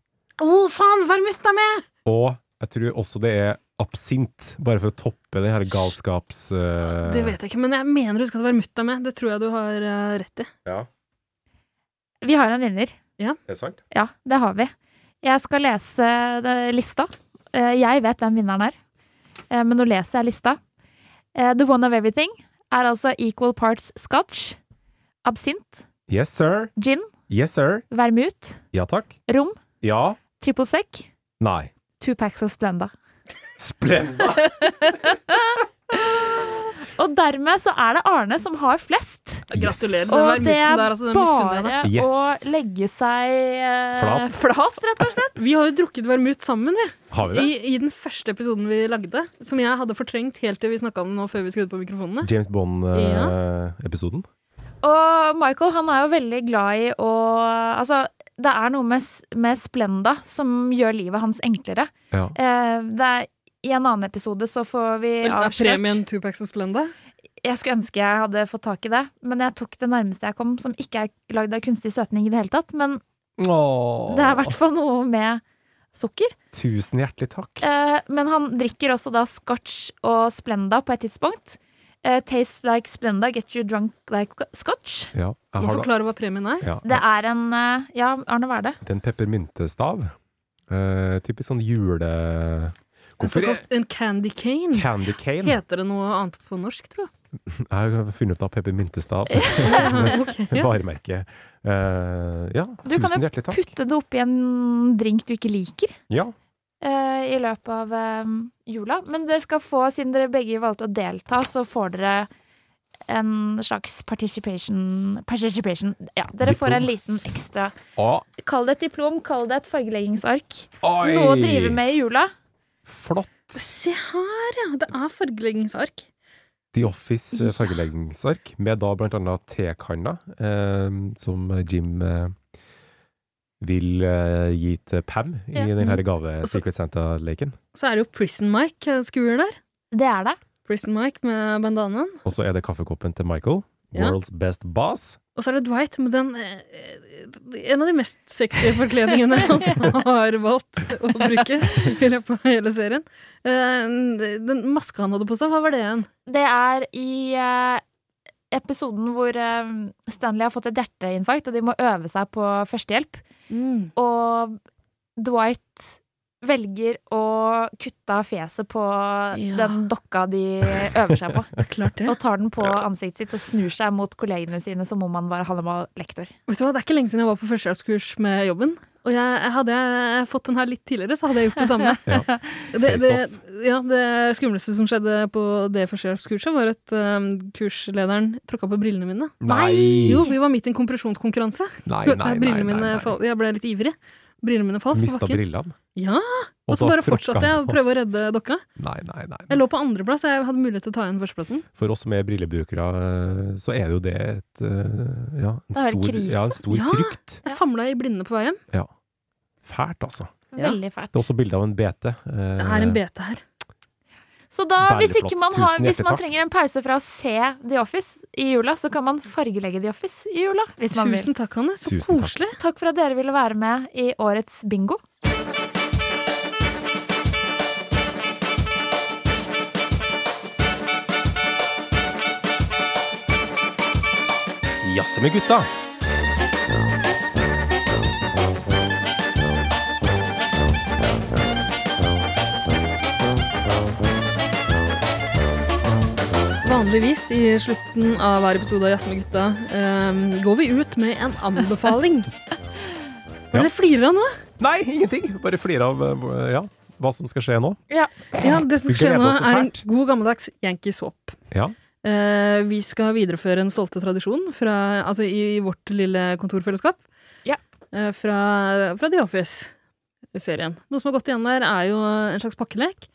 Å, faen! Vermut er med!
Og jeg tror også det er absint, bare for å toppe det her galskaps... eh,
Det vet jeg ikke, men jeg mener du skal være mutta med. Det tror jeg du har eh, rett i.
Ja,
Vi har en vinner.
det er sant.
Ja, det har vi. Jeg skal lese eh, lista. Eh, Jeg vet hvem vinneren er, eh, men nå leser jeg lista. Eh, The One of Everything er altså equal parts scotch, absint,
Yes, sir.
gin,
Yes, sir.
vermut,
Ja, takk.
rom,
Ja.
triple sec,
Nei.
two packs of Splenda.
Splenda!
Og dermed så er det Arne som har flest.
Gratulerer.
Og
Den
det
vermuten
er
der, altså, den misunner
bare
jeg deg.
å
Yes.
legge seg eh,
Flat.
flat, rett og slett.
Vi har jo drukket vermut sammen, vi.
Har vi det?
I, I den første episoden vi lagde, som jeg hadde fortrengt helt til vi snakka om det nå før vi skrudde på mikrofonene.
James eh, Bond-episoden.
Og Michael han er jo veldig glad i å Altså, det er noe med, s- med Splenda som gjør livet hans enklere.
Ja.
Eh, det er, I en annen episode så får vi
Vel, er premien
avslørt
Tupac og Splenda?
Jeg skulle ønske jeg hadde fått tak i det, men jeg tok det nærmeste jeg kom, som ikke er lagd av kunstig søtning i det hele tatt. Men det er i hvert fall noe med sukker.
Tusen hjertelig takk.
Eh, men han drikker også da scotch og Splenda på et tidspunkt. Eh, Tastes like Splenda, get you drunk like scotch.
Ja, jeg har
Må
da
forklare hva premien er.
Ja.
Det er en eh, Ja, Arne, hva er det?
det er en peppermyntestav. Eh, typisk sånn jule...
En
Hvorfor er
såkalt en candy cane.
candy cane?
Heter det noe annet på norsk, tror jeg?
Jeg har funnet opp peppermyntestav.
Ok, ja.
Varemerke. Eh, ja,
Du kan
tusen
jo
hjertelig takk.
putte det oppi en drink du ikke liker
Ja,
eh, i løpet av eh, jula. Men dere skal få, siden dere begge valgte å delta, så får dere en slags participation Participation. Ja, dere får en liten ekstra
Å,
Kall det et diplom, kall det et fargeleggingsark.
Oi!
Noe å drive med i jula.
flott.
Se her, ja! Det er fargeleggingsark.
The Office eh, fargeleggingsark, med da blant annet tekanna, eh, som Jim eh, vil eh, gi til Pam i
Ja.
den her
Mm.
gave
Og så-
Secret Santa-leken.
Og så er det jo Prison Mike eh, skuer der.
Det er det.
Prison Mike med bandanaen.
Og så er det kaffekoppen til Michael,
Ja.
world's best boss.
Og så er det Dwight med den eh, En av de mest sexy forkledningene han har valgt å bruke i løpet av hele serien. Eh, Den maska han hadde på seg, hva var det igjen?
Det er i eh, episoden hvor eh, Stanley har fått et hjerteinfarkt, og de må øve seg på førstehjelp. Og Dwight velger å kutte av fjeset på den dokka de øver seg på.
Klart det.
Og tar den på ansiktet sitt og snur seg mot kollegene sine som om han var Hannibal Lektor.
Vet du hva, Det er ikke lenge siden jeg var på førstehjelpskurs med jobben. Og jeg, hadde jeg fått den her litt tidligere, så hadde jeg gjort det samme.
Ja.
Det, det,
Face
ja, det skumleste som skjedde på det førstehjelpskurset, var at øhm, kurslederen tråkka på brillene mine.
Nei.
Jo, vi var midt i en kompresjonskonkurranse.
Nei, nei, nei,
brillene
nei,
mine
nei.
Fall, jeg ble litt ivrig. Brillene mine falt
Mista
på bakken.
brillene?
Ja!
Og
Og så
da
bare
tråkka
fortsatte jeg
han
å
på.
prøve å redde dokka.
Nei, nei, nei.
Jeg lå på andreplass, jeg hadde mulighet til å ta igjen førsteplassen.
For oss som er brillebrukere, eh, så er jo det et eh, ja, en
Det er vel
stor,
krise.
ja, en stor
Ja.
frykt.
Jeg famla i blinde på vei hjem.
Ja. Fælt, altså.
Veldig fælt.
Det er også bilde av en BT.
Det er en BT her.
Så da,
Veldig
hvis, ikke
flott.
man har,
Tusen
hvis man
hjertetakk.
trenger en pause fra å se The Office i jula, så kan man fargelegge The Office i jula. Hvis man
Tusen
vil.
takk, Hanne. Så
Tusen takk.
koselig.
Takk for at dere ville være med i årets bingo.
eh, Jazze med gutta!
Vanligvis i slutten av hver episode av Jazz med gutta ehm, går vi ut med en anbefaling.
Ja.
Dere flirer av nå?
Nei, ingenting! Bare flire av eh, ja, hva som skal skje nå.
Ja. det som
Vi
skal skje
gleder
nå,
oss så
er en
fælt.
god gammeldags Yankee swap.
Ja.
Eh, vi skal videreføre en stolte tradisjon fra, altså i, i vårt lille kontorfellesskap eh, fra, fra The Office-serien. Noe som har gått igjen der, er jo en slags pakkelek.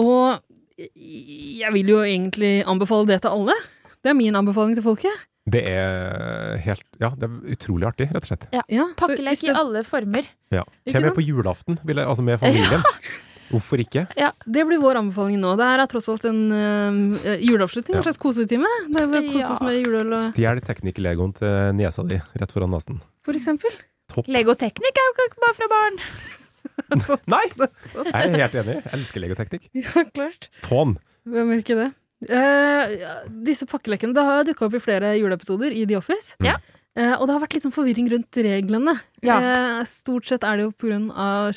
Og jeg vil jo egentlig anbefale det til alle. Det er min anbefaling til folket.
Det er helt Ja, det er utrolig artig, rett og slett.
Ja. Pakkelek i alle former.
Ja.
Ikke
Til og med
sant?
på julaften, vil jeg, altså med familien. Hvorfor ikke?
Det blir vår anbefaling nå. Det her er tross alt en eh, juleavslutning, en slags kosetime. Det er vel å kose oss med juleøl og
Stjel teknikk-legoen til niesa di rett foran nesen.
For eksempel.
Topp.
Legoteknikk er jo ikke bare fra barn.
Nei! Jeg er helt enig. Jeg elsker legoteknikk.
Ja, klart.
Tån!
Hvem gjør ikke det? Eh, ja, disse pakkelekene det har dukka opp i flere juleepisoder i The Office.
Ja.
Eh, og det har vært litt sånn forvirring rundt reglene.
Ja.
Eh, stort sett er det jo pga.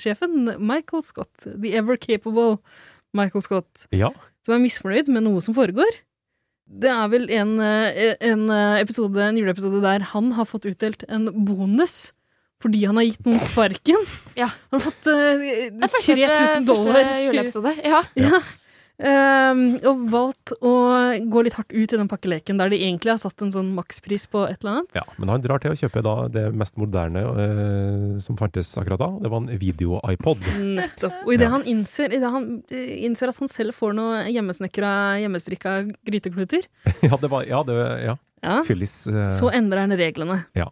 sjefen, Michael Scott. The ever capable Michael Scott.
Ja.
Som er misfornøyd med noe som foregår. Det er vel en, eh, en, eh, episode, en juleepisode der han har fått utdelt en bonus fordi han har gitt noen sparken. Han har fått eh,
er første-
3000 dollar.
første juleepisode, ja.
Ja. Ehm, og valgt å gå litt hardt ut i den pakkeleken der de egentlig har satt en sånn makspris på et eller annet.
Ja, men han drar til å kjøpe da det mest moderne eh, som fantes akkurat da. Det var en video-iPod.
Nettopp. Og idet han, innser, i det han eh, innser at han selv får noe hjemmesnekra, hjemmestrikka grytekluter,
ja, det var Ja, det, ja.
Ja.
Fyllis eh,
så endrer han reglene.
Ja.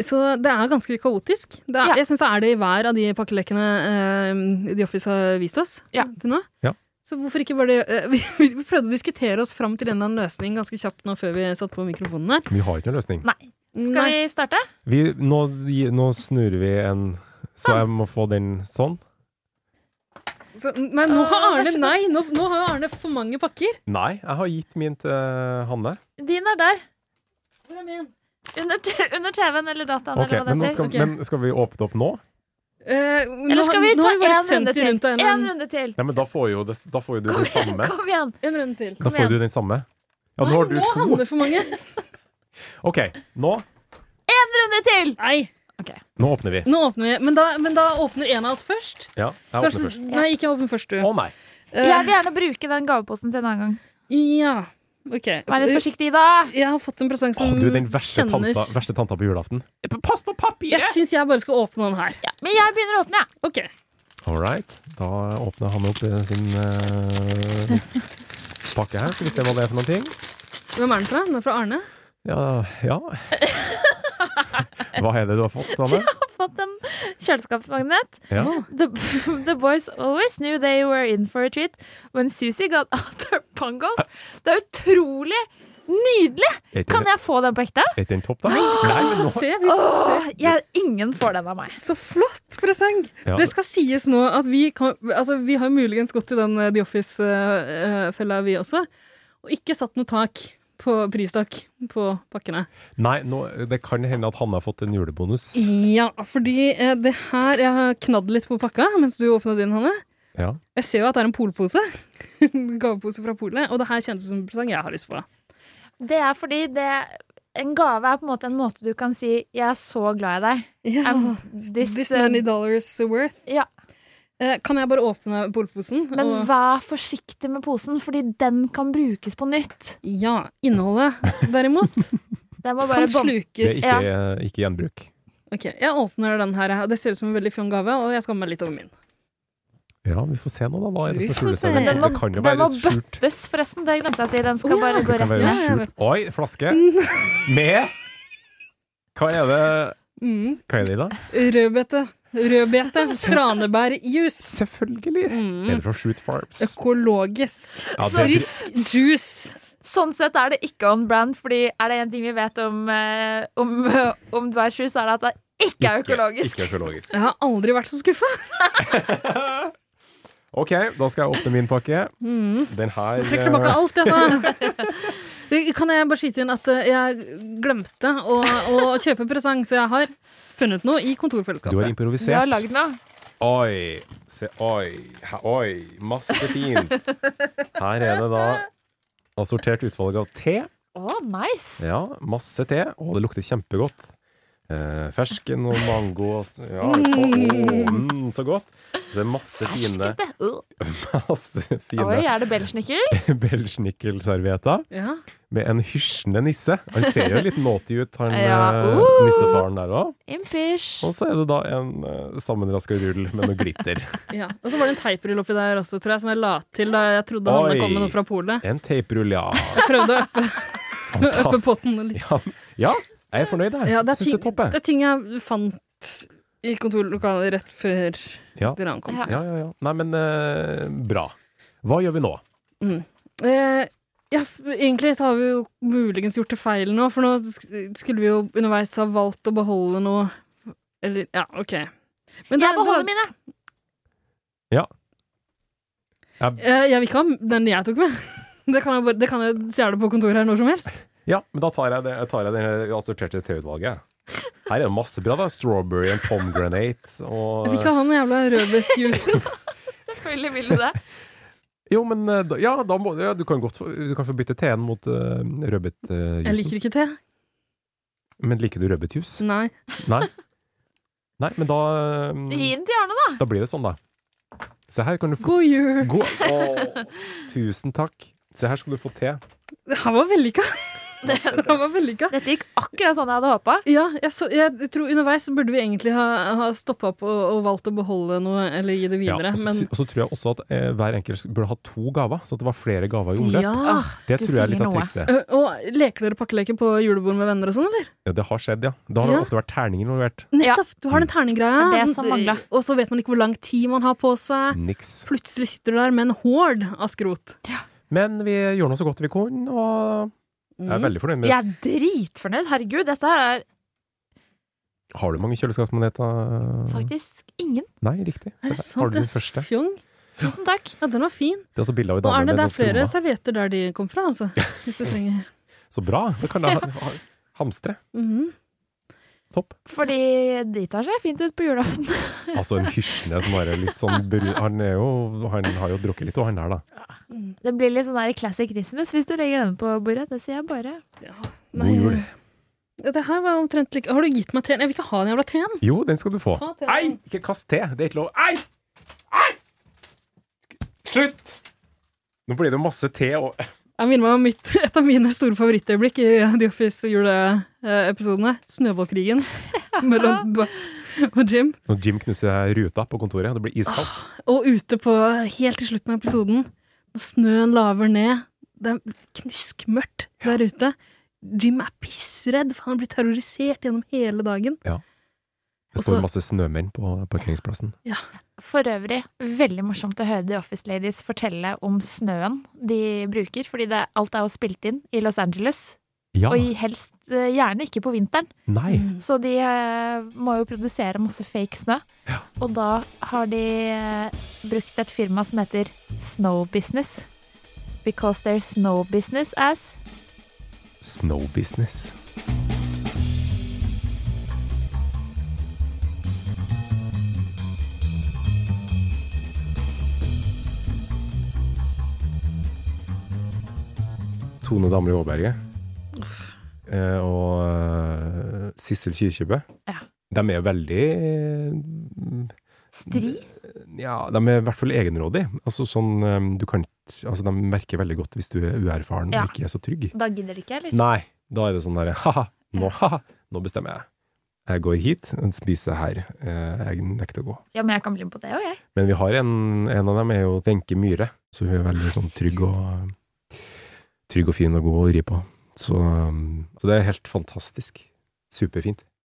Så det er ganske kaotisk. Det er, Jeg syns det er det i hver av de pakkelekene eh, The Office har vist oss til nå.
Ja.
Så hvorfor ikke bare det eh, vi, vi prøvde å diskutere oss fram til en eller annen løsning ganske kjapt nå før vi satte på mikrofonene.
Vi har ikke noen løsning.
Nei. Skal vi starte?
Vi, nå, gi- nå snur vi en Så jeg må få den sånn?
Så, nei, nå har
Åh, vær
Arne
så god.
Nei, nå, nå har Arne for mange pakker.
Nei, jeg har gitt min til eh, Hanne.
Din er der.
Hvor er min?
Under, t- under TV-en eller dataen
Ok,
eller hva
men, nå
det
skal,
heter.
men skal vi åpne opp nå?
Eh,
Eller skal vi ta én runde til? En runde til.
Nei, men da får jo, det, da får jo du
Kom
den
igjen,
samme.
kom igjen.
En runde til.
Da får du den samme. Ja, nå har du
Nå handler
to.
for mange.
Ok, nå,
En runde til!
Nei,
nå åpner vi.
nå åpner vi. Men da, men da åpner en av oss først.
Ja, jeg åpner
Kanskje-
først.
Nei, ikke åpne først, du. Eh,
Å nei.
Jeg vil gjerne bruke den gaveposten til en annen gang.
Ja. Ok.
Vær litt forsiktig, da.
Jeg har fått en presang
Å,
som
du er den verste
kjennes
tanta, verste tanta på julaften.
Pass på papiret! Jeg syns jeg bare skal åpne den her.
Men jeg begynner å åpne, jeg.
Ok.
All right. Da åpner han opp eh, sin eh, pakke her. Skal vi se hva det er for noen ting.
Hvem er den fra? Den er fra Arne?
Ja, ja. Hva er det du har fått, Anne?
Jeg har fått en kjøleskapsmagnet.
Ja.
The, the boys always knew they were in for a treat when Susie got out her pangos. Det er utrolig nydelig!
Er ikke
Kan
det-
jeg få den på ekte?
Er ikke den topp, da?
Nei, det kan
men nå-
Åh, jeg, ingen får den av meg.
Så flott presang!
Ja.
Det skal sies nå at vi kan Altså, vi eh, har muligens gått i den eh, The Office-fella, vi også, og ikke satt noe tak på pristak på pakkene.
Nei, nå, det kan hende at han har fått en julebonus.
Ja, fordi eh, det her Jeg har knadd litt på pakka mens du åpna din, Hanne.
Ja.
Jeg ser jo at det er en polpose. Gavepose fra polet. Og det her kjentes som en presang jeg har lyst på.
Det er fordi det En gave er på en måte en måte du kan si 'jeg er så glad i deg'.
Ja. Um,
I'm
This, many dollars worth.
Ja.
Eh, Kan jeg bare åpne polposen?
Men vær forsiktig med posen, fordi den kan brukes på nytt.
Ja. Innholdet, derimot,
Den må
kan
bare bom-
Det er
slukes.
ikke, ikke gjenbruk.
Ok, Jeg åpner den her. Det ser ut som en veldig fjong gave, og jeg skammer meg litt over min.
Ja, vi får se nå, da. Hva er det som
Vi
er
får
skjult?
se.
her?
Men den
må-
Det kan jo
den
være
må
skjult.
bøttes, forresten. Det glemte jeg å si. Den skal bare gå
Det kan
rett
være
ned.
skjult. Oi, flaske med Hva er det
Mm.
Hva er det i, da?
Rødbete. Rødbete. Tranebærjuice.
Selvfølgelig.
Mm.
Er det fra Shoot Farms?
Økologisk.
Ja, det er-
Frisk juice.
Sånn sett er det ikke on brand, fordi er det én ting vi vet om, eh, om, eh, om Dwyer Shoe, så er det at det ikke er økologisk.
Ikke økologisk.
Jeg har aldri vært så skuffa.
OK, da skal jeg åpne min pakke.
Mm.
Den her eh,
Jeg trekker tilbake alt jeg sa. Kan jeg bare skyte inn at eh, jeg glemte å, å kjøpe presang, så jeg har funnet noe i kontorfellesskapet.
Du har improvisert. Du har lagd
noe.
Oi, se, oi, he- oi, masse fint. Her er det da assortert utvalg av te.
Å, nice!
Ja, masse te. Og det lukter kjempegodt. Eh, fersken og mango og s- ja,
Mm.
to, å, mm, Så godt. Det er masse fine
Ferskt, det. Ugh.
Masse
Oi,
fine
er det Belsnickel?
Belschnickel-servietter
Ja.
med en hysjende nisse. Han ser jo litt naughty ut, han
Ja,
eh,
uh.
nissefaren der òg.
Impish.
Og så er det da en uh, sammenraska rull med noe glitter.
Ja. Og så var det en teiprull oppi der også, tror jeg, som jeg la til da jeg trodde
Oi.
han kom med noe fra polet.
En taperull, ja.
Jeg prøvde å øppe, øppe
Fantastisk.
potten litt.
Ja, ja, jeg er fornøyd, jeg.
Ja, det, er
Syns
ting,
det er topp,
det
jeg.
er ting jeg fant i kontorlokalet rett før
Ja.
dere ankom.
Ja, ja, ja. Nei, men eh, bra. Hva gjør vi nå?
Mm. Eh, ja, f- egentlig så har vi jo muligens gjort det feil nå, for nå sk- skulle vi jo underveis ha valgt å beholde noe Eller, ja, OK. Men
Jeg
da-
beholder
da-
mine.
Ja.
Eh, jeg vil ikke ha den jeg tok med. Det kan jeg, bare, det kan jeg stjele på kontoret her når som helst.
Ja, men da tar jeg det, tar jeg det assorterte teutvalget. Her er det masse bra, da. Strawberry and pomegranate og
Jeg vil ikke ha den jævla rødbetjuicen.
Selvfølgelig vil du det.
Jo, men eh, da, ja, da må, ja, du kan godt få, du kan få bytte teen mot uh,
Jeg
sånn?
liker ikke te.
Men liker du rødbetjuice?
Nei.
Nei. Nei, men da eh,
Gi den til Arne, da.
Da blir det sånn, da. Se her kan du få
God jul!
God- Å, tusen takk. Se her skal du få te.
Det her var vellykka. Det her var vellykka.
Dette gikk akkurat sånn jeg hadde håpa.
Ja, jeg, så, jeg tror underveis så burde vi egentlig ha, ha stoppa opp og, og valgt å beholde noe eller gi det videre,
og, så,
men
og så tror jeg også at eh, hver enkelt burde ha to gaver, så at det var flere gaver i omløp.
Ja,
det tror jeg
du
er
sier
litt av
noe.
trikset.
Ø, Øh, Og leker dere pakkeleker på julebord med venner og sånn, eller?
Ja, det har skjedd, ja. Da har det
Ja.
ofte vært terninger involvert.
Nettopp! Du har den terninggreia,
Det er det som mangler.
og så vet man ikke hvor lang tid man har på seg.
Niks.
Plutselig sitter du der med en hord av skrot.
Men vi gjorde noe så godt vi kunne, og
Mm.
jeg er veldig fornøyd med
Jeg er dritfornøyd. Herregud, dette her er
Har du mange kjøleskapsmaneter?
faktisk ingen.
Nei, riktig. Se
Mm. Er det
der.
sant?
Har du
Det
den
er så
første?
Fjong.
Tusen takk.
Ja, den var fin.
Det er altså bilde av ei
Og
dame
Arne,
med
det er
noen
flere
trommer.
servietter der de kom fra, altså. Hvis du trenger.
Så bra! Da kan jeg ha- ha- hamstre.
Mhm.
Topp.
Fordi de tar seg fint ut på julaften.
Altså en hysjende som bare er litt sånn bru... Han, er jo, han har jo drukket litt, og han der, da.
Det blir litt sånn der classic Christmas hvis du legger den på bordet. Det sier jeg bare.
God jul.
Ja, Det her var omtrent like Har du gitt meg teen? Jeg vil ikke ha den jævla teen!
Jo, den skal du få.
Ta teen.
Ei! Ikke kast te. Det er ikke lov. Ei! Ei! Slutt! Nå blir det jo masse te og
Jeg minner meg om mitt, et av mine store favorittøyeblikk i The Office-juleepisodene. Snøballkrigen mellom Bart og Jim.
Når Jim knuser ruta på kontoret, det blir iskaldt.
Og ute på helt til slutten av episoden, når snøen laver ned Det er knuskmørkt der ute. Jim er pissredd, for han blir terrorisert gjennom hele dagen.
Det
Også-
står masse snømenn på parkeringsplassen.
For øvrig, veldig morsomt å høre The Office Ladies fortelle om snøen de bruker, fordi det, alt er jo spilt inn i Los Angeles,
Ja.
og i helst eh, gjerne ikke på vinteren.
Nei.
Så de eh, må jo produsere masse fake snø, og da har de eh, brukt et firma som heter Snow Business, because their snow business as
Snow Business. Tone Damli Aaberge eh, og eh, Sissel Kyrkjebø. De er veldig eh,
Stri?
Ja, de er i hvert fall egenrådige. Altså sånn, eh, du kan, ikke- altså, de merker veldig godt hvis du er uerfaren
Ja.
og ikke er så trygg.
Da gidder de ikke, eller?
Nei, da er det sånn derre ha-ha, nå, ha-ha, nå bestemmer jeg. Jeg går hit, og spiser her. Eh, Jeg nekter å gå.
Ja, men jeg kan bli med på det òg, jeg.
Men vi har en, en av dem er jo Wenche Myhre, så hun er veldig sånn trygg og Trygg og fin og god å ri på. Så, um, så det er helt fantastisk. Superfint.